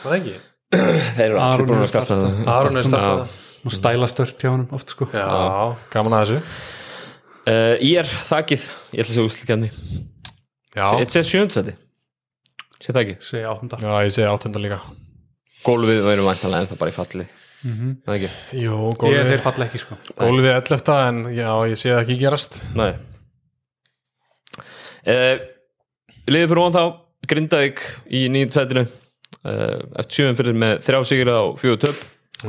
[SPEAKER 2] var það ekki
[SPEAKER 1] þeir eru
[SPEAKER 3] Aron
[SPEAKER 1] allir búin
[SPEAKER 3] er
[SPEAKER 1] að starta
[SPEAKER 3] startað.
[SPEAKER 1] það
[SPEAKER 2] Aron er startað það.
[SPEAKER 3] og stæla stört hjá honum oft sko
[SPEAKER 2] já, gaman að þessu
[SPEAKER 1] Uh, ég er þakið, ég ætla að segja úslikjarni
[SPEAKER 2] já,
[SPEAKER 1] Þetta er sjöndsæti Sér þakið
[SPEAKER 3] segi áttunda
[SPEAKER 2] já ég segi áttunda líka
[SPEAKER 1] Gólfið verður vantanlega ennþá bara í falli
[SPEAKER 3] mm
[SPEAKER 2] Mhm.
[SPEAKER 1] Er Það ekki?
[SPEAKER 2] jú,
[SPEAKER 3] ég þeir
[SPEAKER 2] gólfið
[SPEAKER 3] falla ekki sko
[SPEAKER 2] gólfið 11 en já, ég sé það ekki gerast
[SPEAKER 1] Nei uh, Liðið fyrir ofan þá Grindavík í nýjum sætinu uh, eftir sjöfum fyrir með þrjá sigra og fjögur töp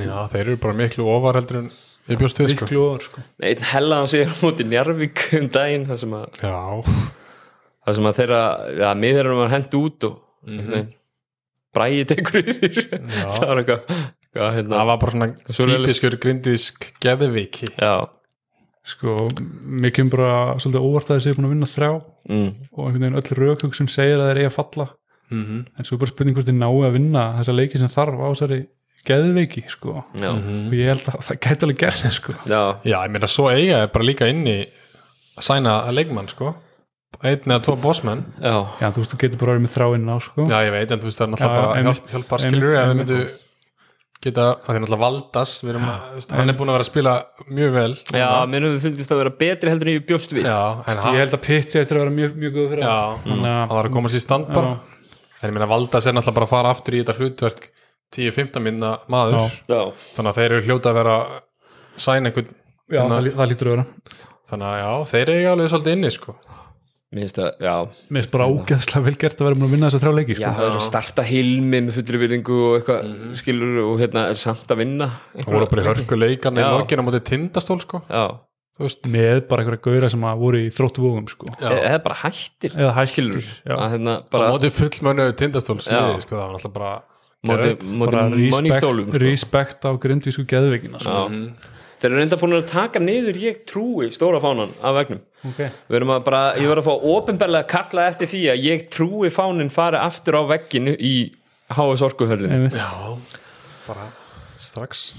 [SPEAKER 2] já, þeir eru bara miklu ofar heldur en við bjóst við sko
[SPEAKER 3] miklu ofar sko
[SPEAKER 1] einn hellaðan sigur á móti Njarvík um daginn þar sem að,
[SPEAKER 2] já,
[SPEAKER 1] þar sem að þeirra ja, miðherrum var hent út og mm -hmm. bræði tekur yfir
[SPEAKER 2] Já.
[SPEAKER 1] það var eitthvað hvað, hérna,
[SPEAKER 2] það var bara svona
[SPEAKER 1] Svoleiðis.
[SPEAKER 2] típiskur grindvísk geðviki
[SPEAKER 1] já
[SPEAKER 3] sko, mér kemur bara svolítið óvart að þessi er búin að vinna þrjá og
[SPEAKER 1] mm.
[SPEAKER 3] einhvern veginn öll rökhugsun segir að þeir eiga að falla
[SPEAKER 2] mm -hmm.
[SPEAKER 3] en svo er bara spurning hvort þeir náu að vinna þessa leiki sem þarf á þessari geðveiki sko
[SPEAKER 1] Já.
[SPEAKER 2] Mhm.
[SPEAKER 3] og ég held að það gæti alveg gerst sko
[SPEAKER 1] já,
[SPEAKER 2] já, ég meina svo eiga er bara líka inn í að sæna leikmann sko einn eða tvo bossmenn
[SPEAKER 1] já,
[SPEAKER 3] já, þú veist, þú getur bara verið með þráinn á sko
[SPEAKER 2] Já, ég veit, en þú veist það er
[SPEAKER 3] Já,
[SPEAKER 2] náttúrulega bara
[SPEAKER 3] einmitt,
[SPEAKER 2] hjálp, hjálpar skilur en
[SPEAKER 3] einmitt,
[SPEAKER 2] við
[SPEAKER 3] einmitt.
[SPEAKER 2] myndu geta, það er náttúrulega Valdas við erum, að, þú veist, hann er
[SPEAKER 3] einmitt.
[SPEAKER 2] búin að vera að spila mjög vel
[SPEAKER 1] já mér hefur fundist að vera betri heldur en ég bjóst við
[SPEAKER 2] já en
[SPEAKER 3] ég
[SPEAKER 2] hann,
[SPEAKER 3] held að pitt sé eftir að vera mjög, mjög góð fyrir
[SPEAKER 2] já,
[SPEAKER 3] Þannig að-
[SPEAKER 2] hann þarf að koma sér í stand bara en ég meina Valdas er náttúrulega bara að fara aftur í þetta hlutverk 10-15 minna maður
[SPEAKER 3] Já.
[SPEAKER 1] já,
[SPEAKER 2] þannig að þeir eru hljóta að vera sæn einhvern
[SPEAKER 3] Já,
[SPEAKER 2] Þannig
[SPEAKER 3] það,
[SPEAKER 2] að-
[SPEAKER 3] lí- það lítur að vera
[SPEAKER 2] þannig að já, þeir eru alveg svolítið inni sko
[SPEAKER 1] mér finnst að, já
[SPEAKER 3] Mér er bara ógeðslega vel gert að vera búin að vinna þessa þrjá leiki
[SPEAKER 1] Já,
[SPEAKER 3] sko.
[SPEAKER 1] það er að starta hilmi með fullri virðingu og eitthvað skilur og hérna er samt að vinna
[SPEAKER 2] það voru bara í hörku leikarni í
[SPEAKER 1] Já.
[SPEAKER 2] lokinu á móti tindastól sko
[SPEAKER 1] Já,
[SPEAKER 2] þú veist,
[SPEAKER 3] með bara einhverja gauðra sem að voru í þróttu vóðum sko.
[SPEAKER 2] Já.
[SPEAKER 1] E- eða bara hættir
[SPEAKER 3] eða hækilur
[SPEAKER 1] skilur, að hérna bara
[SPEAKER 2] á móti fullmönnu tindastól
[SPEAKER 1] Já.
[SPEAKER 2] síði, sko, það var náttúrulega bara
[SPEAKER 1] móti,
[SPEAKER 2] geðveikt.
[SPEAKER 1] móti manningstólum
[SPEAKER 3] respect,
[SPEAKER 1] sko.
[SPEAKER 3] respect á grindvísku geðveikina sko.
[SPEAKER 1] Já. Þeir eru reynda búin að taka niður ég trúi stóra fánan af vegnum
[SPEAKER 3] okay.
[SPEAKER 1] Við erum að bara, ég verð að fá ofinbarlega að kalla eftir því að ég trúi fánin fari aftur á vegginu í HS Orkuhörðinu
[SPEAKER 3] einmitt.
[SPEAKER 2] Já, bara strax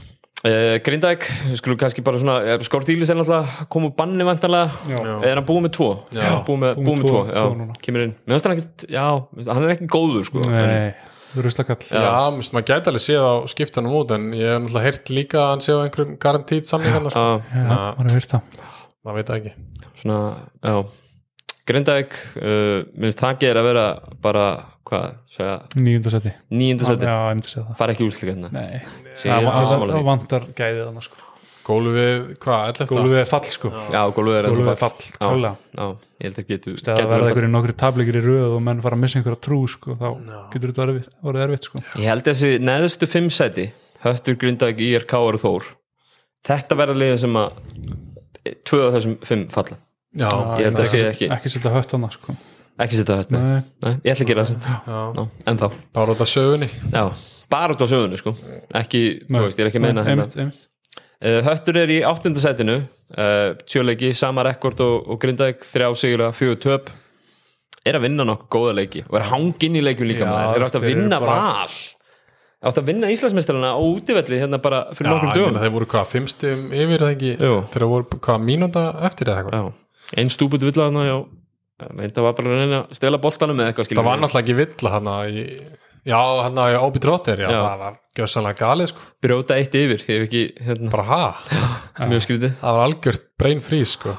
[SPEAKER 1] Uh, Grindag, við skulum kannski bara svona eh, Skordílis er náttúrulega komu banni vantanlega
[SPEAKER 3] Já.
[SPEAKER 1] eða er hann búið með tvo
[SPEAKER 2] Já.
[SPEAKER 1] búið með, búið með tvo, já,
[SPEAKER 3] tvo núna.
[SPEAKER 1] kemur inn mér finnst hann ekkert, já, hann er ekki góður sko, en,
[SPEAKER 3] Nei, ruslakall
[SPEAKER 2] Já, já minnst, maður gæti alveg séð á skiptunum út en ég hef náttúrulega heyrt líka að hann séð á einhverjum garantít samlingarna sko.
[SPEAKER 1] já,
[SPEAKER 3] Já, maður hefur heyrt það
[SPEAKER 2] maður veit það ekki
[SPEAKER 1] svona, já Grindag, uh, minnst takið er að vera bara, hvað, segja
[SPEAKER 3] nýjundasetti
[SPEAKER 1] nýjöndu
[SPEAKER 3] Já,
[SPEAKER 1] seti,
[SPEAKER 3] ég myndi segja það
[SPEAKER 1] fara ekki úrslega hérna
[SPEAKER 3] Nei,
[SPEAKER 1] Sé,
[SPEAKER 3] það
[SPEAKER 1] ég er
[SPEAKER 3] va-
[SPEAKER 1] sammála
[SPEAKER 3] það
[SPEAKER 1] því.
[SPEAKER 3] vantar gæðið hann sko.
[SPEAKER 2] Gólfið, hvað, ætla eftir
[SPEAKER 3] Gólfið er fall sko
[SPEAKER 1] já, gólfið er
[SPEAKER 3] Gólfið er
[SPEAKER 1] ennþá
[SPEAKER 3] fall,
[SPEAKER 1] já,
[SPEAKER 3] klálega
[SPEAKER 1] já, ég held að getu
[SPEAKER 3] Þegar
[SPEAKER 1] getur
[SPEAKER 3] það verða
[SPEAKER 1] verið fall.
[SPEAKER 3] einhverju nokkri tablikir í röð og menn fara að missa einhverja trú sko, þá getur þetta orðið- orðið erfitt sko.
[SPEAKER 1] ég held að þessi neðstu fimm seti Höttur, Grindag, IRK og Þór þetta verða liðin sem að tvö af þessum fimm falla
[SPEAKER 2] Já,
[SPEAKER 1] ég held að sé
[SPEAKER 3] ekki
[SPEAKER 1] ekki.
[SPEAKER 3] ekki setja hött hana sko.
[SPEAKER 1] ekki setja hött, nei.
[SPEAKER 3] Nei.
[SPEAKER 1] nei, ég ætla að gera það samt.
[SPEAKER 2] já,
[SPEAKER 1] Ná, en þá,
[SPEAKER 2] bara út af sögunni
[SPEAKER 1] já, bara út á sögunni sko, ekki,
[SPEAKER 3] Nei.
[SPEAKER 1] þú veist, ég er ekki að meina
[SPEAKER 3] Nei,
[SPEAKER 1] hérna.
[SPEAKER 3] einmitt, einmitt.
[SPEAKER 1] uh, Höttur er í áttunda setinu uh, tjöleiki, sama rekord og, og Grindavík, þrjá sigra, fjögur töp er að vinna nokkuð góða leiki og er hanginn í leikjum líka
[SPEAKER 3] Já,
[SPEAKER 1] maður, þeir átt að
[SPEAKER 3] þeir eru
[SPEAKER 1] vinna
[SPEAKER 3] bara-
[SPEAKER 1] val átt að vinna Íslandsmestrarna á útivelli hérna bara
[SPEAKER 2] Já,
[SPEAKER 1] fyrir nokkur
[SPEAKER 2] ég meina,
[SPEAKER 1] dögum
[SPEAKER 2] þeir voru hvað, fimmstum yfir það ekki
[SPEAKER 1] Jú.
[SPEAKER 2] þegar voru hvað, mínúnda eftir eða
[SPEAKER 1] Já,
[SPEAKER 2] eitthvað
[SPEAKER 1] einn stúput vill að hana já, það var bara að reyna að stela boltanum með eitthvað
[SPEAKER 2] Það
[SPEAKER 1] skilur
[SPEAKER 2] var náttúrulega ekki vill hann að Já, hann að Óbi Tróttir, já,
[SPEAKER 1] Já.
[SPEAKER 2] það var gjössanlega galið sko,
[SPEAKER 1] brjóta eitt yfir, ég hef ekki hérna,
[SPEAKER 2] bara ha,
[SPEAKER 1] mjög skrítið
[SPEAKER 2] það var algjört brain freeze sko,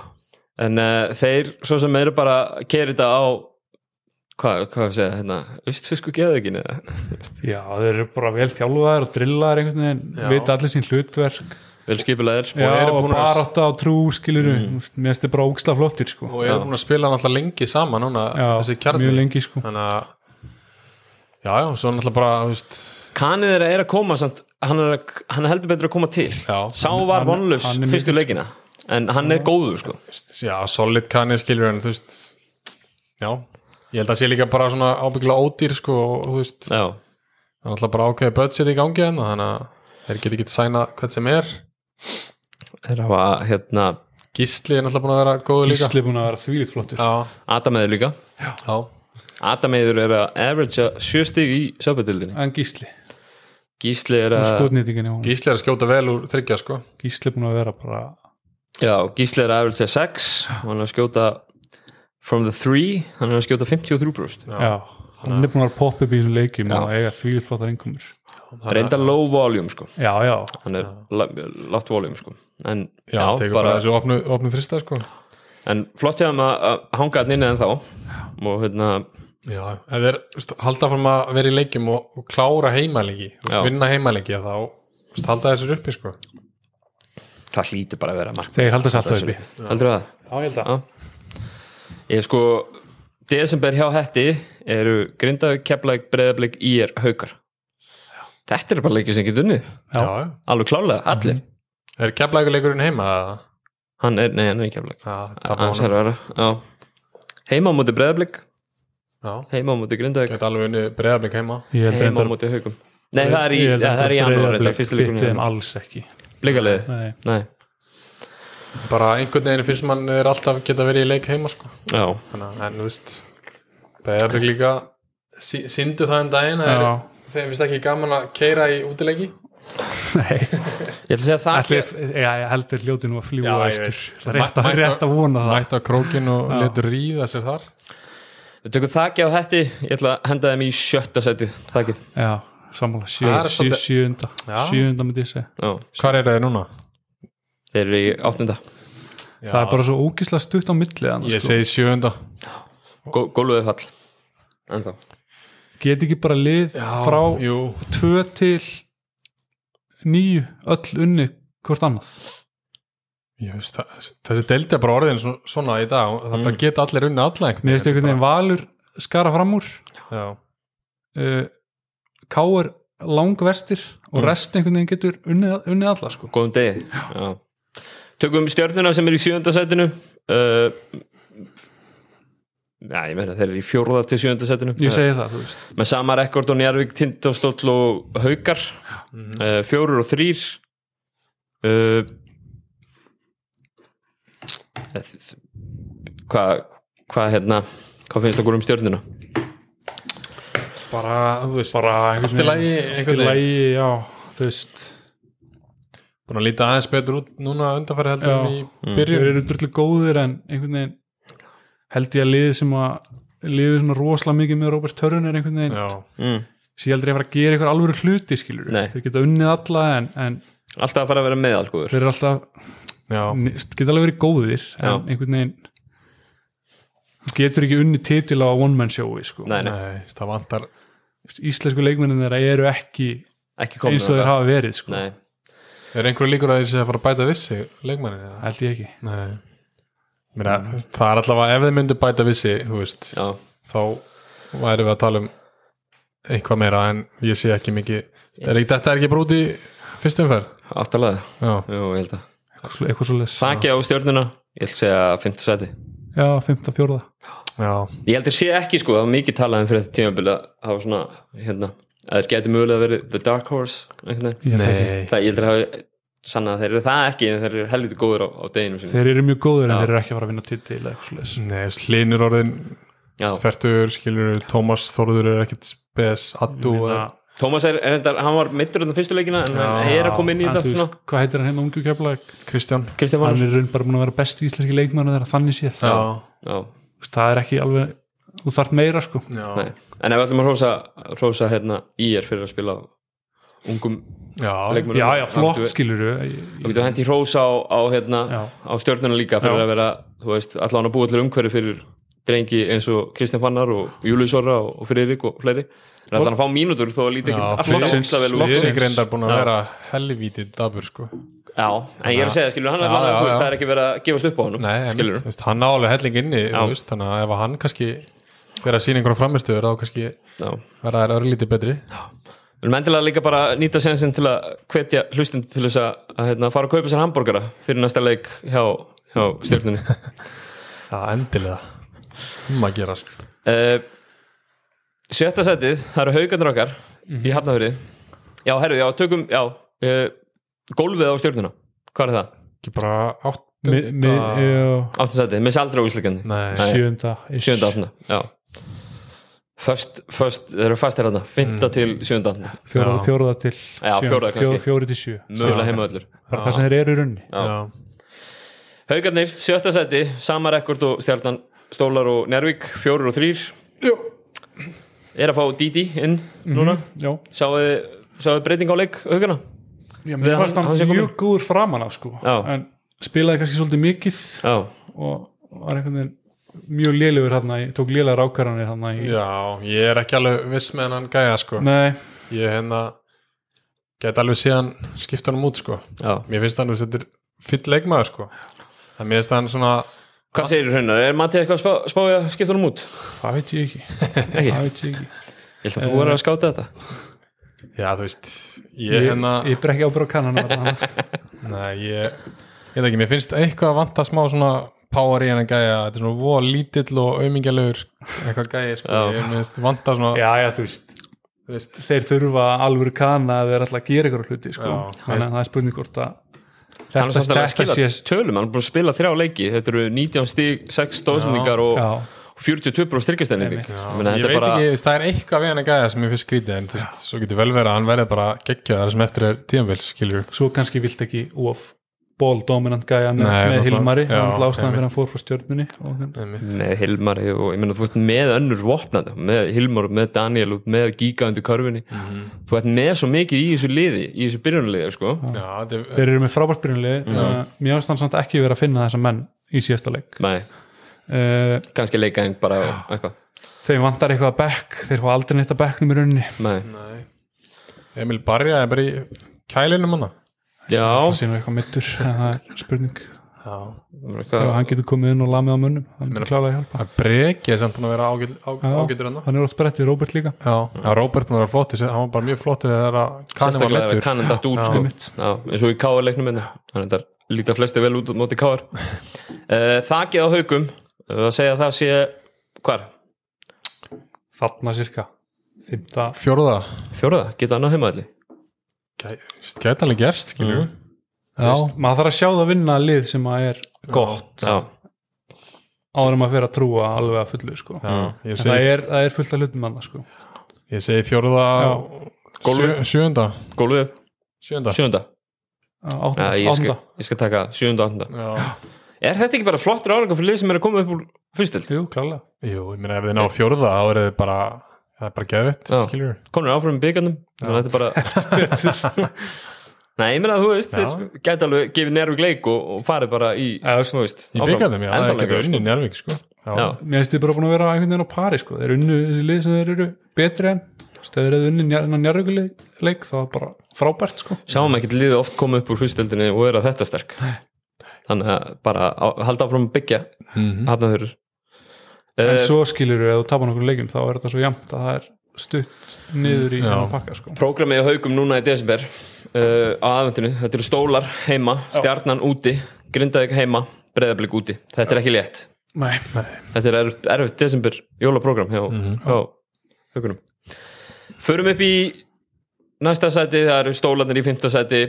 [SPEAKER 1] en uh, þeir svo sem eru bara að kera þetta á hvað, hvað að segja, hérna austfisku geðveikin eða
[SPEAKER 3] Já, þeir eru bara vel þjálfaðar og drillaðar einhvern
[SPEAKER 2] Já.
[SPEAKER 3] veginn, vita allir sín hlutverk
[SPEAKER 1] vel skipulegir
[SPEAKER 3] Já,
[SPEAKER 2] eru
[SPEAKER 3] og
[SPEAKER 2] búin að-
[SPEAKER 3] bara átta á trú skilur mm. mér finnst þið bara ógslag flottir sko.
[SPEAKER 2] og ég er búin að spila hann alltaf lengi saman núna,
[SPEAKER 3] Já,
[SPEAKER 2] þessi kjarni
[SPEAKER 3] mjög lengi sko.
[SPEAKER 2] þannig að já, já, svo náttúrulega bara þú veist,
[SPEAKER 1] kanið þeirra er að koma samt, hann, er að, hann er heldur betur að koma til
[SPEAKER 2] já,
[SPEAKER 1] sá var
[SPEAKER 3] hann-
[SPEAKER 1] vonlaus
[SPEAKER 3] hann er
[SPEAKER 1] fyrstu
[SPEAKER 3] mikill-
[SPEAKER 1] leikina en hann er góður sko
[SPEAKER 2] veist, já, solid kannið skilur en þú veist já, ég held að sé líka bara svona ábyggulega ódýr sko, og þú veist,
[SPEAKER 1] já,
[SPEAKER 2] það er náttúrulega bara ákveði budget í gangi hann, þannig að þeir geti ekki sæna hvern sem er
[SPEAKER 1] þeir hafa hérna
[SPEAKER 2] Gísli er náttúrulega búin að vera góður líka
[SPEAKER 3] Ísli er búin að vera þvílið flottir
[SPEAKER 2] já,
[SPEAKER 1] Adameiður líka
[SPEAKER 2] já,
[SPEAKER 1] Adameiður er að average sjö stig í söpudildinni
[SPEAKER 3] en Gísli, um
[SPEAKER 1] Gísli er að
[SPEAKER 3] skotnýtingin hjá honum
[SPEAKER 2] Gísli er að skjóta vel úr þryggja sko
[SPEAKER 3] Gísli er búin að vera bara
[SPEAKER 1] Já, Gísli er að average 6 og hann er að skjóta from the 3 hann er að skjóta 53 brúst
[SPEAKER 2] Já.
[SPEAKER 3] já, hann er búin að vera popp upp í þessum leikjum
[SPEAKER 1] Já.
[SPEAKER 3] og eiga þvílitt flottar innkomur
[SPEAKER 1] reynda low volume sko
[SPEAKER 3] já, já,
[SPEAKER 1] hann er la- lágt volume sko en,
[SPEAKER 2] Já,
[SPEAKER 1] já,
[SPEAKER 2] tekur bara
[SPEAKER 1] bara,
[SPEAKER 2] þessu opnu, opnu þrista sko
[SPEAKER 1] en flott hjá hann að að hanga hann inni en þá og hérna,
[SPEAKER 2] Já, ef þeir st- halda fram að vera í leikjum og, og klára heimaleiki þú veist,
[SPEAKER 1] Já.
[SPEAKER 2] vinna heimaleiki þá st- halda þessir uppi sko
[SPEAKER 1] það hlýtur bara að vera mark
[SPEAKER 3] þeir haldast alltaf uppi já,
[SPEAKER 1] heldur það?
[SPEAKER 3] ég held
[SPEAKER 1] Já. Ég sko desember hjá hætti eru grindaðu keflæk breðablik í er haukar Þetta eru bara leikir sem getur unnið Mhm.
[SPEAKER 3] Já.
[SPEAKER 2] Já,
[SPEAKER 1] alveg klálega, allir
[SPEAKER 2] er keflækuleikurinn heima eða?
[SPEAKER 1] hann er, Nei, hann er í keflæk
[SPEAKER 2] Já, tapa
[SPEAKER 1] Aðeins
[SPEAKER 2] honum
[SPEAKER 1] er að vera, já Heima á móti breðablik,
[SPEAKER 2] Já,
[SPEAKER 1] heima á móti grindaðu
[SPEAKER 2] geta alveg unni breyðablik heima
[SPEAKER 3] ég held
[SPEAKER 1] heima á
[SPEAKER 3] reyndar
[SPEAKER 1] móti haukum Nei, það er í, ja, það er í janúar þetta er fyrsti
[SPEAKER 3] fitti þeim
[SPEAKER 1] leikurinn
[SPEAKER 3] alls ekki
[SPEAKER 1] Blíkaliði,
[SPEAKER 3] Nei.
[SPEAKER 1] nei,
[SPEAKER 2] bara einhvern veginn finnst mann er alltaf geta verið í leik heima sko
[SPEAKER 1] já
[SPEAKER 2] Þannig, að- en þú veist breyðablik líka sí- síndu það um daginn að
[SPEAKER 3] Já.
[SPEAKER 2] þeir- þeim finnst ekki gaman að keira í útileiki
[SPEAKER 3] Nei,
[SPEAKER 1] Ég ætla að segja það
[SPEAKER 3] allir, já, ég heldur hljóti nú að fljúa
[SPEAKER 2] Já, ég
[SPEAKER 3] eftir,
[SPEAKER 2] veit.
[SPEAKER 3] Það er rétt að-
[SPEAKER 2] Mæ-
[SPEAKER 3] rétt að vona það
[SPEAKER 2] mæta á krókin og
[SPEAKER 3] Já.
[SPEAKER 2] letur ríða sér þar
[SPEAKER 1] Við tökum þakki á hætti, ég ætla að henda þeim í sjötta seti Þakki,
[SPEAKER 3] Já, sammála, sjö,
[SPEAKER 2] Það er
[SPEAKER 3] sjö,
[SPEAKER 2] svolítið-
[SPEAKER 3] sjöunda
[SPEAKER 2] Já.
[SPEAKER 3] sjöunda myndi ég segja
[SPEAKER 1] já,
[SPEAKER 2] Hvar er það núna?
[SPEAKER 1] þeir eru í áttunda
[SPEAKER 3] það er bara svo ógislega stutt á milli annars,
[SPEAKER 2] Ég
[SPEAKER 3] sko.
[SPEAKER 2] segi sjöunda
[SPEAKER 1] Gó- Gólfið er fall En þá
[SPEAKER 3] get ekki bara lið frá
[SPEAKER 2] Jú,
[SPEAKER 3] tvö til nýju öll unni hvort annað
[SPEAKER 2] jú veist, það- þessi deildi er bara orðin svo- svona í dag Það bara geta allir unni alla einhvern sko.
[SPEAKER 3] mér veist einhvern veginn valur skara fram úr
[SPEAKER 2] Já,
[SPEAKER 3] uh, káur langverstir og
[SPEAKER 1] Mm.
[SPEAKER 3] rest einhvern veginn getur unnið, unnið alla sko.
[SPEAKER 1] Góðum degi já. Tökum stjörnuna sem er í sjönda setinu uh, Já, ég meina þeir eru í fjórða til sjönda setinu
[SPEAKER 3] ég segi það, þú veist
[SPEAKER 1] Með sama rekord og Njarvík, Tindastóll og Haukar
[SPEAKER 3] Mhm.
[SPEAKER 1] uh, Fjórur og þrýr uh, eth- Hvað hva, hérna Hvað finnst okkur um stjörnuna?
[SPEAKER 2] bara, þú veist Bara einhvern veginn lagi,
[SPEAKER 3] Allt í
[SPEAKER 2] einhvern veginn
[SPEAKER 3] lagi, já, þú veist
[SPEAKER 2] Búin að líta aðeins betur út núna undanfæri heldur en
[SPEAKER 3] Já.
[SPEAKER 2] í
[SPEAKER 1] Mm.
[SPEAKER 3] þeir
[SPEAKER 2] byrjun
[SPEAKER 3] eru drullu góðir en einhvern veginn held ég að liði sem að liði svona rosalega mikið með Robert Törun er einhvern veginn,
[SPEAKER 2] Já,
[SPEAKER 1] Mm.
[SPEAKER 3] sé aldrei að fara að gera einhver alvöru hluti skilur,
[SPEAKER 1] Nei.
[SPEAKER 3] þeir geta unnið alla en, en
[SPEAKER 1] Alltaf að fara að vera með algúður
[SPEAKER 3] þeir eru alltaf,
[SPEAKER 2] já,
[SPEAKER 3] geta alveg verið góðir en
[SPEAKER 1] Já.
[SPEAKER 3] einhvern veginn þú getur ekki unnið titil á one man showi sko.
[SPEAKER 1] Nei, nei,
[SPEAKER 2] nei, það vantar
[SPEAKER 3] íslensku leikmennin þeirra eru ekki
[SPEAKER 1] ekki komin
[SPEAKER 3] eins og þeir hafa verið sko.
[SPEAKER 1] Nei,
[SPEAKER 2] Er einhverju líkur að þessi að fara að bæta vissi leikmannin? eða?
[SPEAKER 3] held ég ekki
[SPEAKER 2] Nei Mér, mm. Það er allavega, ef þið myndu bæta vissi, þú veist
[SPEAKER 1] já
[SPEAKER 2] þá væri við að tala um eitthvað meira en ég sé ekki mikið er ekki, þetta er ekki brúti fyrst umferð
[SPEAKER 1] Áttalega,
[SPEAKER 2] já,
[SPEAKER 1] jú, ég held að
[SPEAKER 3] eitthvað, svo- eitthvað svo les
[SPEAKER 1] Þakki á stjórnuna, ég held að segja 50 seti
[SPEAKER 3] já, 54
[SPEAKER 2] já,
[SPEAKER 1] Ég held að sé ekki sko, það var mikið talaðum fyrir þetta tímabil að hafa svona, hérna að þeir geti mögulega verið The Dark Horse einhvern veginn.
[SPEAKER 3] Ég held ekki.
[SPEAKER 2] nei
[SPEAKER 1] Það ég heldur að hafa sannað að þeir eru það ekki en þeir eru helviti góður á, á deginu sinni
[SPEAKER 3] þeir eru mjög góðir en
[SPEAKER 1] Já.
[SPEAKER 3] þeir eru ekki að fara að vinna titil eða eitthvað svo les
[SPEAKER 2] Nei, slinur orðin,
[SPEAKER 1] Já,
[SPEAKER 2] færtur, skilur Tómas Þorður er ekkit spes addu
[SPEAKER 3] Meina-
[SPEAKER 1] Tómas er, er enda, hann var mittur þannig fyrstu leikina en hann
[SPEAKER 2] Já,
[SPEAKER 1] er að koma inn í
[SPEAKER 3] En
[SPEAKER 1] þetta
[SPEAKER 3] þú
[SPEAKER 1] svona
[SPEAKER 3] veist, hvað heitir hann hérna ungu keflag
[SPEAKER 2] Kristján
[SPEAKER 1] Kristján
[SPEAKER 3] hann
[SPEAKER 1] Valur
[SPEAKER 3] er í raun bara búin að vera besti íslenski leikmann þegar þannig séð
[SPEAKER 2] já,
[SPEAKER 1] Já,
[SPEAKER 3] Þú veist, það er ekki alveg, þú þarf meira sko
[SPEAKER 2] já,
[SPEAKER 1] nei En ef við ætlum að hrósa, hrósa hérna í er fyrir að spila á ungum
[SPEAKER 2] já.
[SPEAKER 1] leikmönnum
[SPEAKER 3] já já, flott
[SPEAKER 1] Þú-
[SPEAKER 3] skilur
[SPEAKER 1] Þú getur hendi hrós á, á, hérna,
[SPEAKER 3] Já.
[SPEAKER 1] á stjórnuna líka fyrir
[SPEAKER 3] Já.
[SPEAKER 1] að vera, þú veist, allan að búa allir umhverju fyrir drengi eins og Kristján Fannar og Július Orra og, og Friðrik og fleiri en allan að fá mínútur þó að líti
[SPEAKER 2] Já,
[SPEAKER 1] ekki allir að
[SPEAKER 2] Friðriks-
[SPEAKER 1] óksla vel úr
[SPEAKER 2] Friðrik
[SPEAKER 3] Loksins.
[SPEAKER 2] reyndar búin að
[SPEAKER 1] Já.
[SPEAKER 2] vera helvítið dabur sko
[SPEAKER 1] Já, en ég er að segja, skilur, hann
[SPEAKER 2] Já,
[SPEAKER 1] er allan
[SPEAKER 2] já,
[SPEAKER 1] að, þú veist,
[SPEAKER 2] já.
[SPEAKER 1] það er ekki verið að gefast upp á hann
[SPEAKER 2] Nei, en,
[SPEAKER 1] skilur,
[SPEAKER 2] þú veist, hann á alveg helling inni þú
[SPEAKER 1] Já.
[SPEAKER 2] veist, þannig að ef hann kannski fyrir að sína einhverjum framistöður þá kannski
[SPEAKER 1] já
[SPEAKER 2] verða þær örlítið betri
[SPEAKER 1] Við erum endilega líka bara að nýta sensin til að hvetja hlustundi til þess að, að hérna, fara að kaupa sér hambúrgara fyrir næsta leik hjá, hjá stjórnunni
[SPEAKER 2] Já, endilega um að gera sko
[SPEAKER 1] uh, Sjötta setið, það eru haugarnir okkar í Hafnafyrði Já, herru, já, tökum, já uh, Gólfið á stjórnuna, hvað er það?
[SPEAKER 2] ekki bara áttunda
[SPEAKER 3] leikmenn
[SPEAKER 1] Áttun setið, missi aldrei á úslikandi
[SPEAKER 2] Nei,
[SPEAKER 1] Nei.
[SPEAKER 3] sjönda
[SPEAKER 1] Sjönda áttunda, já föst, föst, þeir eru fastir hérna fymta til sjönda
[SPEAKER 3] fjóra,
[SPEAKER 2] Já.
[SPEAKER 3] fjóruða til
[SPEAKER 1] Já,
[SPEAKER 3] sjö.
[SPEAKER 1] fjórða
[SPEAKER 3] Fjó-
[SPEAKER 1] kannski.
[SPEAKER 3] fjóri til sjö
[SPEAKER 1] mögulega heima öllur
[SPEAKER 3] bara það sem þeir eru í runni
[SPEAKER 1] Já. Haukarnir, sjötta seti, sama rekord og stjarnan Stólar og Nervík, fjórir og þrýr
[SPEAKER 2] Jú.
[SPEAKER 1] er að fá Didi inn núna
[SPEAKER 3] já,
[SPEAKER 1] Sáuð þið- sáuð þið breyting á leik haukarna?
[SPEAKER 3] já
[SPEAKER 1] Við
[SPEAKER 3] mér fannst
[SPEAKER 1] hann-
[SPEAKER 3] hann
[SPEAKER 1] hann sé
[SPEAKER 3] mjög góður framan af sko
[SPEAKER 1] Já.
[SPEAKER 3] en spilaði kannski svolítið mikið
[SPEAKER 1] Já,
[SPEAKER 3] og var einhvern veginn mjög lélugur hann tók lélegar ákvarðanir hann í...
[SPEAKER 2] Já, ég er ekki alveg viss með hennan gæja sko
[SPEAKER 3] nei,
[SPEAKER 2] Ég hérna get alveg síðan skipta hann út sko
[SPEAKER 1] já
[SPEAKER 2] Mér finnst hann að þetta er fyll leikmaður sko Það mér finnst hann svona
[SPEAKER 1] Hvað segir þú hérna? Er Matti eitthvað að spá- spá í að skipta honum út?
[SPEAKER 3] það veit ég ekki
[SPEAKER 1] Ekki?
[SPEAKER 3] það veit ég ekki
[SPEAKER 1] Ég held að þú voru að skáta þetta
[SPEAKER 2] Já, þú veist, ég,
[SPEAKER 3] ég,
[SPEAKER 2] hérna
[SPEAKER 3] ég brekki ábyrgð á kannana þarna.
[SPEAKER 2] Nei, ég, ég veit ekki, mér finnst eitthvað að vanta smá svona power í hennan gæja, þetta er svona voða lítill og aumingjalegur eitthvað gæja, sko,
[SPEAKER 1] Já.
[SPEAKER 2] ég minnst vanta svona,
[SPEAKER 3] já, já, þú veist
[SPEAKER 2] þú veist,
[SPEAKER 3] þeir þurfa alvöru kana að vera alltaf að gera ykkur hluti sko.
[SPEAKER 2] Já,
[SPEAKER 3] þannig að það er spurning hvort að
[SPEAKER 1] Hann er
[SPEAKER 3] þetta,
[SPEAKER 1] samt alveg að
[SPEAKER 3] þetta
[SPEAKER 1] skila
[SPEAKER 3] sé
[SPEAKER 1] tölum, hann er búin að spila þrjá leiki Þetta eru 19 stíg, 6 stóðsendingar og
[SPEAKER 3] já,
[SPEAKER 1] 42 brú styrkjastæning
[SPEAKER 3] Einmitt.
[SPEAKER 2] ég veit
[SPEAKER 1] Þetta er bara
[SPEAKER 2] ekki, þú veist, það er eitthvað við hennan gæja sem ég finnst skrítið, en þú veist, svo getur vel verið að hann verði bara geggjaðar sem eftir er tíðanvils, skiljur,
[SPEAKER 3] svo kannski vilt ekki of ból dominant gæja með,
[SPEAKER 2] Nei,
[SPEAKER 3] með
[SPEAKER 2] náttúrulega-
[SPEAKER 3] Hilmari það
[SPEAKER 2] já,
[SPEAKER 3] er alltaf ástæðan fyrir
[SPEAKER 2] einmitt.
[SPEAKER 3] hann fór frá stjörnunni og þannig
[SPEAKER 2] Mm.
[SPEAKER 1] með Hilmari og ég meina þú ert með önnur vopnandi, með Hilmar, með Daniel og með Giga undir körfinni þú ert með svo mikið í þessu liði í þessu byrjunarliði, sko
[SPEAKER 2] Já, þetta er,
[SPEAKER 3] þeir eru með frábært byrjunlið uh, mér finnst hann samt ekki vera að finna þessa menn í síðasta leik
[SPEAKER 1] Nei,
[SPEAKER 3] uh,
[SPEAKER 1] kannski leikaðing bara og eitthvað
[SPEAKER 3] þeim vantar eitthvað að bekk þeir fá aldrei neitt að bekknum í rauninni
[SPEAKER 1] Nei.
[SPEAKER 2] Emil Barja er bara í kælinum hann,
[SPEAKER 1] Já,
[SPEAKER 3] það sé nú eitthvað mittur en það er spurning
[SPEAKER 2] já,
[SPEAKER 3] ef
[SPEAKER 1] eitthvað,
[SPEAKER 3] hann getur komið inn og lamið á munnum hann er klálega að hjálpa
[SPEAKER 2] það er breki sem búin að vera ágæt-
[SPEAKER 3] Já.
[SPEAKER 2] á- ágætur hann,
[SPEAKER 3] hann er oft brett við Robert líka
[SPEAKER 2] já, já, Róbert búin að vera flottur, hann var bara mjög flottur þegar að kannin var
[SPEAKER 1] sérstaklega
[SPEAKER 2] lettur,
[SPEAKER 1] kannan dætt út, sko
[SPEAKER 3] einmitt.
[SPEAKER 1] Já, eins og í K.R. leiknum minna þannig að þetta líta flesti vel út út móti K.R. Eh, Þakið á haugum að segja að það sé hvar?
[SPEAKER 3] þarna cirka fymta
[SPEAKER 2] fjórða,
[SPEAKER 1] Fjóraða, geta annað heimaðli
[SPEAKER 2] Gæ- gæti alveg gerst, skiljur
[SPEAKER 1] Mhm.
[SPEAKER 3] Já, maður þarf að sjá það vinna lið sem að er gott
[SPEAKER 1] Já,
[SPEAKER 3] áður en maður fyrir að trúa alveg að fullu sko.
[SPEAKER 2] Já, ég
[SPEAKER 3] En
[SPEAKER 2] segi,
[SPEAKER 3] það, er, það er fullt af hlutum annað sko.
[SPEAKER 2] ég segi fjórða
[SPEAKER 1] Gólfið.
[SPEAKER 2] sjö, sjönda
[SPEAKER 1] góluðið,
[SPEAKER 2] sjönda
[SPEAKER 1] sjöunda
[SPEAKER 3] Á- átta,
[SPEAKER 1] Já, ég, skal,
[SPEAKER 3] átta.
[SPEAKER 1] ég skal taka sjöunda, áttunda
[SPEAKER 2] Já.
[SPEAKER 1] Er þetta ekki bara flottur árangur fyrir lið sem er að koma upp úr fyrstild?
[SPEAKER 3] Jú, klálega
[SPEAKER 2] Jú, ég meina ef þið ná fjórða þá er þið bara það er bara geðvitt,
[SPEAKER 1] Já.
[SPEAKER 2] skiljur
[SPEAKER 1] Konur er áfram í byggjarnum Þetta er bara Nei, ég meina að þú veist,
[SPEAKER 2] Já.
[SPEAKER 1] þeir gæti alveg gefið Nervík leik og, og farið bara í
[SPEAKER 3] Eða, þú
[SPEAKER 1] Þú veist,
[SPEAKER 2] í byggandum, já, það
[SPEAKER 1] Ennþá
[SPEAKER 2] er ekki
[SPEAKER 1] lengra,
[SPEAKER 2] unni njárvík, sko
[SPEAKER 1] sko. Já,
[SPEAKER 3] Mér finnst þið bara búin að vera einhvern veginn á pari sko. þeir eru unnu þessi lið sem þeir eru betri en Þú veist, ef þeir eru unni njárvíkuleik þá er bara frábært sko.
[SPEAKER 1] sjáum ekki liðið oft koma upp úr fyrstildinni og er að þetta sterk Þannig að bara á, halda áfram að byggja
[SPEAKER 2] Mhm.
[SPEAKER 1] hafna þeirur
[SPEAKER 3] Mm. en
[SPEAKER 1] uh,
[SPEAKER 3] svo skilur við að þú tapar nokkur leikum þá er þetta svo jæmt að það er stutt niður í
[SPEAKER 2] Já.
[SPEAKER 3] hennan pakka sko.
[SPEAKER 1] Prógramið á haugum núna í desember uh, á aðvendinu, þetta eru stólar heima stjarnan úti, grindaðik heima breyðablík úti, þetta er ekki létt
[SPEAKER 3] Nei, nei.
[SPEAKER 1] þetta er erfitt, erfitt desember jólaprógram hjá,
[SPEAKER 2] Mhm.
[SPEAKER 1] hjá haugunum förum upp í næsta sæti, það eru stólanir í fymta sæti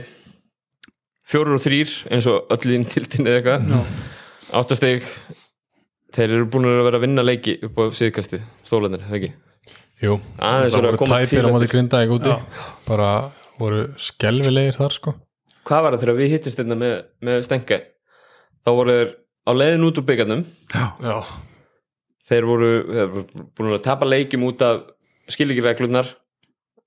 [SPEAKER 1] fjórir og þrýr eins og öll ín tiltinni eða eitthvað
[SPEAKER 3] Já.
[SPEAKER 1] áttasteg þeir eru búin að vera að vinna leiki upp á síðkasti, stólanir, það ekki
[SPEAKER 2] Jú,
[SPEAKER 1] Aðeins eru
[SPEAKER 2] það
[SPEAKER 1] að
[SPEAKER 2] voru
[SPEAKER 1] koma til
[SPEAKER 2] tæpir á móti
[SPEAKER 1] eftir.
[SPEAKER 2] grinda ekki úti bara voru skelvilegir þar, sko
[SPEAKER 1] hvað var það þegar við hittumst hérna með, með Stenka þá voru þeir á leiðin út úr byggarnum
[SPEAKER 2] Já,
[SPEAKER 1] þeir voru þeir voru búin að tapa leikjum út af skilíkireglunar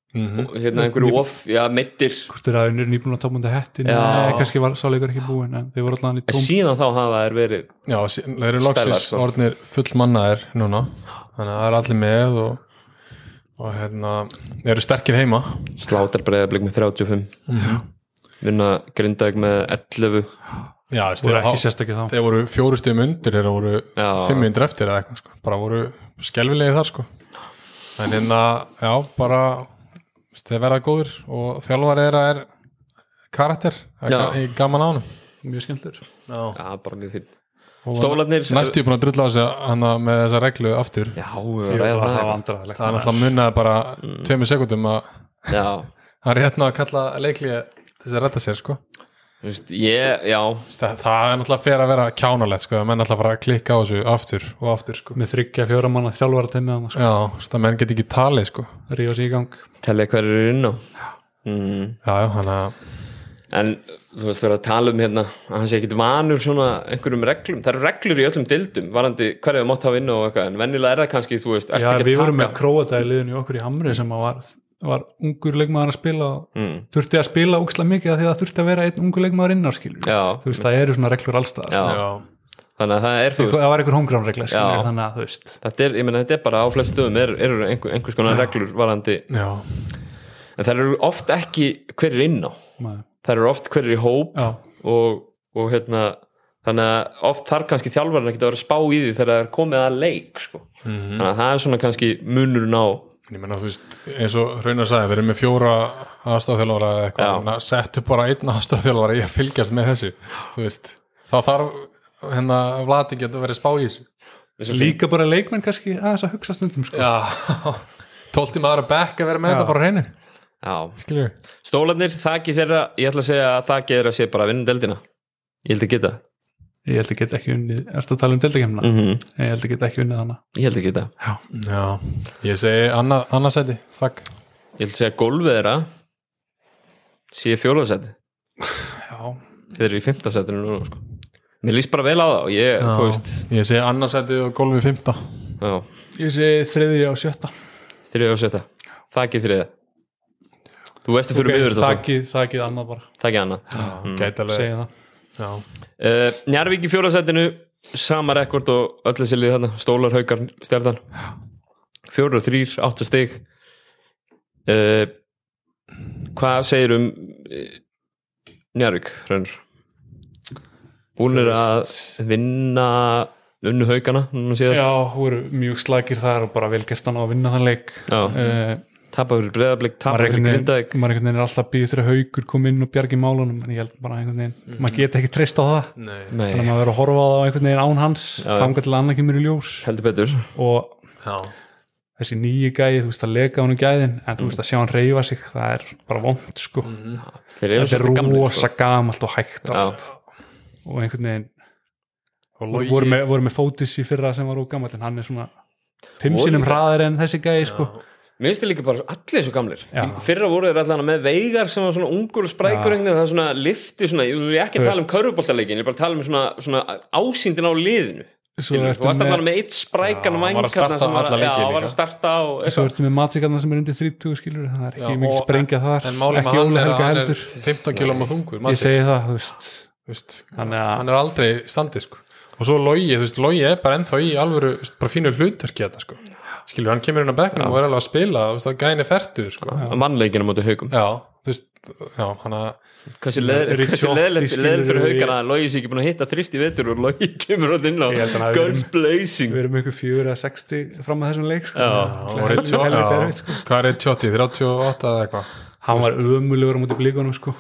[SPEAKER 2] Mhm.
[SPEAKER 1] hérna einhverju off, já, meittir
[SPEAKER 3] hvort þeir hafi unnið nýbúin að tapa undir hettin
[SPEAKER 1] Já.
[SPEAKER 3] eða kannski var sáleikur ekki búin en þeir voru alltaf í
[SPEAKER 1] en
[SPEAKER 3] tóm
[SPEAKER 1] síðan þá hafa þeir verið
[SPEAKER 2] já sí- þeir eru
[SPEAKER 1] Stælar,
[SPEAKER 2] loksins
[SPEAKER 1] sko.
[SPEAKER 2] orðnir fullmannaðir núna þannig að það er allir með og, og hérna, þeir eru sterkir heima
[SPEAKER 1] slátar breyðablík með 35 vinna grindag með 11
[SPEAKER 2] Já, þú veist,
[SPEAKER 3] voru
[SPEAKER 2] þeir
[SPEAKER 3] ekki
[SPEAKER 2] hafa-
[SPEAKER 3] sérstakir þá
[SPEAKER 2] þeir voru fjóru stöðum undir þeir voru
[SPEAKER 1] Já.
[SPEAKER 2] 500 eftir eða eitthvað sko. bara voru skelvilegi þar sko. en hérna, já, bara þú veist, þeir verða góður og þjálfari þeirra er karakter Það
[SPEAKER 1] Já.
[SPEAKER 2] er ga- gaman á honum
[SPEAKER 3] mjög skemmtlur
[SPEAKER 1] já, bara mjög fint
[SPEAKER 2] Og
[SPEAKER 1] Stólarnir- uh,
[SPEAKER 2] næstu ég búin að drulla á sig hana, með þessa reglu aftur
[SPEAKER 1] já, ræða það
[SPEAKER 3] var
[SPEAKER 1] var
[SPEAKER 3] vandræðilegt
[SPEAKER 2] það er náttúrulega munnaði bara
[SPEAKER 1] Mm.
[SPEAKER 2] tveimur sekundum að
[SPEAKER 1] já,
[SPEAKER 2] hann er hérna að kalla leikli þess að retta sér sko
[SPEAKER 1] Þú veist, ég, já,
[SPEAKER 2] Það, það er náttúrulega fyrir að vera kjánalegt sko, að menn náttúrulega bara að klikka á þessu aftur og aftur sko.
[SPEAKER 3] með þryggja fjóra manna þjálfara teimið hann sko,
[SPEAKER 2] Já, þess að menn get ekki talið sko.
[SPEAKER 3] ríða sig í gang
[SPEAKER 1] telja hverju eru inn á mm.
[SPEAKER 2] Já, já, hann að
[SPEAKER 1] En þú veist, það er að tala um hérna að hann sé ekkit vanur svona einhverjum reglum Það eru reglur í öllum dildum varandi hverju það mátt hafa inn á og eitthvað en venjulega er það kannski, þú veist,
[SPEAKER 3] Já,
[SPEAKER 1] ertu ekki
[SPEAKER 3] við
[SPEAKER 1] að
[SPEAKER 3] vorum með
[SPEAKER 1] taka
[SPEAKER 3] króata í liðinu í okkur í Hamri sem að var, var ungur leikmaður að spila og
[SPEAKER 1] Mm.
[SPEAKER 3] þurfti að spila úksla mikið af því að það þurfti að vera einn ungur leikmaður inn á skilur
[SPEAKER 1] Já.
[SPEAKER 3] þú veist, það eru svona reglur allstað
[SPEAKER 1] Já. Þannig að það er, þú veist,
[SPEAKER 3] það var einhver homgránregla
[SPEAKER 1] Já.
[SPEAKER 3] þannig að þú veist
[SPEAKER 1] þetta er, ég meina, þetta er bara á flest stöðum er, er einhver, einhvers konar reglur varandi
[SPEAKER 2] Já,
[SPEAKER 1] en það eru oft ekki hverjir inn á
[SPEAKER 3] maður-
[SPEAKER 1] það eru oft hverjir í hóp
[SPEAKER 3] já,
[SPEAKER 1] og, og hérna þannig að oft þarf kannski þjálfarinn ekki að vera að spá í því þegar það er komið að leik sko. þannig að það er svona kannski munurinn á
[SPEAKER 2] en ég menna þú veist eins og Raunar sagði, við erum með fjóra aðstofþjálfara eða
[SPEAKER 1] Já.
[SPEAKER 2] eitthvað, hann að settu bara einn aðstofþjálfara í að fylgjast með þessu þú veist, þá þarf hérna Vladi getur verið spá í þessu
[SPEAKER 3] líka bara leikmenn kannski aðeins að hugsa stundum sko.
[SPEAKER 2] Já, tólti maður að bekk að vera með
[SPEAKER 3] Já.
[SPEAKER 2] þetta bara á hreinu
[SPEAKER 1] Já.
[SPEAKER 2] Skilur
[SPEAKER 1] stólarnir, þakki þeirra ég ætla að segja að þakki þeirra sé bara að vinna deldina ég held að geta
[SPEAKER 3] ég held að geta ekki unnið, erstu að tala um deildakemna
[SPEAKER 1] mm
[SPEAKER 3] ég held að geta ekki unnið hana
[SPEAKER 1] ég held að geta
[SPEAKER 2] Já, ég segi annað, annað seti, þakk
[SPEAKER 1] ég held að segja að gólfið þeirra sé fjólaðsæti
[SPEAKER 3] já,
[SPEAKER 1] þeir eru í fimmtafsætinu núna sko. mér líst bara vel á það og ég, þú veist
[SPEAKER 2] Ég segi annað seti og golfið fymta
[SPEAKER 1] já,
[SPEAKER 3] ég sé þriðja og sjötta
[SPEAKER 1] þriðja og sjötta þakki þriðja þú veistu fyrir okay, miður þetta svo.
[SPEAKER 3] þakið, þakið annað bara,
[SPEAKER 1] þakki annað
[SPEAKER 2] mm. Gæti alveg
[SPEAKER 3] segja það
[SPEAKER 2] Já,
[SPEAKER 1] Uh, Njarvík í fjórasætinu sama rekord og öll þessi lið þarna Stólar, Haukar, Stjartan fjóru og þrýr, áttu stig uh, Hvað segir um uh, Njarvík Hrönur? Búnir að vinna unnu Haukana núna síðast
[SPEAKER 3] já, voru mjög slagir þar og bara vel gert hann á að vinna þann leik
[SPEAKER 1] Já.
[SPEAKER 3] uh,
[SPEAKER 1] tapa fyrir breðablík,
[SPEAKER 3] maður
[SPEAKER 1] tapa fyrir
[SPEAKER 3] einhvern
[SPEAKER 1] grindaðik
[SPEAKER 3] veginn maður einhvern veginn er alltaf býð þegar haugur kom inn og bjargi málunum en ég held bara einhvern veginn,
[SPEAKER 1] Mm.
[SPEAKER 3] maður geta ekki treyst á það
[SPEAKER 2] nei
[SPEAKER 1] Nei,
[SPEAKER 3] þannig að maður verður að horfa á það einhvern veginn án hans
[SPEAKER 1] Já.
[SPEAKER 3] þangar til að annað kemur í ljós
[SPEAKER 1] heldur betur
[SPEAKER 3] og
[SPEAKER 2] Já,
[SPEAKER 3] þessi nýju gæði, þú veist að leka hann um gæðin en
[SPEAKER 2] Mm.
[SPEAKER 3] þú veist að sjá hann reyfa sig, það er bara vond sko,
[SPEAKER 1] Þeir eru
[SPEAKER 3] þetta er
[SPEAKER 1] svolítið gamlir,
[SPEAKER 3] rosa
[SPEAKER 1] sko.
[SPEAKER 3] gamalt og hægt
[SPEAKER 1] Já.
[SPEAKER 3] allt og einhvern veginn
[SPEAKER 2] og
[SPEAKER 3] Logi...
[SPEAKER 2] logi
[SPEAKER 3] voru, með, voru með fótis í fyrra sem var ógamall en hann er svona fimm
[SPEAKER 1] Og
[SPEAKER 3] sinnum
[SPEAKER 1] líka-
[SPEAKER 3] hraðar en þessi gæði sko.
[SPEAKER 1] Mér finnst þið líka bara allir svo gamlir
[SPEAKER 3] Já.
[SPEAKER 1] Í Fyrra voru þeir allan með veigar sem var svona ungur og sprækur
[SPEAKER 3] Já.
[SPEAKER 1] einhvern veginn, það svona lifti svona, ég vil ekki
[SPEAKER 3] Þú
[SPEAKER 1] að tala um körfuboltaleikin, ég er bara að tala um svona, svona ásýndin á liðinu
[SPEAKER 3] svo
[SPEAKER 1] Þú varst
[SPEAKER 3] ertu
[SPEAKER 1] allan
[SPEAKER 2] um
[SPEAKER 3] með,
[SPEAKER 1] með eitt
[SPEAKER 2] Já,
[SPEAKER 1] sprækan
[SPEAKER 2] hann var að
[SPEAKER 1] vangarna
[SPEAKER 2] starta
[SPEAKER 1] sem var,
[SPEAKER 2] alla
[SPEAKER 1] já,
[SPEAKER 2] leiki
[SPEAKER 1] var
[SPEAKER 2] líka.
[SPEAKER 1] að starta og
[SPEAKER 3] svo ertu með matsikarna sem er undir 30 skilur það er ekki
[SPEAKER 2] Já,
[SPEAKER 3] mikið
[SPEAKER 2] og-
[SPEAKER 3] sprengja þar
[SPEAKER 2] En málum að
[SPEAKER 3] ekki
[SPEAKER 2] hann
[SPEAKER 3] Óli
[SPEAKER 2] er,
[SPEAKER 3] Helga
[SPEAKER 2] hann er
[SPEAKER 3] heldur
[SPEAKER 2] 15 kílum og þungur
[SPEAKER 3] ég segi það, þú veist
[SPEAKER 2] veist, hann,
[SPEAKER 3] Þannig að-
[SPEAKER 2] er aldrei í standi sko. og svo logi, þú veist, logi er bara ennþá í alvöru, þú veist, bara fínu hlutverki þetta sko. skilur, hann kemur inn á bekknum og er alveg að spila þú veist, það gæni færtuð sko. já.
[SPEAKER 1] mannleikinu móti haugum
[SPEAKER 2] þú veist, já, hann að
[SPEAKER 1] Hversu
[SPEAKER 3] Ricciotti
[SPEAKER 1] leðilegt
[SPEAKER 3] skilur
[SPEAKER 1] fyrir
[SPEAKER 3] við-
[SPEAKER 1] haugana að Logis ekki búin að hitta þrist í vetur og Logi kemur hann inn á
[SPEAKER 3] Ég held hann hafi verið-
[SPEAKER 1] Guns Blazing
[SPEAKER 3] við erum ykkur 4 að 60 fram að þessum leik sko.
[SPEAKER 1] Já.
[SPEAKER 2] hann var
[SPEAKER 3] Helviti
[SPEAKER 2] 18,
[SPEAKER 3] erfitt, sko.
[SPEAKER 2] já, hvað er 18, 38 eða eitthvað
[SPEAKER 3] hann var ömulegur á móti blíkunum sko.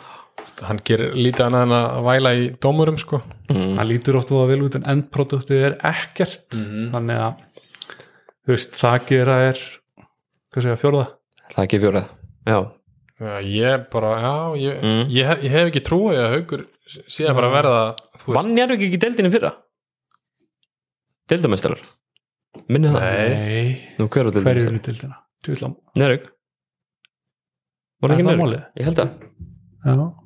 [SPEAKER 2] hann gerir lítið annað en að væla í dómurum sko.
[SPEAKER 1] Mm.
[SPEAKER 3] hann
[SPEAKER 1] Mhm.
[SPEAKER 3] lítur oft og vel út en endproduktið er ekkert þannig að þú veist, það gera er hvað segja, fjórða
[SPEAKER 1] Það ekki fjóra Já,
[SPEAKER 2] Já, ég bara, já ég,
[SPEAKER 1] Mm.
[SPEAKER 2] ég, hef- ég hef ekki trúið að haugur síðan bara að verða þú veist,
[SPEAKER 1] vann ég ekki í deildinu í fyrra Deildamestrar Minni það
[SPEAKER 2] Nei.
[SPEAKER 1] Nú, hver var
[SPEAKER 3] hverju
[SPEAKER 1] deildamestrar?
[SPEAKER 3] eru dildina? Tvílum.
[SPEAKER 1] Njárvík Var
[SPEAKER 3] Er
[SPEAKER 1] ekki
[SPEAKER 3] það
[SPEAKER 1] Njárvík?
[SPEAKER 3] málið?
[SPEAKER 1] Ég held að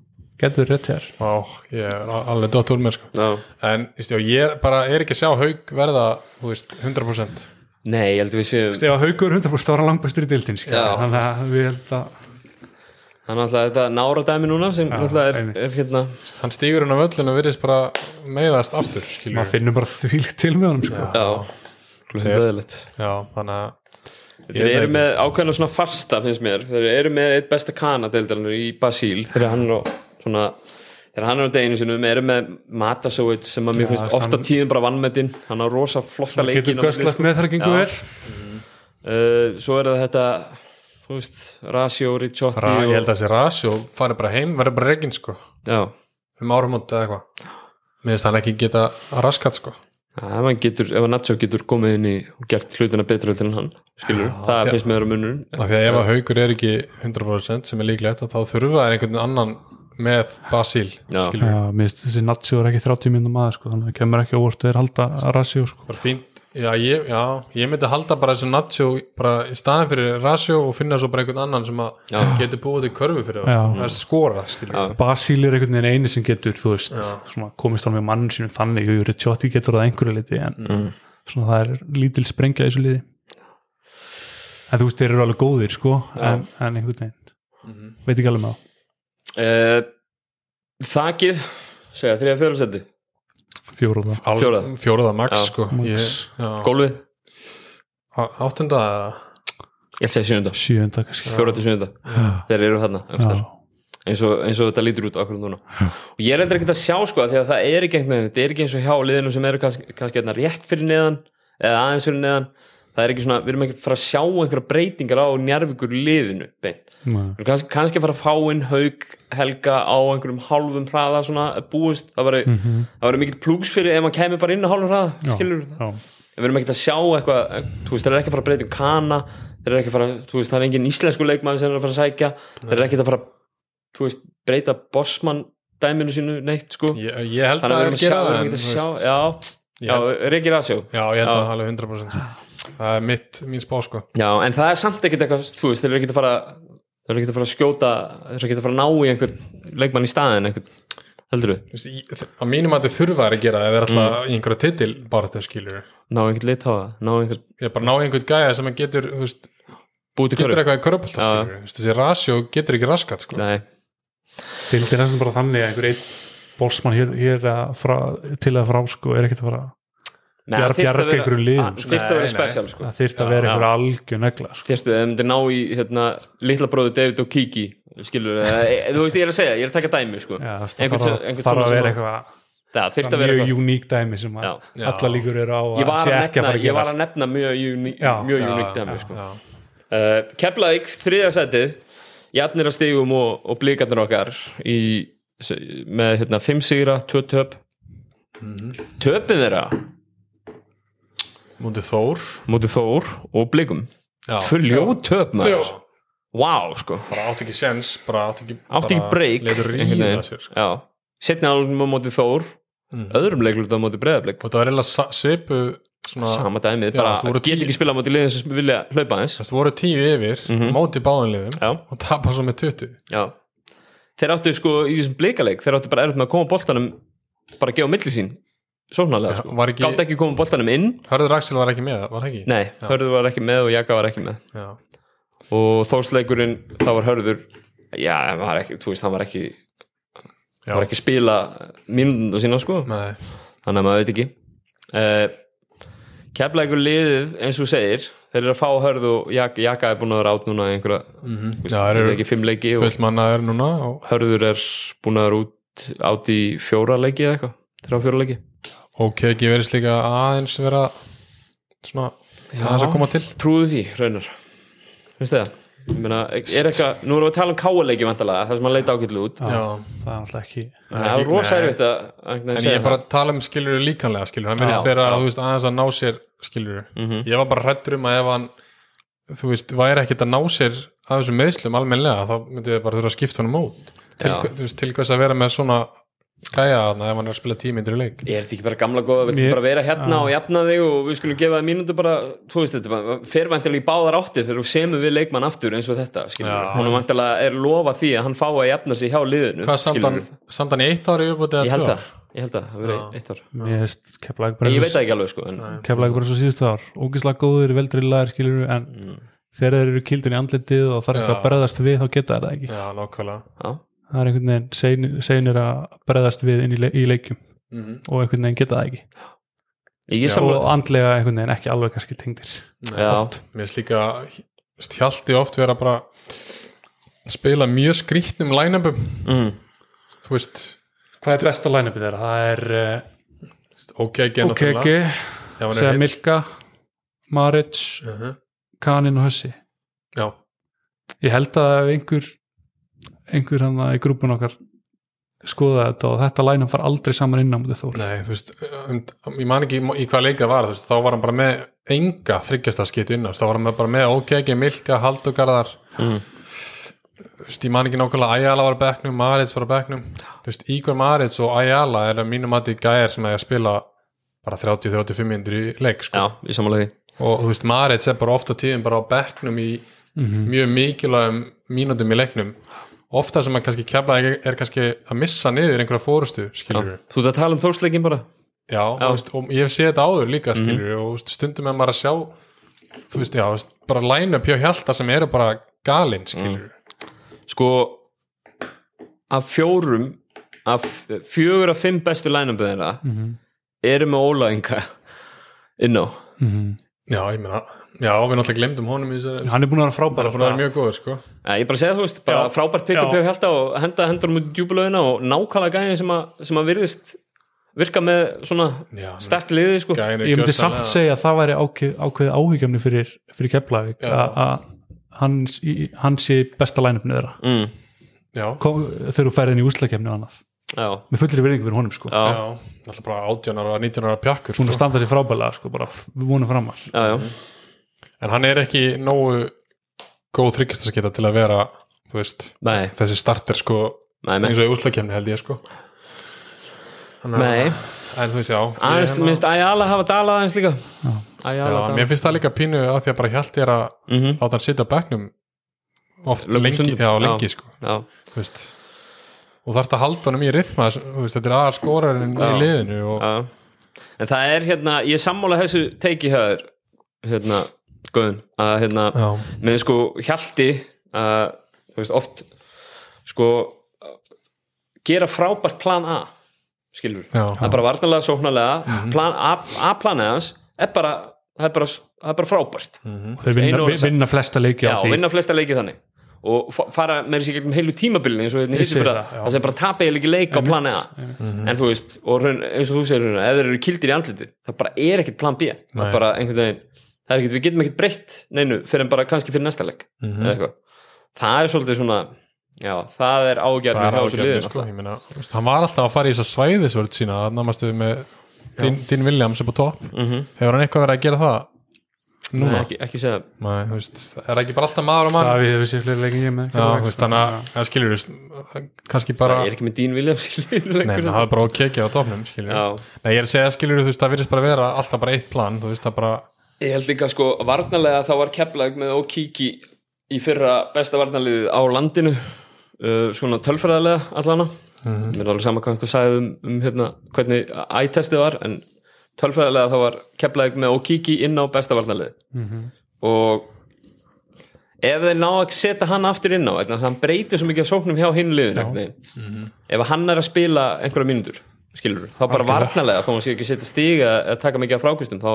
[SPEAKER 3] getur rétt hér
[SPEAKER 2] á, ég er a- alveg dott úr mér sko.
[SPEAKER 1] Já.
[SPEAKER 2] en þú veist, já, ég bara er ekki að sjá haug verða, þú veist, 100%
[SPEAKER 1] Nei, ég held að við séum
[SPEAKER 3] ef að haugur 100% þá var hann langbæstur í sko. dildin
[SPEAKER 1] Já.
[SPEAKER 3] þannig að við held að
[SPEAKER 1] Hann er alltaf þetta nára dæmi núna sem
[SPEAKER 3] Já,
[SPEAKER 1] alltaf er,
[SPEAKER 3] einmitt.
[SPEAKER 1] er hérna
[SPEAKER 2] hann stígur hann á völlinu og virðist bara meiðast aftur, skilur
[SPEAKER 3] maður finnur bara þvílíkt til með honum sko.
[SPEAKER 1] Já, hlutræðilegt
[SPEAKER 2] já, þannig að
[SPEAKER 1] Þeir
[SPEAKER 2] veit
[SPEAKER 1] eru
[SPEAKER 2] ekki.
[SPEAKER 1] með ákveðna svona farsta finnst mér Þeir eru með eitt besta kanadeildarnir í Basíl þegar hann er á svona þegar hann er á deginu sinum eru með Matasowicz sem að mér finnst
[SPEAKER 3] veist,
[SPEAKER 1] ofta
[SPEAKER 3] hann-
[SPEAKER 1] tíðum bara vannmetinn hann á rosa flotta leikin
[SPEAKER 3] getur göstlast með þar gengur
[SPEAKER 1] Já.
[SPEAKER 3] vel
[SPEAKER 1] uh, Svo er það þetta þú veist, Rasio, Ricciotti
[SPEAKER 2] ra, ég
[SPEAKER 1] og-
[SPEAKER 2] held að þessi ras og fari bara heim, verður bara reygin sko,
[SPEAKER 1] Já,
[SPEAKER 2] um árumót eða eitthvað mér finnst hann ekki geta raskat sko
[SPEAKER 1] Já, ef hann getur, ef hann Nacho getur komið inn í og gert hlutina betur heldur en hann skilur, það
[SPEAKER 2] já.
[SPEAKER 1] finnst mér að munur
[SPEAKER 2] af því að ef að haugur er ekki 100% sem er líklegt að þá þurfa er einhvern annan með Basíl
[SPEAKER 1] Já.
[SPEAKER 2] skilur við.
[SPEAKER 3] Já, mér finnst þessi Natsjó er ekki 30 minnum aður sko, þannig að það kemur ekki óvart þeir halda rasjó sko.
[SPEAKER 2] bara fínt já ég, já, ég myndi halda bara þessu Nacho bara í staðin fyrir Rasjó og finna svo bara einhvern annan sem að
[SPEAKER 1] Já.
[SPEAKER 2] getur búið til körfu fyrir það
[SPEAKER 3] Já.
[SPEAKER 2] það er skora, skilur
[SPEAKER 1] Já.
[SPEAKER 2] við.
[SPEAKER 3] Basíl er einhvern veginn eini sem getur þú veist,
[SPEAKER 2] Já.
[SPEAKER 3] svona, komist alveg mann sínum þannig, jú, Ricciotti getur það að einhverju liti en
[SPEAKER 1] Mm.
[SPEAKER 3] svona, það er lítil sprengja í þessu liði en þú veist, þeir eru alveg góðir sko,
[SPEAKER 1] Já. Mhm.
[SPEAKER 3] en, en einhvern veginn veit ekki alveg með
[SPEAKER 1] uh, Þakið segja þriða fjóruðsendi
[SPEAKER 3] það fjóruða,
[SPEAKER 2] Al-
[SPEAKER 1] Fjórða.
[SPEAKER 2] fjóraða max
[SPEAKER 1] Já.
[SPEAKER 2] sko
[SPEAKER 3] Max.
[SPEAKER 2] ég, já.
[SPEAKER 1] Gólfið,
[SPEAKER 2] Á- áttunda eða?
[SPEAKER 1] ég ætla að segja sjönda
[SPEAKER 3] sjönda kannski
[SPEAKER 1] Fjóra til sjönda,
[SPEAKER 3] Já.
[SPEAKER 1] þeir eru þarna einhvers staðar.
[SPEAKER 3] Já.
[SPEAKER 1] eins og, eins og þetta lítur út akkur núna og ég er eitthvað ekki að sjá sko því að það er ekki einhvern veginn, þetta er ekki eins og hjá liðinu sem eru kannski, kannski hérna rétt fyrir neðan eða aðeins fyrir neðan það er ekki svona, við erum ekki að fara að sjá einhverja breytingar á njárvíkur liðinu beint.
[SPEAKER 3] Nei.
[SPEAKER 1] Við erum kannski, kannski að fara að fá inn haug helga á einhverjum hálfum hraða svona búist, það var,
[SPEAKER 3] Mhm.
[SPEAKER 1] það var mikill plúks fyrir ef maður kæmi bara inn á hálfum hraða
[SPEAKER 3] Já.
[SPEAKER 1] skilur,
[SPEAKER 3] Já.
[SPEAKER 1] við erum ekkert að sjá eitthvað þú veist, þeir eru ekki að fara að breyta um kana þeir eru ekki að fara, þú veist, það er engin íslensku leikmann sem er að fara að sækja, þeir eru ekki að fara að, þú veist, breyta bossmann dæminu sínu neitt, sko
[SPEAKER 2] ég, ég held
[SPEAKER 1] þannig að við erum að sjá,
[SPEAKER 2] það,
[SPEAKER 1] við erum ekki
[SPEAKER 2] en,
[SPEAKER 1] að
[SPEAKER 2] þú
[SPEAKER 1] sjá
[SPEAKER 2] veist,
[SPEAKER 1] já,
[SPEAKER 2] ég
[SPEAKER 1] já,
[SPEAKER 2] held-
[SPEAKER 1] reykir að sjá
[SPEAKER 2] já, ég
[SPEAKER 1] Já.
[SPEAKER 2] held að alveg 100% sko. það er mitt, mín spá sko
[SPEAKER 1] já, en það er samt ekkert eitthvað, þú veist, þeir eru ekki að fara þeir eru ekki að fara að skjóta þeir eru ekki að fara að ná í einhvern leikmann í staðin einhvern, heldur við,
[SPEAKER 2] Þú veist, í- að mínum að þið þurfa að gera það er
[SPEAKER 1] Mm.
[SPEAKER 2] alltaf í einhverja titil bara þetta skilur
[SPEAKER 1] ná einhvern litháa ná einhvern,
[SPEAKER 2] ég er bara að ná einhvern gæja sem að getur þú veist,
[SPEAKER 1] búið til
[SPEAKER 2] getur
[SPEAKER 1] körf
[SPEAKER 2] eitthvað í körpulta
[SPEAKER 1] Já.
[SPEAKER 2] skilur Þú veist, þessi rasjó getur ekki raskat sko.
[SPEAKER 1] nei,
[SPEAKER 3] Deildin er sem bara þannig að einhver einn bólsmann hér, hér að frá, til að frá sko er ekkert að fara
[SPEAKER 1] nei,
[SPEAKER 3] Bjar- bjarga einhverjum liðum, sko.
[SPEAKER 1] þyrft að vera
[SPEAKER 2] um Nei, nei.
[SPEAKER 1] spesial, sko
[SPEAKER 3] það þyrft að
[SPEAKER 1] Já.
[SPEAKER 3] vera einhver algjör negla sko.
[SPEAKER 1] þérstu, ef myndi eh, ná í hérna, litla bróðu David og Kiki skilur, eða, e, þú veist ég er að segja, ég er að taka dæmi sko.
[SPEAKER 3] Já, það
[SPEAKER 1] Einhvern
[SPEAKER 3] þarf að,
[SPEAKER 1] sem- einhvern
[SPEAKER 3] þarf að
[SPEAKER 1] svona
[SPEAKER 3] vera
[SPEAKER 1] sem
[SPEAKER 3] eitthvað
[SPEAKER 1] það þyrfti að vera
[SPEAKER 3] mjög
[SPEAKER 1] eitthvað
[SPEAKER 3] uník dæmi sem
[SPEAKER 1] Já.
[SPEAKER 3] að
[SPEAKER 2] Já.
[SPEAKER 3] alla líkur eru á
[SPEAKER 1] ég var,
[SPEAKER 3] sé
[SPEAKER 1] að
[SPEAKER 3] ekki
[SPEAKER 1] nefna,
[SPEAKER 3] fara
[SPEAKER 1] ég var
[SPEAKER 3] gerast.
[SPEAKER 1] að nefna mjög, uní,
[SPEAKER 3] Já,
[SPEAKER 1] mjög
[SPEAKER 2] Já,
[SPEAKER 1] uníkt dæmi sko.
[SPEAKER 2] já.
[SPEAKER 1] uh, Keflavík, þriðja setið jafnir að stigum og, og blíkarnir okkar í, með hérna, fimm sigra, tvö töp töpin þeirra
[SPEAKER 2] mútið Þór
[SPEAKER 1] mútið Þór og blíkum
[SPEAKER 2] Já.
[SPEAKER 1] tvö ljóð töp
[SPEAKER 2] Já.
[SPEAKER 1] maður wow, sko
[SPEAKER 2] bara átt ekki sens bara átt ekki,
[SPEAKER 1] átti ekki breyk
[SPEAKER 2] letur ríða sér sko.
[SPEAKER 1] setna álum á móti Þór
[SPEAKER 2] Mm.
[SPEAKER 1] öðrum leiklut á móti breyðablík
[SPEAKER 2] og það var eiginlega sa- svipu svona,
[SPEAKER 1] sama dæmið,
[SPEAKER 2] Já,
[SPEAKER 1] bara
[SPEAKER 2] þú voru
[SPEAKER 1] get
[SPEAKER 2] tíu-
[SPEAKER 1] ekki spila á móti liðin sem vilja hlaupa aðeins
[SPEAKER 2] þú veist, voru tíu yfir
[SPEAKER 1] Mhm.
[SPEAKER 2] móti báðanliðum
[SPEAKER 1] já,
[SPEAKER 2] og tapa svo með 20
[SPEAKER 1] já þeir áttu sko í þessum bleikaleik þeir áttu bara erfitt með að koma boltanum bara að gefa á milli sín, sóknarlega
[SPEAKER 2] Já,
[SPEAKER 1] sko.
[SPEAKER 2] var ekki-
[SPEAKER 1] gátt ekki að koma boltanum inn
[SPEAKER 2] Hörður Axel var ekki með, var það ekki?
[SPEAKER 1] nei,
[SPEAKER 2] Já.
[SPEAKER 1] Hörður var ekki með og Jaka var ekki með
[SPEAKER 2] Já.
[SPEAKER 1] og þórsleikurinn, þá var Hörður já, hann var ekki, þú veist, hann var ekki
[SPEAKER 2] Já.
[SPEAKER 1] var ekki að spila mínundu sína sko
[SPEAKER 2] Nei.
[SPEAKER 1] þannig að maður veit ekki uh, keflækur liðið eins og þú segir þeir eru að fá hörð og Jak Jaka er búin að vera átt núna í einhverja, mm -hmm.
[SPEAKER 2] Mhm. Já, þeir eru
[SPEAKER 1] ekki fimm leiki og
[SPEAKER 2] full mannaður núna og,
[SPEAKER 1] hörður er búin að vera út átt í fjóra leiki eða eitthvað þrjá fjóra leiki
[SPEAKER 2] og keki verðist líka aðeins vera svona
[SPEAKER 1] Já.
[SPEAKER 2] aðeins að koma til
[SPEAKER 1] trúðu því raunar finnst þið það? Ég meina, er eitthvað, nú erum við að tala um káaleiki vantalega, það sem hann leita ágætlu út
[SPEAKER 2] Já.
[SPEAKER 3] það er alltaf ekki
[SPEAKER 1] það
[SPEAKER 2] ekki-
[SPEAKER 1] er rosa
[SPEAKER 2] nei.
[SPEAKER 1] erfitt að einhvern veginn
[SPEAKER 2] En ég
[SPEAKER 1] segja
[SPEAKER 2] er bara að tala um skilur líkanlega skilur, hann verðist
[SPEAKER 1] Já,
[SPEAKER 2] vera
[SPEAKER 1] já. Mhm.
[SPEAKER 2] þú veist, aðeins að ná sér skilur Ég var bara hrættur um að ef hann þú veist, væri ekkert að ná sér að þessum meðslum almennlega, þá myndi við bara þurfa að skipta honum út til,
[SPEAKER 1] Já.
[SPEAKER 2] þú veist, til hvers að vera með svona gæja þarna ef hann er að spila tímyndir í leik
[SPEAKER 1] það er þetta ekki bara gamla góða, við ætlum
[SPEAKER 3] Mér-
[SPEAKER 1] bara að vera hérna
[SPEAKER 3] Já.
[SPEAKER 1] og jafna þig og við skulum gefa það mínútu bara, þú veist þetta, fervæntilega í báðar átti þegar þú semur við leikmann aftur eins og þetta, skilur
[SPEAKER 2] Já.
[SPEAKER 1] hún er vantilega er lofa því að hann fái að jafna sig hjá liðinu,
[SPEAKER 2] Hvað samt hann,
[SPEAKER 1] skilurðu.
[SPEAKER 2] samt hann í eitt ári uppbútið
[SPEAKER 1] ég held það, ég held það, það verið eitt ár
[SPEAKER 3] mér veist keflaði
[SPEAKER 1] en
[SPEAKER 3] bara
[SPEAKER 1] ég veit
[SPEAKER 3] eins
[SPEAKER 1] það ekki alveg sko, en
[SPEAKER 3] og- Keflavík bara svo síðustu ár ógislega góður, veldrillaðir skilur en
[SPEAKER 1] Mm.
[SPEAKER 3] þegar þeir eru kildin í andlitið og þarf eitthvað
[SPEAKER 2] Já.
[SPEAKER 3] að breðast við þá geta þeir það ekki
[SPEAKER 2] Já, nákvæmlega
[SPEAKER 1] já,
[SPEAKER 3] það er einhvern veginn seinir, seinir að breðast við inn í, le í leikjum
[SPEAKER 2] Mhm.
[SPEAKER 3] og einhvern veginn geta það ekki
[SPEAKER 1] ég er
[SPEAKER 3] og
[SPEAKER 1] sammála
[SPEAKER 3] andlega einhvern veginn ekki alveg kannski tengdir
[SPEAKER 1] Já.
[SPEAKER 2] Mér finnst líka hjaldi oft vera bara að spila mjög skrýtnum lænabum
[SPEAKER 1] Mm.
[SPEAKER 2] þú veist,
[SPEAKER 3] Hvað er besta line-upið þeirra? Það
[SPEAKER 1] eh,
[SPEAKER 3] er
[SPEAKER 2] ok ekki
[SPEAKER 3] uh, OKG, segja Milka Maric, Kanin og Hössi
[SPEAKER 2] Mhm. Já,
[SPEAKER 3] Ég held að ef einhver einhver hann í grúpun okkar skoða þetta og þetta line-up far aldrei saman inn á mútið Þór
[SPEAKER 2] nei, þú veist um, ég man ekki í hvað leika var þú veist, þá var hann bara með enga þryggjasta skitu innast þá var hann bara með ok ekki Milka, Haldugarðar
[SPEAKER 1] Mm.
[SPEAKER 2] þú veist, ég man ekki nákvæmlega Ayala var á bekknum, Marits var á bekknum þú veist, Igor Marits og Ayala er að mínum að þið gæjar sem eiga að spila bara 30-35 minnir í leik sko.
[SPEAKER 1] já, í samanlega því
[SPEAKER 2] og þú veist, Marits er bara ofta tíðin bara á bekknum í mjög mikilvægum mínútum í leiknum ofta sem að kannski kefla er kannski að missa niður einhverja fórustu, skilur
[SPEAKER 1] Já. Þú ert að tala um þórsleikin bara
[SPEAKER 2] Já,
[SPEAKER 1] Já.
[SPEAKER 2] já. Veist, og ég hef séð þetta áður líka skilur og veist, stundum er maður að sjá þú veist, já, veist, bara læna upp hjá hjálta sem eru bara galinn skilur
[SPEAKER 1] Sko Af fjórum Af fjögur af fimm bestu lænum þeirra
[SPEAKER 3] Mhm.
[SPEAKER 1] Eru með Óla Inga Inn á
[SPEAKER 3] Mhm.
[SPEAKER 2] Já, ég meina, já, við náttúrulega glemdum honum í þessari,
[SPEAKER 3] hann er búin að vera
[SPEAKER 2] bara
[SPEAKER 3] frábæra
[SPEAKER 2] búin að vera mjög góður sko
[SPEAKER 1] Eh, Ég bara segi það, þú veist, bara
[SPEAKER 3] Já.
[SPEAKER 1] frábært pick-up
[SPEAKER 3] Já.
[SPEAKER 1] hjá Hjalta og henda hendur út í djúbulöðina og nákvæmlega gæði sem, að- sem að virðist virka með svona
[SPEAKER 2] Já,
[SPEAKER 1] sterk liði, sko
[SPEAKER 2] gæinn er
[SPEAKER 3] ég myndi
[SPEAKER 2] gjörsamlega-
[SPEAKER 3] samt segja að það væri ákveð, ákveð áhugjumni fyrir, fyrir Keflavík
[SPEAKER 2] Já.
[SPEAKER 3] að að hann, í- hann sé í besta lænumni þeirra
[SPEAKER 1] mm,
[SPEAKER 2] Já,
[SPEAKER 3] Kom, þegar þú færið inn í úslakefni og annað
[SPEAKER 1] Já,
[SPEAKER 3] með fullri verðingu fyrir honum sko
[SPEAKER 1] já,
[SPEAKER 2] já, náttúrulega bara 18 ára, 19 ára pjakkur
[SPEAKER 3] hún
[SPEAKER 2] sko.
[SPEAKER 3] er að standa sér frábælega sko bara við vonum framar
[SPEAKER 1] já, já
[SPEAKER 2] En hann er ekki nógu góð þryggistaskita til að vera, þú veist
[SPEAKER 1] Nei,
[SPEAKER 2] þessi starter sko,
[SPEAKER 1] nei, nei,
[SPEAKER 2] eins og í útlakefni held ég sko Þannig að-
[SPEAKER 1] nei.
[SPEAKER 2] En þú veist, já ég
[SPEAKER 1] Aðeins,
[SPEAKER 2] hérna-
[SPEAKER 1] minnst Ayala hafa dalað aðeins líka Ayala
[SPEAKER 2] Já, mér
[SPEAKER 1] dalað
[SPEAKER 2] finnst það líka pínu að því að bara hjælt ég er að
[SPEAKER 1] Mhm,
[SPEAKER 2] láta hann sitja á bekknum oft
[SPEAKER 1] Löngum
[SPEAKER 2] lengi,
[SPEAKER 1] stundum.
[SPEAKER 2] já, lengi sko,
[SPEAKER 1] Já,
[SPEAKER 2] þú veist og þarf að halda honum í rithma þú veist, þetta er aðar skórarinn í
[SPEAKER 1] Já.
[SPEAKER 2] liðinu og,
[SPEAKER 1] já En það er hérna, ég er sammála þessu teiki hefur hérna, Guðun að hérna,
[SPEAKER 2] já,
[SPEAKER 1] með sko hjalti að þú veist oft sko að gera frábært plan A skilur,
[SPEAKER 2] Já.
[SPEAKER 1] það er bara varnalega sóknarlega, plan A, A planið hans er bara, það er bara, það er bara frábært
[SPEAKER 2] Mhm.
[SPEAKER 3] og þeir vinna,
[SPEAKER 1] Einu orði
[SPEAKER 3] vi- vinna flesta leiki
[SPEAKER 1] já,
[SPEAKER 3] á
[SPEAKER 1] og
[SPEAKER 3] því
[SPEAKER 1] vinna flesta leikið þannig og fa- fara með þessi gegnum heilu tímabilin eins og hérna
[SPEAKER 3] Ég
[SPEAKER 1] hýsum
[SPEAKER 3] segi
[SPEAKER 1] fyrir
[SPEAKER 3] það,
[SPEAKER 1] það,
[SPEAKER 3] já.
[SPEAKER 1] það sem bara tapið er ekki leik á planið A Mhm. en þú veist, og raun, eins og þú segir raun, ef þeir eru kildir í andliti, það bara er ekkert plan B það
[SPEAKER 2] Nei.
[SPEAKER 1] er bara einhvern veginn það er ekkert, við getum ekkert breytt neinu fyrir en bara kannski fyrir næsta leik eða eitthvað, það er svolítið svona já, það er
[SPEAKER 2] það
[SPEAKER 1] ágjarnir
[SPEAKER 2] er
[SPEAKER 1] hjá þessu
[SPEAKER 2] ágjörni
[SPEAKER 1] liðin
[SPEAKER 2] sko, ég meina, þú veist, hann var alltaf að fara í þess að svæðisvörð sína, að námastu með Dean, Dean Williams upp á topp
[SPEAKER 1] mm -hmm.
[SPEAKER 2] hefur hann eitthvað verið að gera það
[SPEAKER 1] Nei,
[SPEAKER 2] núna,
[SPEAKER 1] ekki, ekki segja
[SPEAKER 2] Nei, þú veist, er ekki bara alltaf maður og mann
[SPEAKER 3] Davíð hefur sér fleiri leiki en ég
[SPEAKER 2] já,
[SPEAKER 3] með Keflavík,
[SPEAKER 2] þú veist,
[SPEAKER 3] sko.
[SPEAKER 2] þannig að- að skilur þú veist, kannski bara
[SPEAKER 1] það er ekki með Dín Williams í liðinu
[SPEAKER 2] Nei,
[SPEAKER 1] lengur.
[SPEAKER 2] það er bara að kekja á topnum, skilur
[SPEAKER 1] Já.
[SPEAKER 2] Nei, ég er að segja, skilur þú veist, það virðist bara vera alltaf bara eitt plan, þú veist, það bara
[SPEAKER 1] ég held líka sko, varnarlega þá var Keflag með Okiki í fyrra besta varnarliðið á landinu uh, svona tölfræðilega allana mér er alveg sama hvað einhver sagði um, um hérna, hvernig ætestið var en tölfræðilega þá var Keflag með Okiki inn á besta varnarliðið og ef þeir ná að setja hann aftur inn á þannig að hann breytir svo mikið að sóknum hjá hinn liðin mm
[SPEAKER 2] Mhm.
[SPEAKER 1] ef hann er að spila einhverja mínútur, skilur þá bara varnalega, þó hann sé ekki setja stíg að, að taka mikið af frákustum þá,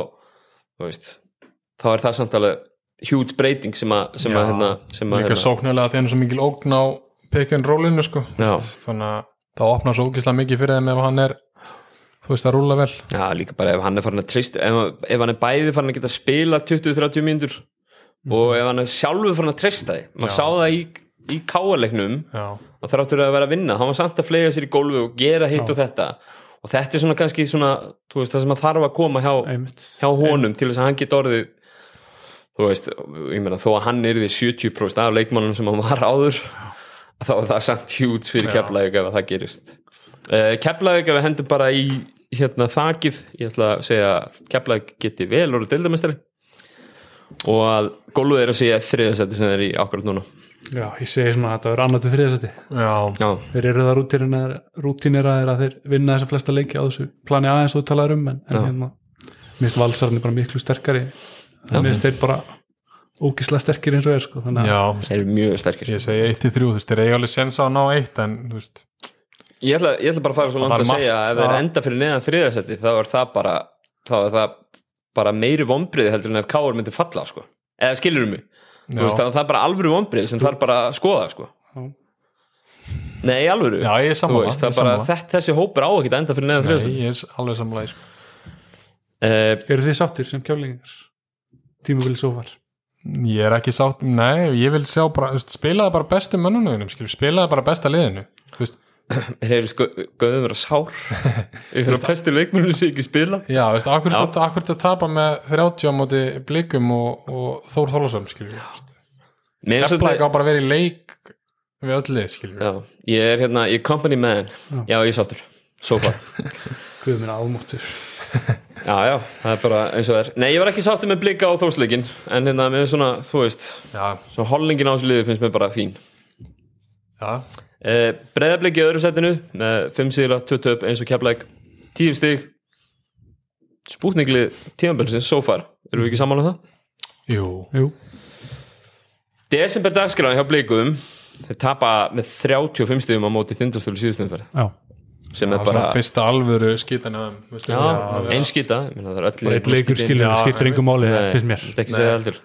[SPEAKER 1] þú veist, þá er það samtalið huge breyting sem að sem að,
[SPEAKER 2] Já,
[SPEAKER 1] hérna, sem að
[SPEAKER 2] líka
[SPEAKER 1] hérna,
[SPEAKER 2] sóknulega þegar hann er svo mikil ógn á pick and rollinu, sko
[SPEAKER 1] Já.
[SPEAKER 2] þannig að það opnar svo ógislega mikið fyrir þeim ef hann er, þú veist, að rúla vel
[SPEAKER 1] já, líka bara ef hann er farin að treyst ef, ef hann er bæði farin að geta spila 20-30 mínútur
[SPEAKER 2] Mhm.
[SPEAKER 1] og ef hann er sjálfur farin að treysta þið maður sá það í, í káaleiknum
[SPEAKER 2] Já,
[SPEAKER 1] og þráttur að vera að vinna hann var samt að flega sér í gólfi og gera hitt og þetta og þetta er svona kannski svona þú veist, það sem að þarf að koma hjá,
[SPEAKER 3] Einmitt.
[SPEAKER 1] hjá honum til þess að hann geta orðið þú veist, ég meina þó að hann yrði 70% af leikmannum sem hann var áður þá er það samt hjúts fyrir keflaðið ef það gerist uh, keflaðið ef við hendum bara í hérna þakið, ég ætla að segja keflaðið geti vel orðið deildamestari og að gólfið er að segja þriðasætti sem er í akkurat núna
[SPEAKER 3] já, ég segi svona að þetta verður annað til þriðasæti
[SPEAKER 2] já,
[SPEAKER 1] já,
[SPEAKER 3] þeir eru það rútínir, rútínir að, að þeir vinna þessa flesta leiki á þessu plani aðeins og talaður um en, en
[SPEAKER 1] Já.
[SPEAKER 3] hérna, mist valsarinn er bara miklu sterkari þannig að þeir bara ógislega sterkir eins og er sko, þannig að
[SPEAKER 2] já
[SPEAKER 1] þeir eru mjög sterkir
[SPEAKER 2] ég segi 1 til 3, þú veist, þeir eiga alveg sens á að ná 1 en, þú veist,
[SPEAKER 1] Ég ætla, ég ætla bara að fara svo langt
[SPEAKER 2] Það er
[SPEAKER 1] að segja
[SPEAKER 2] margt
[SPEAKER 1] að ef það
[SPEAKER 2] það-
[SPEAKER 1] er enda fyrir neðan þriðasetti þá er það bara, þá er það bara meiri vonbriði heldur en ef Káar myndi falla sko. eða skilur mig
[SPEAKER 2] Já.
[SPEAKER 1] Þú veist, það það er bara alvöru vonbriði sem þarf bara að skoða sko.
[SPEAKER 3] Já.
[SPEAKER 1] Nei, alvöru
[SPEAKER 2] Já, ég er
[SPEAKER 1] Þú
[SPEAKER 2] sammála,
[SPEAKER 1] veist,
[SPEAKER 2] ég
[SPEAKER 1] það
[SPEAKER 2] er
[SPEAKER 1] er bara,
[SPEAKER 2] sammála.
[SPEAKER 1] þetta, þessi hópur á ekki að enda fyrir neðan
[SPEAKER 2] nei,
[SPEAKER 1] þriðasetti
[SPEAKER 2] ég er alveg samlega sko.
[SPEAKER 1] uh,
[SPEAKER 3] eru þið sáttir sem kjálingar tímabili sófar
[SPEAKER 2] Ég er ekki sátt, nei, ég vil sjá bara, þú veist, spilaði bara bestu mönnunum, skilur, spilaði bara besta liðinu, þú veist,
[SPEAKER 1] Mér hefur sko, göðum vera sár Ég fyrir að pesti leikmurinn sem ekki spila
[SPEAKER 2] Já, veist, akkur þetta akkur þetta tapa með 30 á móti blikum og, og Þór Þólasöfn, skiljum við.
[SPEAKER 1] Mér er
[SPEAKER 2] Keflæk
[SPEAKER 1] svolítið-
[SPEAKER 2] á bara að vera í leik við öll lið skilur
[SPEAKER 1] Já, ég er hérna, ég er company man Já, ég er sáttur, so far
[SPEAKER 3] Guð minn aðmáttur
[SPEAKER 1] Já, já, það er bara eins og það er Nei, ég var ekki sáttur með blika á þósleikin En hérna, mér er svona, þú veist
[SPEAKER 2] já,
[SPEAKER 1] Svona hollingin á þessu liðu finnst mér bara fín
[SPEAKER 2] já,
[SPEAKER 1] uh, Breiðablik í öðru setinu Með 5 síðra, 20 upp eins og keflæk 10 stig Spútninglið tímanbilsins, so far Erum við ekki sammála um það?
[SPEAKER 2] jú
[SPEAKER 3] Jú,
[SPEAKER 1] Desember dagskráin hjá blikum Þeir tapa með 35 stigum á móti þindastölu síðustumferð
[SPEAKER 3] já,
[SPEAKER 1] Sem
[SPEAKER 2] það
[SPEAKER 1] er
[SPEAKER 2] var svona
[SPEAKER 1] bara
[SPEAKER 2] fyrsta alvöru skítan af þeim veistu,
[SPEAKER 1] Já,
[SPEAKER 2] já,
[SPEAKER 1] ein skýta ég meina, það er öll
[SPEAKER 3] bara
[SPEAKER 1] lið-
[SPEAKER 3] eitt leikur
[SPEAKER 1] skýtin-
[SPEAKER 3] skilur
[SPEAKER 2] Já,
[SPEAKER 3] skiptir engum máli, það
[SPEAKER 1] Nei,
[SPEAKER 3] finnst mér
[SPEAKER 1] þetta ekki
[SPEAKER 2] Nei.
[SPEAKER 1] segja heldur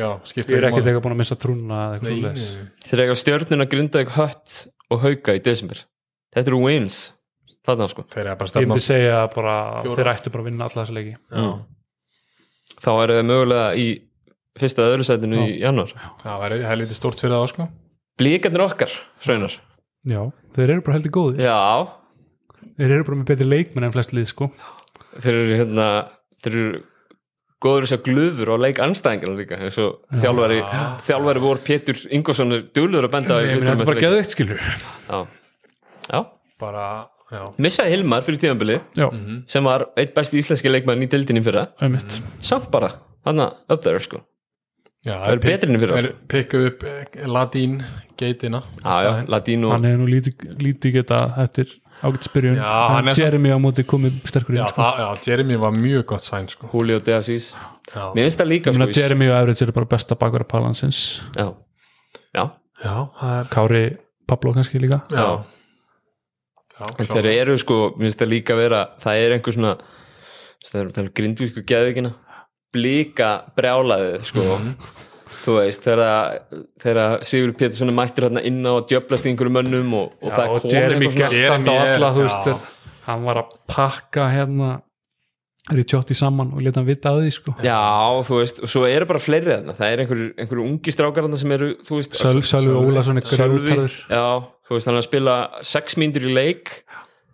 [SPEAKER 2] já, skiptir
[SPEAKER 3] Ég er
[SPEAKER 2] ekki máli.
[SPEAKER 3] ekkert eitthvað búin að missa trúna eða
[SPEAKER 2] Nei,
[SPEAKER 3] eitthvað svoleiðis.
[SPEAKER 2] nei, nei.
[SPEAKER 1] Þeir eiga stjörnuna grindaði hött og hauka í desember Þetta eru wins Þarna sko
[SPEAKER 2] þeir eru bara að
[SPEAKER 3] Ég
[SPEAKER 2] stefna
[SPEAKER 3] myndi segja bara
[SPEAKER 2] Fjóra.
[SPEAKER 3] þeir ættu bara að vinna alla þessu leiki
[SPEAKER 2] já,
[SPEAKER 1] Þá eru þeir mögulega í fyrsta eða öðru sætinu í januar
[SPEAKER 2] það væri helviti stórt fyrir það sko
[SPEAKER 1] Blíkarnir okkar, Sveinar
[SPEAKER 3] Já, þeir eru bara heldur góðir
[SPEAKER 1] Já,
[SPEAKER 3] Þeir eru bara með betri leikmenn en flest lið sko
[SPEAKER 1] þeir eru hérna Þeir eru góður þess að glöður á leik anstæðingar líka eins og þjálfari, þjálfari vor Pétur Ingolson er dugluður að benda á í
[SPEAKER 3] Ég
[SPEAKER 1] viðtölum
[SPEAKER 3] meina þetta er
[SPEAKER 1] eftir
[SPEAKER 3] bara
[SPEAKER 1] leik.
[SPEAKER 3] geðveikt skilur
[SPEAKER 1] Já,
[SPEAKER 2] bara, já,
[SPEAKER 1] missaði Hilmar fyrir tíðanbili
[SPEAKER 3] Já,
[SPEAKER 1] sem var eitt besti íslenski leikmann í deildinni í fyrra
[SPEAKER 3] auðvitað
[SPEAKER 1] samt bara, þannig að up there sko
[SPEAKER 2] já
[SPEAKER 1] það eru betri enn í fyrra
[SPEAKER 2] þeir pikka upp eh, latín geitina
[SPEAKER 1] já, já, latínó,
[SPEAKER 3] Hann hefur nú lítið, lítið geta eftir ágætt spyrjun
[SPEAKER 2] Já, hann er
[SPEAKER 3] En
[SPEAKER 2] svo-
[SPEAKER 3] Jeremy á móti komið sterkur
[SPEAKER 2] já,
[SPEAKER 3] inn sko
[SPEAKER 2] það, já, Jeremy var mjög gott sæn sko
[SPEAKER 1] Julio De Assis
[SPEAKER 2] já,
[SPEAKER 1] mér finnst það líka
[SPEAKER 3] Ég
[SPEAKER 1] sko
[SPEAKER 3] meina
[SPEAKER 1] í-
[SPEAKER 3] Jeremy og Everett eru bara besta bakverða palansins
[SPEAKER 1] já, já,
[SPEAKER 2] já, það er
[SPEAKER 3] Kári Pablo kannski líka
[SPEAKER 2] já,
[SPEAKER 1] Já.
[SPEAKER 2] já,
[SPEAKER 1] en þeir eru sko mér finnst það líka vera, það er einhver svona það er um tala grindvísku geðvikina blíka brjálaði sko þú veist, þegar þegar Sigur Pétursson er mættur hérna inn á að djöblast í einhverjum mönnum og, og það
[SPEAKER 3] og
[SPEAKER 1] er
[SPEAKER 3] Jeremy
[SPEAKER 1] komið
[SPEAKER 3] gert
[SPEAKER 2] Jeremy
[SPEAKER 3] þetta á
[SPEAKER 2] er-
[SPEAKER 3] alla þú veist
[SPEAKER 2] já.
[SPEAKER 3] er- hann var að pakka hérna Ricciotti saman og leta hann vita að því sko
[SPEAKER 1] já, þú veist, og svo eru bara fleiri þarna, það er einhverju einhver ungi strákar þarna sem eru, þú veist,
[SPEAKER 3] Söl- Sölvi Ólason er
[SPEAKER 1] Sölvi,
[SPEAKER 3] grjótarður
[SPEAKER 1] já, þú veist, hann er að spila sex mínútur í leik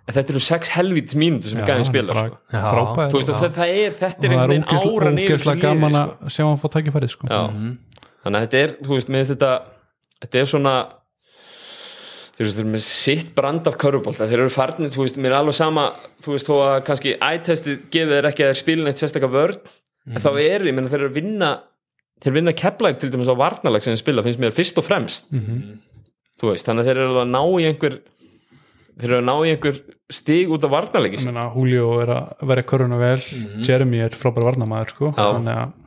[SPEAKER 1] en þetta eru sex helvítis mínútur sem
[SPEAKER 3] Já,
[SPEAKER 1] gæðin
[SPEAKER 3] hann er
[SPEAKER 1] spila
[SPEAKER 3] bara
[SPEAKER 1] sko.
[SPEAKER 3] frábær
[SPEAKER 1] þú veist,
[SPEAKER 3] og
[SPEAKER 1] og það, það er, þetta er
[SPEAKER 3] það er
[SPEAKER 1] einhvern veginn
[SPEAKER 3] ógeðsla-
[SPEAKER 1] áran yfir þessu
[SPEAKER 3] ógeðslega
[SPEAKER 1] liði,
[SPEAKER 3] gaman
[SPEAKER 1] sko.
[SPEAKER 3] að sjá hann fá tækifærið sko
[SPEAKER 1] Já.
[SPEAKER 2] Mhm.
[SPEAKER 1] þannig að þetta er, þú veist, minnst þetta þetta er svona þú veist, þeir eru með sitt brand af körfubólta þeir eru farnir, þú veist, mér er alveg sama þú veist, þó að kannski ættesti gefið þeir ekki að þeir spilin eitt sérstakka vörn en þá er, ég menna, þeir eru að vinna þeir vinna keplæg til dæmis á varnalag sem þeir spila, finnst mér fyrst og fremst þú veist, þannig að þeir eru að ná í einhver þeir eru að ná í einhver stig út af varnalegi
[SPEAKER 3] ég meina Julio er að vera köruna vel Jeremy er frábær varnamæður sko
[SPEAKER 1] Mhm. Já.
[SPEAKER 3] þannig að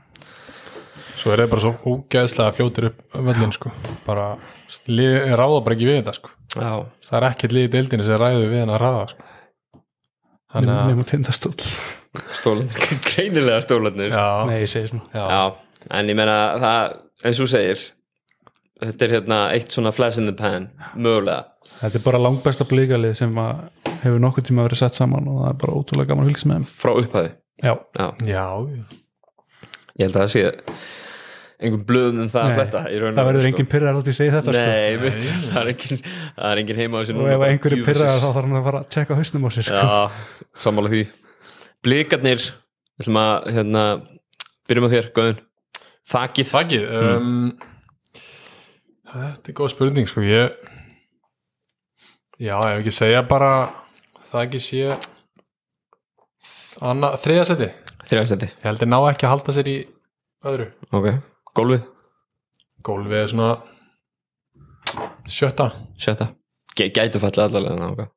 [SPEAKER 2] svo er það bara svo ógeðslega fljótur upp völlin sko bara lið, ráða bara ekki við þetta sko
[SPEAKER 1] Já,
[SPEAKER 2] það er ekkert lið í deildinu sem ræður við hennar ráða sko þannig að
[SPEAKER 3] nefnum tindastóll
[SPEAKER 1] stólanir, greinilega stólanir
[SPEAKER 2] já,
[SPEAKER 3] nei ég segi svona
[SPEAKER 2] já,
[SPEAKER 1] Já, en ég meina það, eins og þú segir þetta er hérna eitt svona flash in the pan mögulega,
[SPEAKER 3] þetta er bara langbesta blíkalið sem að hefur nokkuð tíma verið sett saman og það er bara ótrúlega gaman að fylgst með þeim
[SPEAKER 1] frá upphafi
[SPEAKER 3] já,
[SPEAKER 1] Já,
[SPEAKER 2] já,
[SPEAKER 1] ég held að það sé einhvern blöðum um það
[SPEAKER 3] Nei,
[SPEAKER 1] að fletta í raun og
[SPEAKER 3] það
[SPEAKER 1] veru,
[SPEAKER 3] verður
[SPEAKER 1] sko.
[SPEAKER 3] engin pyrrar átt ég segi þetta sko
[SPEAKER 1] Nei, veit, það er engin það er engin heima á þessu
[SPEAKER 3] og ef einhverju pyrraðar þá þarf hann að fara að tjekka hausnum á sér sko.
[SPEAKER 1] Já, sammála því Blikarnir, við ætlum að hérna, byrjum á þér, góðun Þakið,
[SPEAKER 2] þakkið um, þetta er góð spurning sko ég já, ef ekki segja bara það ekki sé anna, þriða seti ég
[SPEAKER 1] þrjáfstendi
[SPEAKER 2] held ég ná ekki að halda sér í öðru
[SPEAKER 1] Ok, gólfið,
[SPEAKER 2] gólfið er svona sjötta
[SPEAKER 1] sjötta Gæ- Gætu falla allavega þangað.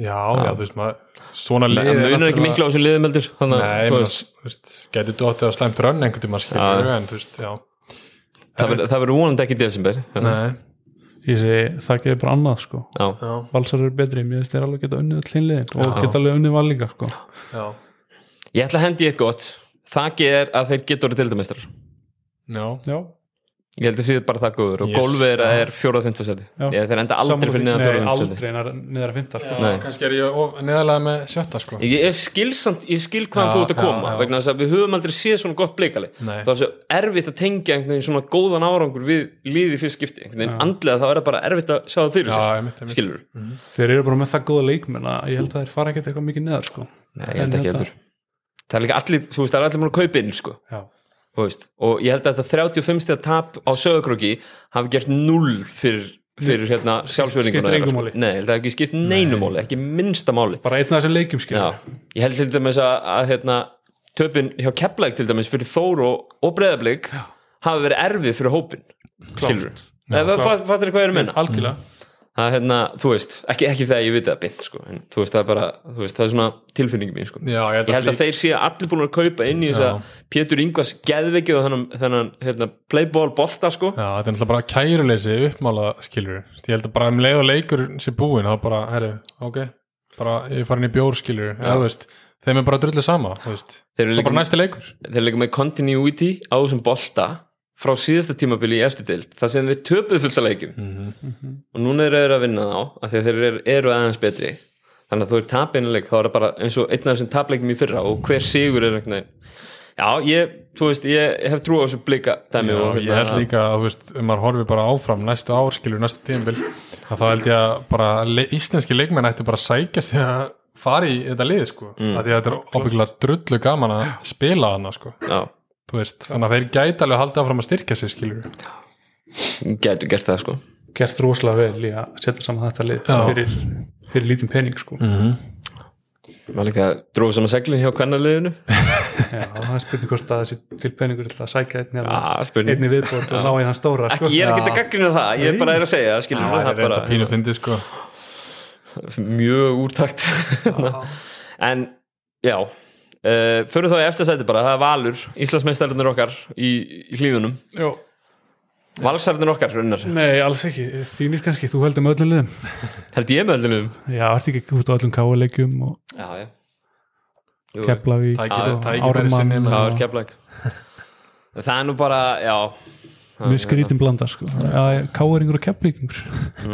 [SPEAKER 2] Já,
[SPEAKER 1] Já.
[SPEAKER 2] já, þú veist maður svona
[SPEAKER 1] Það
[SPEAKER 2] lið
[SPEAKER 1] munar ekki miklu á þessum liðum heldur Þannig að,
[SPEAKER 2] Nei,
[SPEAKER 1] þú
[SPEAKER 2] menn,
[SPEAKER 1] veist,
[SPEAKER 2] þú veist, getur dottið á slæmt rönn einhvern tímann skilur
[SPEAKER 1] Já.
[SPEAKER 2] en þú veist, já
[SPEAKER 1] það verður- það verður vonandi ekki í desember
[SPEAKER 2] Nei,
[SPEAKER 3] ég segi það gerir bara annað sko
[SPEAKER 1] Já,
[SPEAKER 2] já,
[SPEAKER 3] valsar eru betri, mér finnst þeir alveg geta unnið all hinliðin og geta alveg unnið val líka sko
[SPEAKER 2] já,
[SPEAKER 1] ég ætla að hendi í eitt gott Það er að þeir getur orðið deildameistrar
[SPEAKER 2] já,
[SPEAKER 3] já,
[SPEAKER 1] Ég held að síðu bara það góður og
[SPEAKER 2] Yes.
[SPEAKER 1] golfið er að er fjóra og fymta seti
[SPEAKER 3] Já.
[SPEAKER 1] Ég þeir enda aldrei fyrir neðan fjóra
[SPEAKER 3] nei,
[SPEAKER 1] og fymta seti
[SPEAKER 3] aldrei nær- niður að fynda sko.
[SPEAKER 1] Nei.
[SPEAKER 2] kannski er ég of, neðalega með sjötta sko
[SPEAKER 1] Ég er skilsamt, ég skil hvaðan
[SPEAKER 2] Já,
[SPEAKER 1] þú ert að
[SPEAKER 2] já,
[SPEAKER 1] koma
[SPEAKER 2] já.
[SPEAKER 1] vegna þess að við höfum aldrei séð svona gott bleikali
[SPEAKER 2] Nei.
[SPEAKER 1] það er svo erfitt að tengja einhvern veginn svona góðan árangur við liði fyrst skipti einhvern veginn andlega þá er það bara erfitt að sjá það fyrir
[SPEAKER 2] Já,
[SPEAKER 1] sér
[SPEAKER 2] ég myndi, ég myndi
[SPEAKER 1] skilur
[SPEAKER 3] þeir eru bara með það góða leikmenn að ég held að þeir fara ekkert eitthvað mikið neðar sko
[SPEAKER 1] Nei, ég held ekki heldur Það er líka allir, þú veist, það er allir múin að kaupa inn sko.
[SPEAKER 3] já,
[SPEAKER 1] Þú veist, og ég held að þetta 35 stið tap á sögurkróki hafi gert null fyrir, fyrir hérna sjálfsverðinguna
[SPEAKER 3] Skiptir engu
[SPEAKER 1] þeirra, sko.
[SPEAKER 3] máli.
[SPEAKER 1] Nei, það ekki skipt neinumáli, ekki minnsta máli
[SPEAKER 3] bara einn af þessum leikjum skil
[SPEAKER 1] Já, ég held til dæmis að, að hérna, töpin hjá Keflæk til dæmis fyrir Þór og, og Breiðablík hafi verið erfið fyrir hópin skilur við, fattir hvað ég er að menna
[SPEAKER 3] algjörlega
[SPEAKER 1] að hérna, þú veist, ekki, ekki þegar ég viti að beint sko, en þú veist, það er bara, þú veist, það er svona tilfinningi mín, sko.
[SPEAKER 2] Já,
[SPEAKER 1] ég held að þeir sé allir búin að kaupa inn í þess að Pétur Ingvars geðveiki og þennan, þennan hérna, playball bolta, sko
[SPEAKER 2] Já, þetta er náttúrulega bara kæruleysi uppmála skilur Ég held að bara um leið og leikur sér búin þá bara, herru, ok bara ég er farin í bjór skilur eða, þú veist, þeim er bara drullu sama þú veist.
[SPEAKER 1] Þeir eru
[SPEAKER 2] Svo
[SPEAKER 1] líka-
[SPEAKER 2] bara næsti leikur
[SPEAKER 1] þeir eru líka með continuity á þessum bolta frá síðasta tímabili í eftirdeild þar sem þeir töpuðu fullt að leikjum
[SPEAKER 2] Mhm.
[SPEAKER 1] og núna eru þeir að vinna þá af því að þeir eru- eru aðeins betri þannig að þú er tapinleik þá er það bara eins og einn af þessum tapleikum í fyrra og hver sigur er einhvern veginn já, ég, þú veist, ég hef trú á þessu blika dæmi
[SPEAKER 2] Já, hérna-
[SPEAKER 1] og hérna,
[SPEAKER 2] ég held líka að, þú veist, ef maður horfi bara áfram næstu ár, skilur, næstu tímabil að þá held ég að bara le íslenski leikmenn ættu bara að sækja sig að fara í þetta lið, sko, mm. að því að þetta er óbyggulega drullu gaman að spila hana, sko,
[SPEAKER 1] já,
[SPEAKER 2] þú veist, þannig að þeir gæti alveg að halda áfram að styrkja sig, skilur
[SPEAKER 1] gætu gert það sko
[SPEAKER 3] gert rosalega vel í að setja saman þetta lið
[SPEAKER 2] Já.
[SPEAKER 3] fyrir, fyrir lítinn pening sko
[SPEAKER 1] Mm. maður líka dróðu saman seglu hjá kannarliðinu
[SPEAKER 3] já, það er spurning hvort að þessi til peningur til að sækja einn eða
[SPEAKER 1] ah, spurning,
[SPEAKER 3] einni viðbót og ná í hann stóra sko.
[SPEAKER 1] ekki, ég er ekki að
[SPEAKER 3] Já.
[SPEAKER 1] gaggrina það ég er bara er að segja, skilur
[SPEAKER 2] það er þetta pínu fyndi, sko
[SPEAKER 1] mjög úrtakt en já uh, fyrir þá í eftirsæti bara, það er Valur Íslandsmeistararnir okkar í, í hlíðunum
[SPEAKER 3] Já.
[SPEAKER 1] Valsararnir okkar runnar,
[SPEAKER 3] nei, alls ekki, þínir kannski, þú heldur með öllum liðum
[SPEAKER 1] held ég með öllum
[SPEAKER 3] já, ertu ekki út á öllum káleikjum og
[SPEAKER 1] já, já Jú,
[SPEAKER 3] Keflavík
[SPEAKER 2] Tækifæri-
[SPEAKER 3] og
[SPEAKER 2] tækifæri sinni
[SPEAKER 3] Ármann
[SPEAKER 2] með-
[SPEAKER 1] það er
[SPEAKER 3] og
[SPEAKER 1] keflæk það er nú bara, já
[SPEAKER 3] mjög skrítin blanda sko. káeringur og keflingur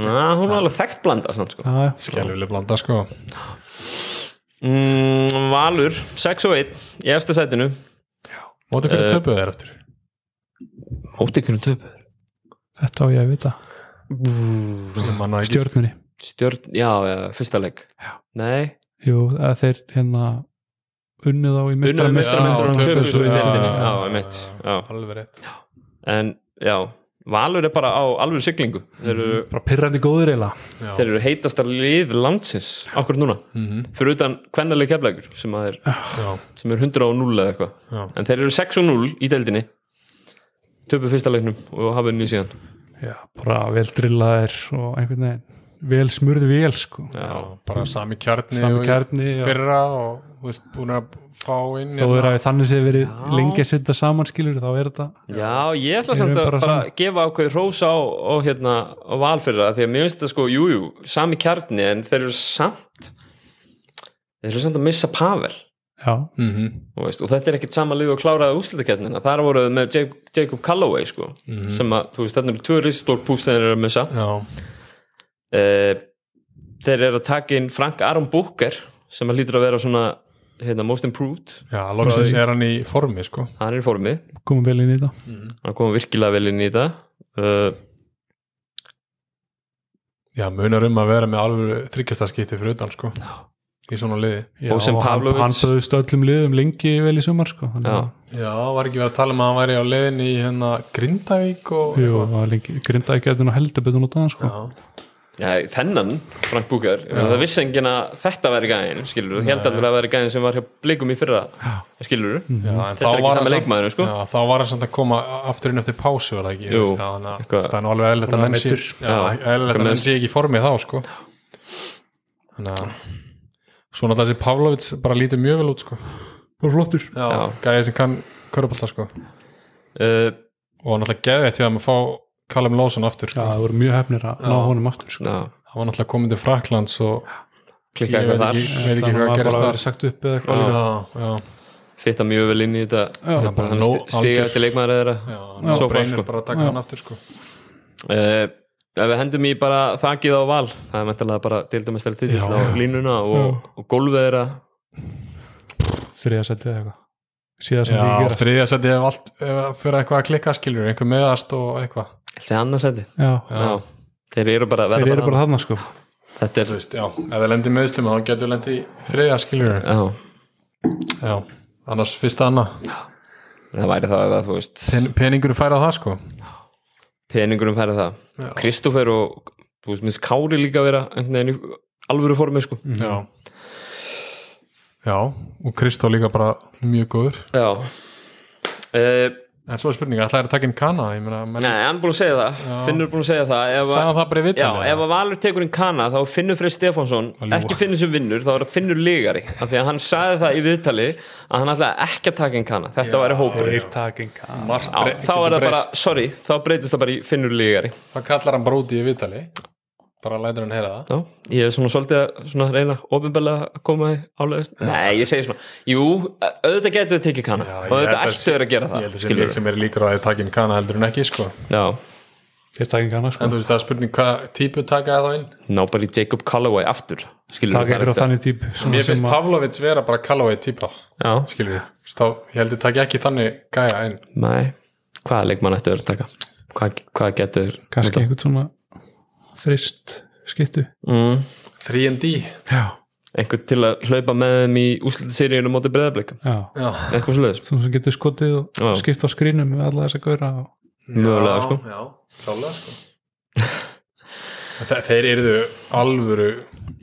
[SPEAKER 1] Na, hún er alveg þekkt blanda samt, sko.
[SPEAKER 3] já,
[SPEAKER 2] skelvileg blanda, sko
[SPEAKER 1] mm, Valur, 6 og 1 í eftirsætinu
[SPEAKER 2] Móti hverju töpuðu þeir eftir?
[SPEAKER 1] Óti hvernig töp
[SPEAKER 3] þetta á ég að vita,
[SPEAKER 2] Ég man það ekki.
[SPEAKER 3] stjörnunni
[SPEAKER 1] Stjörn, já, já, fyrsta leik já. Nei,
[SPEAKER 3] Jú, að þeir hérna unnið á í
[SPEAKER 1] unnaði
[SPEAKER 3] mestramestram
[SPEAKER 1] mestaramestarunum
[SPEAKER 2] Já,
[SPEAKER 1] töpuðu svo í
[SPEAKER 2] töpuðu svo, já,
[SPEAKER 1] deildinni
[SPEAKER 2] já,
[SPEAKER 1] Já,
[SPEAKER 2] já.
[SPEAKER 1] einmitt, já
[SPEAKER 2] Alveg rétt
[SPEAKER 1] en já, Valur er bara á alveg siglingu þeir eru,
[SPEAKER 3] bara pirrandi góður eila
[SPEAKER 1] þeir eru heitastar lið landsins akkur núna,
[SPEAKER 2] Mhm.
[SPEAKER 1] fyrir utan kvennaleg keflækur sem, að er,
[SPEAKER 2] Já,
[SPEAKER 1] sem er 100 og 0 eða
[SPEAKER 2] Já.
[SPEAKER 1] eitthvað en þeir eru 6 og 0 í deildinni töpu fyrsta leiknum og hafa unni síðan
[SPEAKER 3] Já, bara vel drillaðir og einhvern veginn vel smurð vel sko
[SPEAKER 2] já, bara sami kjarni
[SPEAKER 3] Sami
[SPEAKER 2] og í
[SPEAKER 3] kjarni og-
[SPEAKER 2] Fyrra og, þú veist, búin að fá inn hérna.
[SPEAKER 3] þó er að þannig sé verið lengi að setja saman skilur þá er þetta
[SPEAKER 1] Já, ég ætla
[SPEAKER 3] Þeir
[SPEAKER 1] samt
[SPEAKER 3] eru
[SPEAKER 1] að
[SPEAKER 3] bara
[SPEAKER 1] bara
[SPEAKER 3] saman.
[SPEAKER 1] gefa ákveði rósa á, á, hérna, á val fyrir það því að mér finnst það sko, jújú, jú, sami kjarni en þeir eru samt þeir eru samt að missa Pavel
[SPEAKER 3] já,
[SPEAKER 2] mm -hmm.
[SPEAKER 1] Þú veist, og þetta er ekkert sama lið og kláraði úslitakernina þar voruð með Jacob, Jacob Calloway sko,
[SPEAKER 2] Mhm.
[SPEAKER 1] sem að, þú veist, þarna eru tvö risastór púst þeir eru að missa
[SPEAKER 2] Já,
[SPEAKER 1] uh, þeir eru að taka inn Frank Aron Booker sem að lítur að vera svona hérna, most improved,
[SPEAKER 2] já loksins
[SPEAKER 1] því-
[SPEAKER 2] er hann í formi sko.
[SPEAKER 1] hann er í formi
[SPEAKER 3] komum vel inn í þetta
[SPEAKER 1] hann kom virkilega vel inn í þetta uh,
[SPEAKER 2] Já, munar um að vera með alveg þryggjastaskipti fyrir utan sko. í svona liði
[SPEAKER 3] já,
[SPEAKER 1] Bojan
[SPEAKER 3] og hann,
[SPEAKER 1] Pavlovic.
[SPEAKER 3] hann böðust öllum liðum lengi vel í sumar sko þannig
[SPEAKER 1] Já.
[SPEAKER 3] að-
[SPEAKER 2] Já, var ekki verið að tala um að hann væri á liðin í hérna Grindavík og
[SPEAKER 3] Jú, það var lengi, grindaði getur nú heldur betur nú þannig sko
[SPEAKER 2] Já,
[SPEAKER 1] já, þennan Frank Booker, Ég meina, það vissi enginn að þetta væri gæðin, skilur, Nei. held allir að væri gæðin sem var hjá blikum í fyrra, skilur
[SPEAKER 2] já, Hm. en
[SPEAKER 1] Þetta er
[SPEAKER 2] þá
[SPEAKER 1] ekki
[SPEAKER 2] var
[SPEAKER 1] sami
[SPEAKER 2] hann samt-
[SPEAKER 1] leikmaðurinn, sko.
[SPEAKER 2] Já, þá var hann samt að koma aftur inn eftir pásu var það ekki,
[SPEAKER 1] Jú,
[SPEAKER 2] já, þannig að
[SPEAKER 1] eitthvað-
[SPEAKER 2] það er nú alveg eðlilegt að
[SPEAKER 3] Hann var
[SPEAKER 2] menn sé
[SPEAKER 3] meiddur.
[SPEAKER 2] já,
[SPEAKER 1] Já,
[SPEAKER 2] eðlilegt
[SPEAKER 1] eitthvað
[SPEAKER 2] að menn
[SPEAKER 1] meiðsl.
[SPEAKER 2] sé ekki í formi þá sko. þannig að svona alltaf þessi Pavlovits bara lítið mjög vel út sko.
[SPEAKER 3] Bara flottur
[SPEAKER 2] já,
[SPEAKER 1] Já.
[SPEAKER 2] gæði sem kann körpallta sko.
[SPEAKER 1] uh,
[SPEAKER 2] og náttúrulega geðið til að maður fá Callum Lawson aftur
[SPEAKER 3] Já,
[SPEAKER 2] sko.
[SPEAKER 3] það voru mjög hefnir að ná honum aftur sko
[SPEAKER 1] já,
[SPEAKER 2] hann var náttúrulega komin til Fraklands og
[SPEAKER 1] klikka
[SPEAKER 2] ég
[SPEAKER 1] eitthvað
[SPEAKER 2] veit
[SPEAKER 1] þar
[SPEAKER 2] ekki, veit ekki
[SPEAKER 3] Þannig
[SPEAKER 2] hvað
[SPEAKER 3] að
[SPEAKER 2] gerist
[SPEAKER 3] bara
[SPEAKER 2] þar
[SPEAKER 3] verið sagt upp eða eitthvað
[SPEAKER 2] já,
[SPEAKER 3] líka.
[SPEAKER 2] já,
[SPEAKER 1] fitta mjög vel inn í þetta Hérna,
[SPEAKER 2] já, bara
[SPEAKER 1] hann
[SPEAKER 2] nóg-
[SPEAKER 1] stigast í leikmaður þeirra
[SPEAKER 2] já,
[SPEAKER 1] Já.
[SPEAKER 2] svo
[SPEAKER 1] Svo far,
[SPEAKER 2] breynir
[SPEAKER 1] sko.
[SPEAKER 2] bara að taka
[SPEAKER 3] Já.
[SPEAKER 2] hann aftur sko.
[SPEAKER 1] uh, ef við hendum í bara þakið á val það er mentalega bara deildamestari titill
[SPEAKER 2] Já,
[SPEAKER 1] á
[SPEAKER 2] já.
[SPEAKER 1] línuna og, og gólfið er að
[SPEAKER 3] Þriðja sætið eða eitthvað Síðan sem því
[SPEAKER 2] Já,
[SPEAKER 3] gerast
[SPEAKER 2] þriðja seti ef allt ef fyrir eitthvað að klikka skilur, einhver meðast og eitthvað
[SPEAKER 1] þessi annarsæti
[SPEAKER 3] Já,
[SPEAKER 2] Já.
[SPEAKER 1] Já. þeir eru bara,
[SPEAKER 3] þeir
[SPEAKER 1] verða
[SPEAKER 3] eru bara þarna sko
[SPEAKER 1] þetta
[SPEAKER 2] Þú
[SPEAKER 1] er,
[SPEAKER 2] veist, já, ef það lendir meðslum þá getur lendi í þriðja skilur
[SPEAKER 1] já,
[SPEAKER 2] Já, annars fyrst annað
[SPEAKER 1] það væri þá ef að þú veist
[SPEAKER 2] Pen, Peningur færa það sko
[SPEAKER 1] peningurum færa það Kristófer og þú veist, minnst Kári líka vera einhvern veginn í alvöru formi sko.
[SPEAKER 2] Já Já, og Kristó líka bara mjög góður
[SPEAKER 1] já uh,
[SPEAKER 2] En svo er spurninga, ætlaði að taka inn Kana Ég meina, menn,
[SPEAKER 1] Nei, hann er búin að segja það,
[SPEAKER 2] Já.
[SPEAKER 1] Finnur er búin að segja það ef
[SPEAKER 2] sagði hann það bara í
[SPEAKER 1] Já,
[SPEAKER 2] vitali
[SPEAKER 1] ef að Valur tekur inn Kana þá er Finnur Freyr Stefánsson
[SPEAKER 2] Að ljúga.
[SPEAKER 1] ekki Finnur sem vinnur, þá er það Finnur ligari af því að hann sagði það í viðtali að hann ætlaði ekki að taka inn Kana, þetta væri hópur já,
[SPEAKER 3] Þeir takin kann
[SPEAKER 2] Margt
[SPEAKER 1] þá er
[SPEAKER 2] brey- getur
[SPEAKER 1] það bara,
[SPEAKER 2] breyst.
[SPEAKER 1] sorry, þá breytist það bara í Finnur ligari
[SPEAKER 2] Það kallar hann bara út í vitali Bara lætur hann heyra það
[SPEAKER 1] Já, ég er svona svolítið að svona reyna ofinbælega að koma því álegast Nei, ég segi svona, jú, auðvitað getur við tekið kanna
[SPEAKER 2] Já,
[SPEAKER 1] og
[SPEAKER 2] ég held
[SPEAKER 1] auðvitað
[SPEAKER 2] að-
[SPEAKER 1] ættu þeir að gera
[SPEAKER 2] Ég
[SPEAKER 1] það
[SPEAKER 2] held að það sé
[SPEAKER 1] skilur
[SPEAKER 2] leik sem er líkur á að þið takin Kana heldur en ekki sko.
[SPEAKER 1] Já,
[SPEAKER 3] Þeir takin kann
[SPEAKER 2] En
[SPEAKER 3] sko.
[SPEAKER 2] þú veist það er spurning hvað típu taka það inn
[SPEAKER 1] ná bara í Jacob Callaway aftur skilur
[SPEAKER 3] Takin ykkur á þannig típ svona
[SPEAKER 2] Mér
[SPEAKER 3] sem
[SPEAKER 2] finnst
[SPEAKER 3] að-
[SPEAKER 2] Pavlovits vera bara Callaway típa
[SPEAKER 1] Já,
[SPEAKER 2] Skilur við, Þú veist, þá ég held ég taki ekki þannig gæja inn
[SPEAKER 1] nei, hvaða leikmann ættu þeir að taka Hvað, hvað getur þeir
[SPEAKER 3] kannski
[SPEAKER 1] notað?
[SPEAKER 3] einhvern svona frist skittu
[SPEAKER 1] mm,
[SPEAKER 2] 3D
[SPEAKER 3] já,
[SPEAKER 1] Einhver til að hlaupa með þeim í úslitaseríunum móti breðablika
[SPEAKER 3] já.
[SPEAKER 2] Já,
[SPEAKER 1] Eitthvað svoleiðis,
[SPEAKER 3] svona sem getur skotið og
[SPEAKER 1] Já.
[SPEAKER 3] skipt á skrínum með alla þess að góra og...
[SPEAKER 1] mögulega sko
[SPEAKER 2] Já, klálega sko En þe- Þeir eru alvöru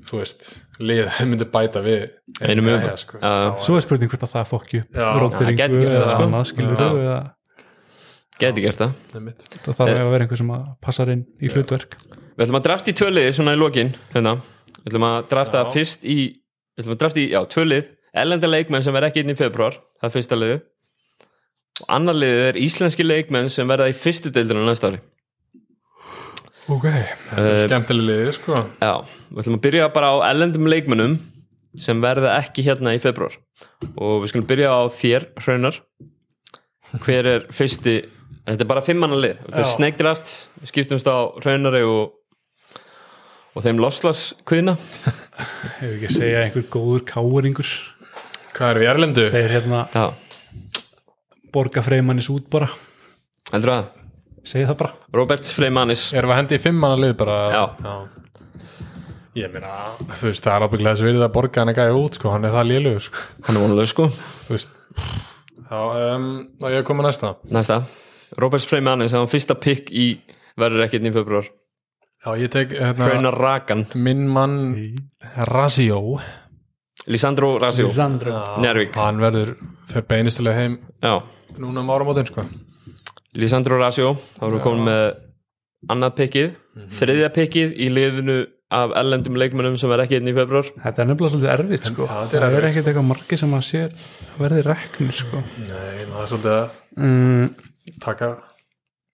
[SPEAKER 2] þú veist, lið þeir myndu bæta við einn
[SPEAKER 1] Einum
[SPEAKER 2] gæja,
[SPEAKER 1] yfir.
[SPEAKER 2] sko,
[SPEAKER 1] Já.
[SPEAKER 2] þá
[SPEAKER 3] svo er spurning hvort að það fokki upp
[SPEAKER 2] Já.
[SPEAKER 1] Já, gæti
[SPEAKER 3] róteringu
[SPEAKER 1] gert
[SPEAKER 3] eða
[SPEAKER 1] það, sko.
[SPEAKER 3] annað skilur
[SPEAKER 1] Já.
[SPEAKER 3] eða
[SPEAKER 1] Geti gert það
[SPEAKER 2] er mitt.
[SPEAKER 3] það þarf að vera einhver sem að passar inn í hlutverk
[SPEAKER 1] Við ætlum að drafta í tvölið svona í lokin hérna. Við ætlum að drafta
[SPEAKER 2] Já.
[SPEAKER 1] fyrst í Við ætlum að drafta í, já, tvölið Erlenda leikmenn sem verða ekki inn í februar Það er fyrsta liðið Og annar liðið er íslenski leikmenn sem verða í fyrstu deildinu næsta ári
[SPEAKER 2] Ok, þetta er skemmtileg lið sko.
[SPEAKER 1] Já, við ætlum að byrja bara á erlendum leikmennum sem verða ekki hérna í februar Og við skulum byrja á þér, Hraunar Hver er fyrsti Þetta er bara fimmanna lið Þetta er
[SPEAKER 3] Já.
[SPEAKER 1] snake draft, við skiptumst á Hraunari og og þeim lofslagskviðna
[SPEAKER 3] hefur ekki að segja einhver góður káeringur
[SPEAKER 2] Hvað er við Erlendu?
[SPEAKER 3] þeir hérna
[SPEAKER 1] Já,
[SPEAKER 3] borga freymannis út bara
[SPEAKER 1] heldur það?
[SPEAKER 3] segja það bara
[SPEAKER 1] Roberts Freymanis
[SPEAKER 2] Erum við að hendi í fimm manna lið bara?
[SPEAKER 1] Já.
[SPEAKER 2] Ég meina, þú veist, það er ábygglega þess að verið að borga hann að gæja út, sko, hann er það lélugur, sko.
[SPEAKER 1] Hann er vonuleg sko
[SPEAKER 2] Þú veist, já, um, og ég kom að næsta.
[SPEAKER 1] Næsta Roberts Freymanis Það var fyrsta pick í Verður ekkert í februar
[SPEAKER 2] Já, ég tek, hérna,
[SPEAKER 1] Hraunar Rakan
[SPEAKER 2] minn mann Razio.
[SPEAKER 1] Lisandro Rasjó
[SPEAKER 3] Lisandro
[SPEAKER 1] Njarðvík.
[SPEAKER 2] Hann verður, fer beinustilega heim
[SPEAKER 1] Já
[SPEAKER 2] núna um áramótin sko
[SPEAKER 1] Lisandro Rasjó Þá erum við
[SPEAKER 2] Já.
[SPEAKER 1] komin með Annað pickið
[SPEAKER 3] Mhm.
[SPEAKER 1] Þriðja pickið Í liðinu Af ellendum leikmönnum Sem verður ekkert í februar
[SPEAKER 3] þetta er nefnilega svolítið erfitt sko
[SPEAKER 2] Já, þetta er
[SPEAKER 3] það verður ekkert eitthvað margi sem að sér verði reknir sko
[SPEAKER 2] Nei, maður er svolítið að
[SPEAKER 3] mm,
[SPEAKER 2] taka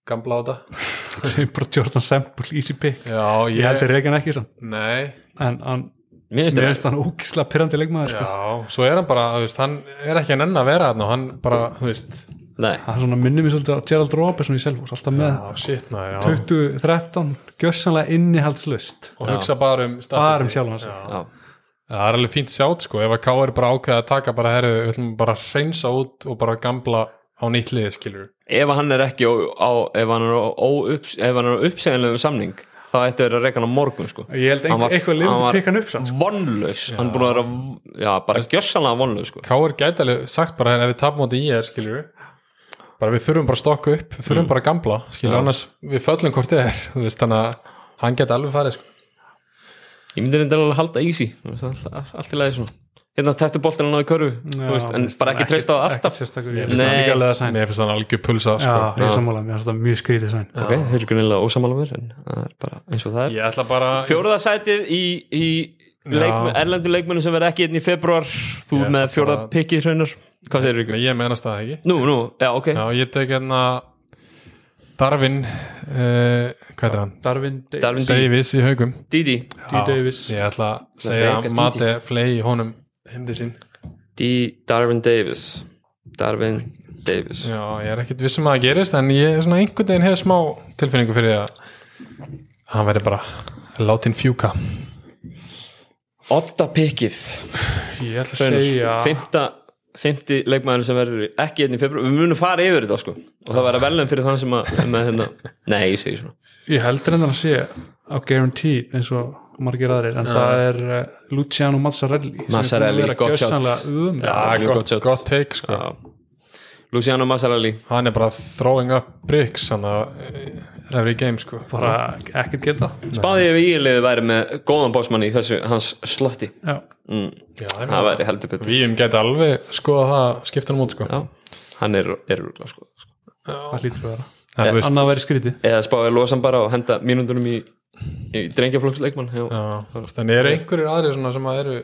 [SPEAKER 2] gamla á þetta
[SPEAKER 3] sem bara Jordan Semple, easy pick
[SPEAKER 2] Já,
[SPEAKER 3] ég
[SPEAKER 2] ég,
[SPEAKER 3] held að reygan ekki sann
[SPEAKER 2] nei
[SPEAKER 3] en hann,
[SPEAKER 1] Mér finnst þetta
[SPEAKER 3] mér finnst hann ógislega pyrrandi leikmaður sko.
[SPEAKER 2] Já, svo er hann bara, þú veist, hann er ekki að nenn að vera hann og hann bara, þú veist
[SPEAKER 1] Nei
[SPEAKER 3] hann svona minnir mér svolítið á Gerald Robertson í Selfos alltaf með
[SPEAKER 2] Já, Ah, shit, maður, já
[SPEAKER 3] 2013 gjörsanlega innihaldslust
[SPEAKER 2] Og hugsa bara um status.
[SPEAKER 3] Bara um sjálfan sig.
[SPEAKER 2] Já,
[SPEAKER 1] Já
[SPEAKER 2] það er alveg fínt sjátt, sko Ef að K er bara ákveða að taka bara, herru, við ætlum bara að reynsa út og bara gamla á nýtt liði, skilur
[SPEAKER 1] Ef hann er ekki á, á, Ef hann er á, á, upps, ef hann er á uppsegjanlegum samning Þá ættu þeir að reka hann á morgun sko
[SPEAKER 3] ég held
[SPEAKER 1] Hann var-
[SPEAKER 3] einhver, eitthvað lifið
[SPEAKER 1] hann var- Mm.
[SPEAKER 3] að prika hann upp sann sko.
[SPEAKER 1] vonlaus hann er búin að vera já, bara gjörsanlega vonlaus sko.
[SPEAKER 2] K er gætalið sagt bara, herru, ef við tapum á þetta í er, skilur Bara við þurfum bara að stokka upp, við
[SPEAKER 3] Mm.
[SPEAKER 2] þurfum bara að gamla, skilur,
[SPEAKER 1] Já.
[SPEAKER 2] annars við föllum hvort eð er, þú veist, þannig að hann geti alveg farið, sko.
[SPEAKER 1] ég myndi reynda alveg að halda easy þú veist, allt, allt- allt í lagi svona hérna tættu boltinn hann á í körfu
[SPEAKER 3] Já,
[SPEAKER 1] þú veist, en
[SPEAKER 3] veist,
[SPEAKER 1] bara ekki treysta á það
[SPEAKER 3] ekkert
[SPEAKER 1] alltaf
[SPEAKER 3] sérstakur
[SPEAKER 2] Mér
[SPEAKER 3] ég
[SPEAKER 2] finnst
[SPEAKER 3] finnst
[SPEAKER 1] Nei.
[SPEAKER 3] það líka alveg að sæn
[SPEAKER 2] Mér finnst hann alveg pulsa
[SPEAKER 3] já,
[SPEAKER 2] sko.
[SPEAKER 3] ég er sammála, mér finnst það mjög skrítið sæn
[SPEAKER 1] ok, þeir eru grunnilega ósamála mér en það er bara eins og það er
[SPEAKER 2] Ég ætla bara
[SPEAKER 1] fjóruða sætið í, í leikm,
[SPEAKER 2] Já.
[SPEAKER 1] erlendu leikmennu sem verða ekki einn í februar þú
[SPEAKER 2] Ég ætla
[SPEAKER 1] með fjóruða
[SPEAKER 2] bara-
[SPEAKER 1] pikkið hraunar hvað segir
[SPEAKER 2] Nei,
[SPEAKER 1] ykkur?
[SPEAKER 2] Ég menast það ekki
[SPEAKER 1] nú, nú, já, ok
[SPEAKER 2] Já, ég tek hérna Darvin uh, Hvað er hann?
[SPEAKER 3] Darvin
[SPEAKER 1] Darvin Davis.
[SPEAKER 3] Davis,
[SPEAKER 2] Davis í haugum
[SPEAKER 1] Didi,
[SPEAKER 3] D. Davis
[SPEAKER 2] Ég ætla að segja
[SPEAKER 1] Veika
[SPEAKER 2] að
[SPEAKER 1] Didi.
[SPEAKER 2] Mate Flay í honum Himdi sín
[SPEAKER 1] D. Darvin Davis Darvin Davis
[SPEAKER 2] Já, ég er ekkit vissum að það gerist En ég er svona einhvern veginn hefur smá tilfinningu fyrir að Hann verði bara Látin fjúka
[SPEAKER 1] Otta pikkið
[SPEAKER 3] ég ætla að segja
[SPEAKER 1] Sveinar, fymta fymti leikmaður sem verður ekki einn í februar við munum fara yfir þetta sko og það verður velum fyrir þann sem að með, hérna, nei, ég segi svona
[SPEAKER 3] ég heldur en það að segja á guaranteed eins og margir aðrir en það er uh, Luciano Mazzarelli sem er búinn að
[SPEAKER 1] Mazzarelli,
[SPEAKER 3] vera
[SPEAKER 1] gott sjátt.
[SPEAKER 3] gjörsamlega ömurlegur.
[SPEAKER 1] Já, mjög Ah, gott
[SPEAKER 2] gott,
[SPEAKER 1] shot.
[SPEAKER 2] gott take sko
[SPEAKER 1] já. Luciano Mazzarelli
[SPEAKER 2] Hann er bara throwing up bricks Þannig að eh, every game sko
[SPEAKER 4] bara ekkert geta
[SPEAKER 1] Spáði ég við íliðið væri með góðan bósmann í þessu hans slotti
[SPEAKER 3] já,
[SPEAKER 1] mm,
[SPEAKER 2] Já, ég meina,
[SPEAKER 1] Það væri heldur betur
[SPEAKER 2] Víum gæti alveg skoða það skiptunum út sko
[SPEAKER 1] Já, hann er, er örugglega, sko.
[SPEAKER 3] það lítur að vera
[SPEAKER 2] En þú veist-
[SPEAKER 4] annað væri skrítið
[SPEAKER 1] Eða spáði losan bara og henda mínundunum í, í drengjaflokksleikmann já.
[SPEAKER 2] Já, þú veist, en eru einhverjir aðrir svona sem að eru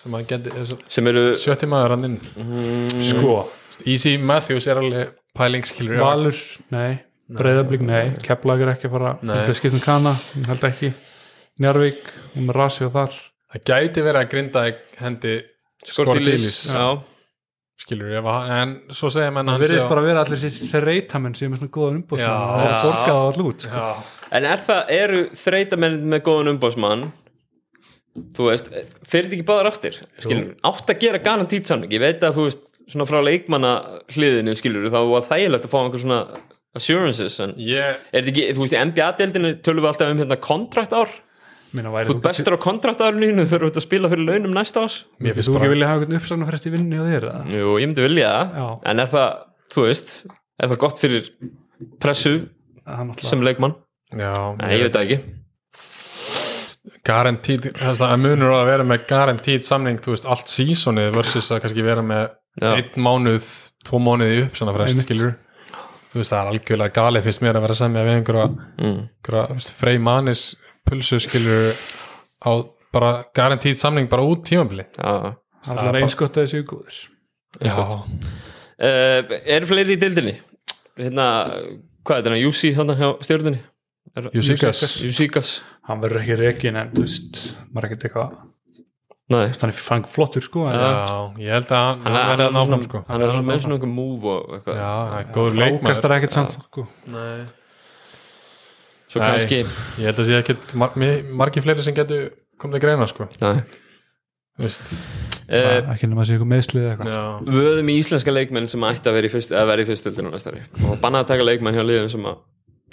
[SPEAKER 2] sem að geti er svo-
[SPEAKER 1] Sem eru
[SPEAKER 2] sjötti maður hann inn
[SPEAKER 1] Mm.
[SPEAKER 2] sko, Easy Matthews er alveg pælingskilur
[SPEAKER 3] Valur, nei, Breiðablík, nei Keflag er ekki að fara,
[SPEAKER 2] Nei.
[SPEAKER 3] held að skiptum Kana ég held ekki, Njarvík hún er rasi og þar,
[SPEAKER 2] það gæti verið að grinda hendi
[SPEAKER 1] Skortilis
[SPEAKER 2] Skortilis.
[SPEAKER 1] Já,
[SPEAKER 2] skilur ef að- en svo segja menn að
[SPEAKER 3] það
[SPEAKER 2] hann
[SPEAKER 3] verðist
[SPEAKER 2] sé á-
[SPEAKER 3] bara að vera allir sér reytamenn sem er með svona góðan umbóðsmann
[SPEAKER 2] Já.
[SPEAKER 3] og það er að borga það allir út sko.
[SPEAKER 2] Já,
[SPEAKER 1] En er það, eru þreytamenn með góðan umbásmann þú veist, fyrir þetta ekki báðar áttir skilur, átt að gera garantít samning ég veit að þú veist, svona frá leikmanna hliðinu, skilur, þá var þægilegt að fá einhver svona assurances en
[SPEAKER 2] ég
[SPEAKER 1] er þetta ekki, þú veist, í NBA-deldinu tölum við alltaf um hérna kontrakt ár
[SPEAKER 3] Meina, væri
[SPEAKER 1] þú ert bestur á kontrakt árinu þínu, þurfum við að spila fyrir launum næsta ás
[SPEAKER 2] Mér
[SPEAKER 3] Þú
[SPEAKER 2] finnst
[SPEAKER 3] þú
[SPEAKER 2] bara-
[SPEAKER 3] ekki vilja hafa einhvern uppsagnarfrest í vinnu hjá þér eða?
[SPEAKER 1] Jú, ég myndi vilja
[SPEAKER 3] Já.
[SPEAKER 1] það, en er það þú veist, er það gott fyrir pressu
[SPEAKER 3] Það er náttúrulega-
[SPEAKER 1] sem leikmann?
[SPEAKER 2] já,
[SPEAKER 1] Nei, ég veit það ekki
[SPEAKER 2] garantíð, þess að það munur á að vera með garantíð samning, þú veist, allt sísonið versus að kannski vera með
[SPEAKER 1] Já.
[SPEAKER 2] einn mánuð, tvo mánuð í uppsanna frest
[SPEAKER 3] Einmitt.
[SPEAKER 2] skilur, þú veist, það er algjörlega galið fyrst mér að vera að semja við einhverja,
[SPEAKER 1] mm.
[SPEAKER 2] einhverja þú veist, frey manis pulsu skilur á bara garantíð samning bara út tímabili
[SPEAKER 1] Já,
[SPEAKER 3] allar
[SPEAKER 2] bara-
[SPEAKER 3] einskottaði sig góður
[SPEAKER 2] já,
[SPEAKER 1] uh, eru fleiri í deildinni hérna, hvað er þetta, Jussi hérna hjá stjórninni
[SPEAKER 2] Jusikas
[SPEAKER 1] Jussikas,
[SPEAKER 3] hann verður ekki rekin en þú veist maður er ekkert eitthvað
[SPEAKER 1] nei
[SPEAKER 3] hann er fang flottur sko en
[SPEAKER 2] já, ég held að hann, hann verði að náfram sko
[SPEAKER 1] hann er alveg með svona einhver move og eitthvað
[SPEAKER 2] já, hann er góður
[SPEAKER 3] frákastar
[SPEAKER 2] leikmaður
[SPEAKER 3] ekkert samt sko.
[SPEAKER 2] Nei.
[SPEAKER 1] svo
[SPEAKER 2] Nei.
[SPEAKER 1] kannski
[SPEAKER 2] ég held að sé ekkit mar mi- margir fleiri sem getur komið að greina sko,
[SPEAKER 1] nei.
[SPEAKER 2] þú veist
[SPEAKER 1] Uh,
[SPEAKER 3] ekki nema að sé eitthvað meðslið eða eitthvað
[SPEAKER 2] já,
[SPEAKER 1] vöðum í íslenska leikmenn sem ætti að vera í fyrst, að vera í fyrstöldinu næstari og bannað að taka leikmenn hjá liðum sem að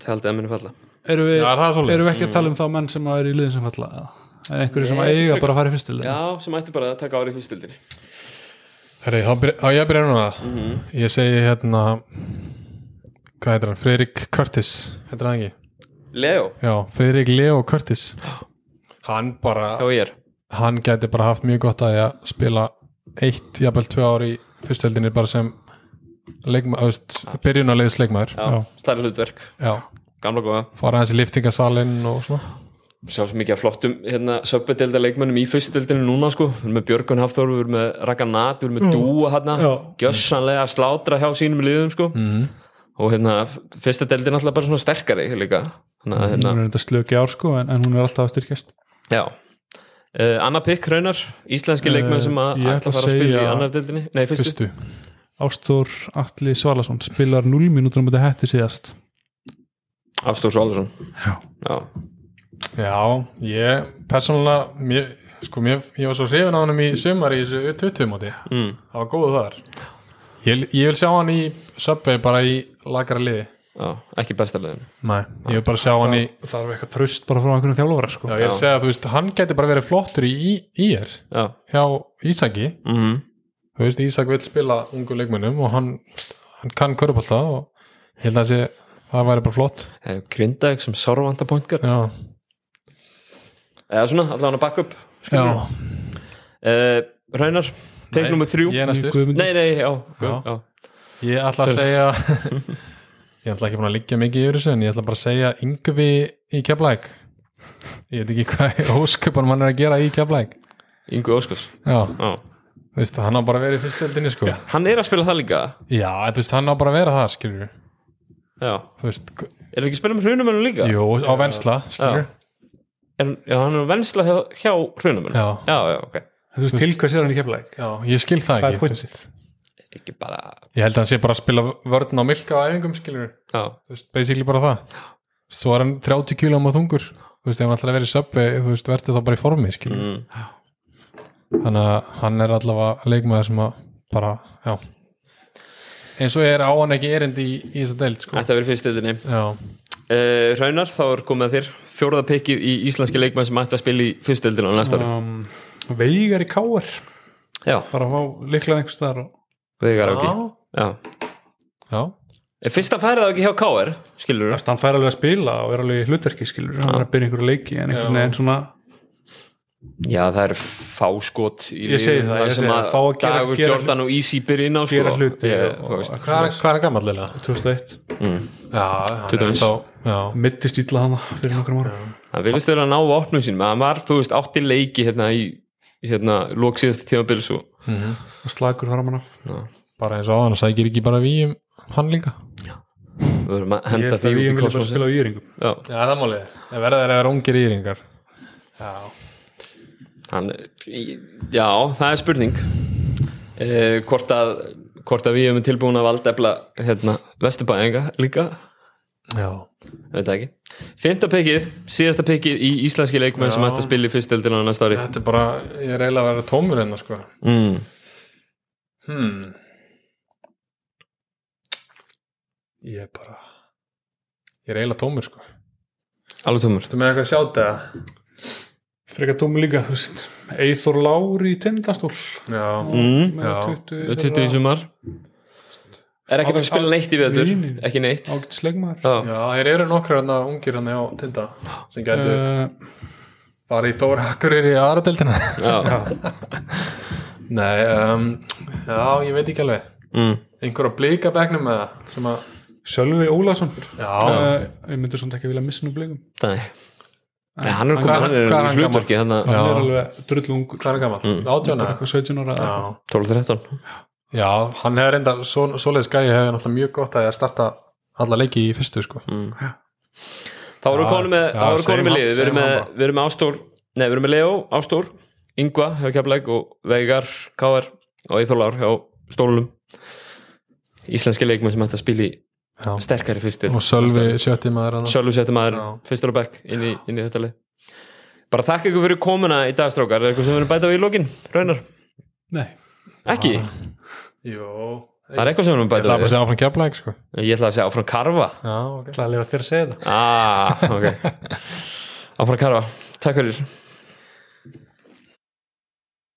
[SPEAKER 1] held að minni falla
[SPEAKER 3] erum við,
[SPEAKER 2] Já, er það svoleiðis?
[SPEAKER 3] erum við ekki að tala um þá menn sem að er í liðin sem falla eða? eða einhverju sem
[SPEAKER 1] Nei,
[SPEAKER 3] að
[SPEAKER 1] ekki
[SPEAKER 3] eiga
[SPEAKER 1] frekar.
[SPEAKER 3] bara að fara í fyrstil
[SPEAKER 1] já, sem ætti bara að taka ári í fyrstöldinu
[SPEAKER 2] Herri, þá byrja, á ég að byrja núna Ég segi hérna Hvað heitir hann? Friðrik Curtis Heitir hann ekki?
[SPEAKER 1] Leo,
[SPEAKER 2] Já, Friðrik Leo Curtis Hann bara,
[SPEAKER 1] hjá ég er
[SPEAKER 2] hann gæti bara haft mjög gott að því að spila eitt, jafnvel tvö ár í fyrstöldinni bara sem leikmaður, byrjunarleiðis leikmaður
[SPEAKER 1] já, stærri hlutverk,
[SPEAKER 2] Já,
[SPEAKER 1] gamla góða
[SPEAKER 2] fara hans í liftingasalinn og svona
[SPEAKER 1] sjá svo mikið af flottum hérna, söpbedelda leikmönnum í fyrstdeldinu núna sko. við erum með Björgun Hafþór, við erum með Rakanat við erum með Dúa hérna
[SPEAKER 3] Já.
[SPEAKER 1] gjössanlega að slátra hjá sínum liðum sko. og hérna, fyrstdeldin alltaf bara svona sterkari líka Þannig, að,
[SPEAKER 3] hún
[SPEAKER 1] hérna,
[SPEAKER 3] er þetta slöki ár sko en, en hún er alltaf að styrkjast
[SPEAKER 1] já uh, Anna Pikk raunar, íslenski
[SPEAKER 3] Eh,
[SPEAKER 1] leikmenn sem að
[SPEAKER 3] ég
[SPEAKER 1] ætla að
[SPEAKER 3] ætla að
[SPEAKER 1] fara að spila í
[SPEAKER 3] segja-
[SPEAKER 1] annar deldinni nei, fyrstu,
[SPEAKER 2] Fyrstu,
[SPEAKER 3] Ástór Atli Svalason spilar 0 mínútur á mútið hætti síðast
[SPEAKER 1] Afstór Svalursson
[SPEAKER 3] Já.
[SPEAKER 1] já,
[SPEAKER 2] já, ég persónulega, mér, sko, mér, ég var svo hrifin á honum í sumar í þessu 20 móti
[SPEAKER 1] mm.
[SPEAKER 2] Það var góð þar ég, ég vil sjá hann í Subway bara í lagara liði
[SPEAKER 1] já ekki besta liðin
[SPEAKER 2] Nei, ég vil bara sjá hann í
[SPEAKER 3] þarf eitthvað tröst bara frá einhverjum þjálfóra sko.
[SPEAKER 2] Já, ég vil segja að þú veist, hann gæti bara verið flottur í í- ír
[SPEAKER 1] já,
[SPEAKER 2] hjá Ísaki
[SPEAKER 1] mm
[SPEAKER 2] Þú veist, Ísak vil spila ungu leikmönnum og hann, hann kann körpallta og ég held að sé það væri bara flott
[SPEAKER 1] Eh, Grindavík sem sárvanda pointgar
[SPEAKER 2] Já,
[SPEAKER 1] eða svona, allan að backup
[SPEAKER 2] já
[SPEAKER 1] uh, Raunar,
[SPEAKER 2] Nei,
[SPEAKER 1] peik nummer þrjú
[SPEAKER 2] Ég er næstur
[SPEAKER 1] Nei, nei, já, já.
[SPEAKER 2] Já. Ég ætla að segja Ég ætla ekki búin að liggja mikið í þessu en ég ætla bara að segja Yngvi í Keflæk Ég veit ekki hvað í ósköpunum hann er að gera í Keflæk
[SPEAKER 1] Ingu Óskars
[SPEAKER 2] Já,
[SPEAKER 1] já.
[SPEAKER 2] Þú veist, hann á bara að vera í fyrstöldinni sko. Já,
[SPEAKER 1] Hann er að spila það líka
[SPEAKER 2] Já en þú veist, hann á bara að vera það, skilur
[SPEAKER 1] já.
[SPEAKER 2] Þú veist, g-
[SPEAKER 1] Er það ekki að spila með hrunumönnum líka?
[SPEAKER 2] jú, á vensla, skilur
[SPEAKER 1] Er, já, hann er vensla hjá, hjá hrunumönnum
[SPEAKER 2] Já.
[SPEAKER 1] já, já, ok
[SPEAKER 3] Þú veist, til hvers er hann í keflæk
[SPEAKER 2] Já, ég skil það
[SPEAKER 3] hvað
[SPEAKER 2] ekki
[SPEAKER 3] er
[SPEAKER 2] þú veist.
[SPEAKER 3] pointið
[SPEAKER 1] Ekki bara
[SPEAKER 2] Ég held að hann sé bara að spila vörn á milka á æfingum, skilur
[SPEAKER 1] já.
[SPEAKER 2] Þú veist, basically bara það Svo er hann 30 kílum á þungur Þú veist, ef hann ætlar að vera í söpbi, þú veist, verður þá bara í formi, skilur
[SPEAKER 1] Mm.
[SPEAKER 2] Þannig að hann er allavega leikmaður sem að bara, já Eins og er á hann ekki erindi í, í þessa deild, sko
[SPEAKER 1] Ætti að vera fyrstöldinni
[SPEAKER 2] Já,
[SPEAKER 1] uh, Raunar, þá er komið að þér Fjórða pikkið í íslenski leikmenn sem ætti að spila í fyrstöldinu á næsta ári
[SPEAKER 3] um, Veigar í káar
[SPEAKER 1] Já,
[SPEAKER 3] bara að fá líklega einhver staðar og
[SPEAKER 1] Veigar Áki
[SPEAKER 2] Já,
[SPEAKER 1] Já,
[SPEAKER 2] já
[SPEAKER 1] En Eh, fyrsta færið það ekki hjá KR, skilur
[SPEAKER 3] Þú veist, hann fær alveg að spila og er alveg í hlutverki skilur hann er að byrja einhverju leiki en einhvern
[SPEAKER 2] Já.
[SPEAKER 3] veginn svona
[SPEAKER 1] Já, það er fáskot í
[SPEAKER 3] Ég segi
[SPEAKER 1] liðinu,
[SPEAKER 3] það, ég
[SPEAKER 1] sem
[SPEAKER 3] segi það, fá að gera-
[SPEAKER 1] Dagur,
[SPEAKER 3] gera
[SPEAKER 1] Jordan og Easy byrja inn á sko.
[SPEAKER 3] gera hluti
[SPEAKER 1] ég,
[SPEAKER 3] og-
[SPEAKER 1] þú veist. Mm.
[SPEAKER 2] Hvað er, hvað er hann gammal leila?
[SPEAKER 3] 2001,
[SPEAKER 2] Já, hann
[SPEAKER 1] Til
[SPEAKER 2] er
[SPEAKER 1] dæmis.
[SPEAKER 2] þá- já.
[SPEAKER 3] mittist ítla hana fyrir nokkrum árum
[SPEAKER 1] hann vilist vera að ná vopnum sínum hann var, þú veist, átti leiki hérna í hérna, lók síðasta tímabils og
[SPEAKER 3] og slagur framan af
[SPEAKER 2] bara eins og aðan, sækir ekki bara víum hann líka?
[SPEAKER 1] við verðum að
[SPEAKER 3] ég
[SPEAKER 1] henda
[SPEAKER 3] held
[SPEAKER 1] því út
[SPEAKER 3] að við
[SPEAKER 1] í
[SPEAKER 3] viljum bara
[SPEAKER 1] kosmosin
[SPEAKER 3] spila á yringum
[SPEAKER 1] Já,
[SPEAKER 2] Já, það málið, það verða þeir að vera ungir íringar Já,
[SPEAKER 1] hann, já, það er spurning eh, hvort að hvort að við erum tilbúin að valda efla hérna, vesturbæðinga líka
[SPEAKER 2] já,
[SPEAKER 1] veit það ekki, fymta pikið, síðasta pikið í íslenski leikmenn sem
[SPEAKER 2] Já.
[SPEAKER 1] ætti að spila í fyrstöldina næsta ári
[SPEAKER 2] þetta er bara ég er eiginlega að vera tómur hérna sko
[SPEAKER 1] mm.
[SPEAKER 2] hmm. Ég er bara ég er eiginlega tómur sko
[SPEAKER 1] alveg tómur
[SPEAKER 2] Þetta með eitthvað að sjáta það?
[SPEAKER 3] frekar tómi líka, þú veist Eithor Lári í tindastól
[SPEAKER 2] Já,
[SPEAKER 1] Mm.
[SPEAKER 3] með
[SPEAKER 2] Já.
[SPEAKER 3] 20
[SPEAKER 1] við 20 í sumar er ekki fann að spila neitt í vetur
[SPEAKER 3] Nei, nei.
[SPEAKER 1] ekki neitt
[SPEAKER 3] ágætt slegmaður
[SPEAKER 1] Já.
[SPEAKER 2] já, þeir eru nokkra hérna ungir hérna á tinda sem gætu uh.
[SPEAKER 3] Eh,
[SPEAKER 2] bara í Þóra Akureyri í aðradeldina
[SPEAKER 1] Já.
[SPEAKER 2] Nei, um, já, ég veit ekki alveg
[SPEAKER 1] Mm.
[SPEAKER 2] einhverja blika begnum með það sem að,
[SPEAKER 3] Sölvi Ólason Eh,
[SPEAKER 2] já,
[SPEAKER 3] ég myndi svona ekki vilja missa nú blikum
[SPEAKER 1] Nei. Nei, hann er
[SPEAKER 3] hann-
[SPEAKER 1] komið,
[SPEAKER 2] hvað-
[SPEAKER 1] hann er
[SPEAKER 2] hvað er
[SPEAKER 1] í
[SPEAKER 2] hann
[SPEAKER 1] hlutverki þannig
[SPEAKER 3] hann
[SPEAKER 2] Já.
[SPEAKER 3] er alveg drullungur
[SPEAKER 2] hvað er gammal? Mm. 18
[SPEAKER 3] bara
[SPEAKER 2] ára?
[SPEAKER 3] eitthvað 17 ára eða
[SPEAKER 2] Já,
[SPEAKER 1] 12-13
[SPEAKER 2] já, hann hefur enda svo, svoleiðis gæði hefur náttúrulega mjög gott að því að starta alla leiki í fyrstu sko
[SPEAKER 1] Mm. Þá erum
[SPEAKER 2] Já,
[SPEAKER 1] við konum með,
[SPEAKER 2] já,
[SPEAKER 1] þá erum við konum
[SPEAKER 2] segjum
[SPEAKER 1] með
[SPEAKER 2] hann-
[SPEAKER 1] liðið, við erum
[SPEAKER 2] segjum
[SPEAKER 1] með,
[SPEAKER 2] hann bara.
[SPEAKER 1] við erum með Ástór, nei við erum með Leo, Ástór, Ingva hjá Keflæk og Veigar, Káar og Íþólár hjá Stólunum Íslenski leikmenn sem ætti að spila í
[SPEAKER 2] Já.
[SPEAKER 1] sterkari fyrstu
[SPEAKER 2] og Sölvi sjötti maður hann
[SPEAKER 1] Sjálfur setja maður
[SPEAKER 2] Já.
[SPEAKER 1] fyrstur á bekk inn í, inn í þetta lið Bara þakka ykkur fyrir komuna í dagstrákar, er eitthvað sem við erum bæta á í lokin, raunar?
[SPEAKER 3] Nei,
[SPEAKER 1] Ekki,
[SPEAKER 2] Jó,
[SPEAKER 1] það er eitthvað sem við erum
[SPEAKER 2] ég ætla
[SPEAKER 1] bæta
[SPEAKER 2] bara að
[SPEAKER 1] við
[SPEAKER 2] segja áfram keflæk sko
[SPEAKER 1] Ég ætla að segja áfram karfa
[SPEAKER 2] Já, ok
[SPEAKER 3] ætlaði að lifa þér að segja það
[SPEAKER 1] Ah, ok Áfram karfa, takk fyrir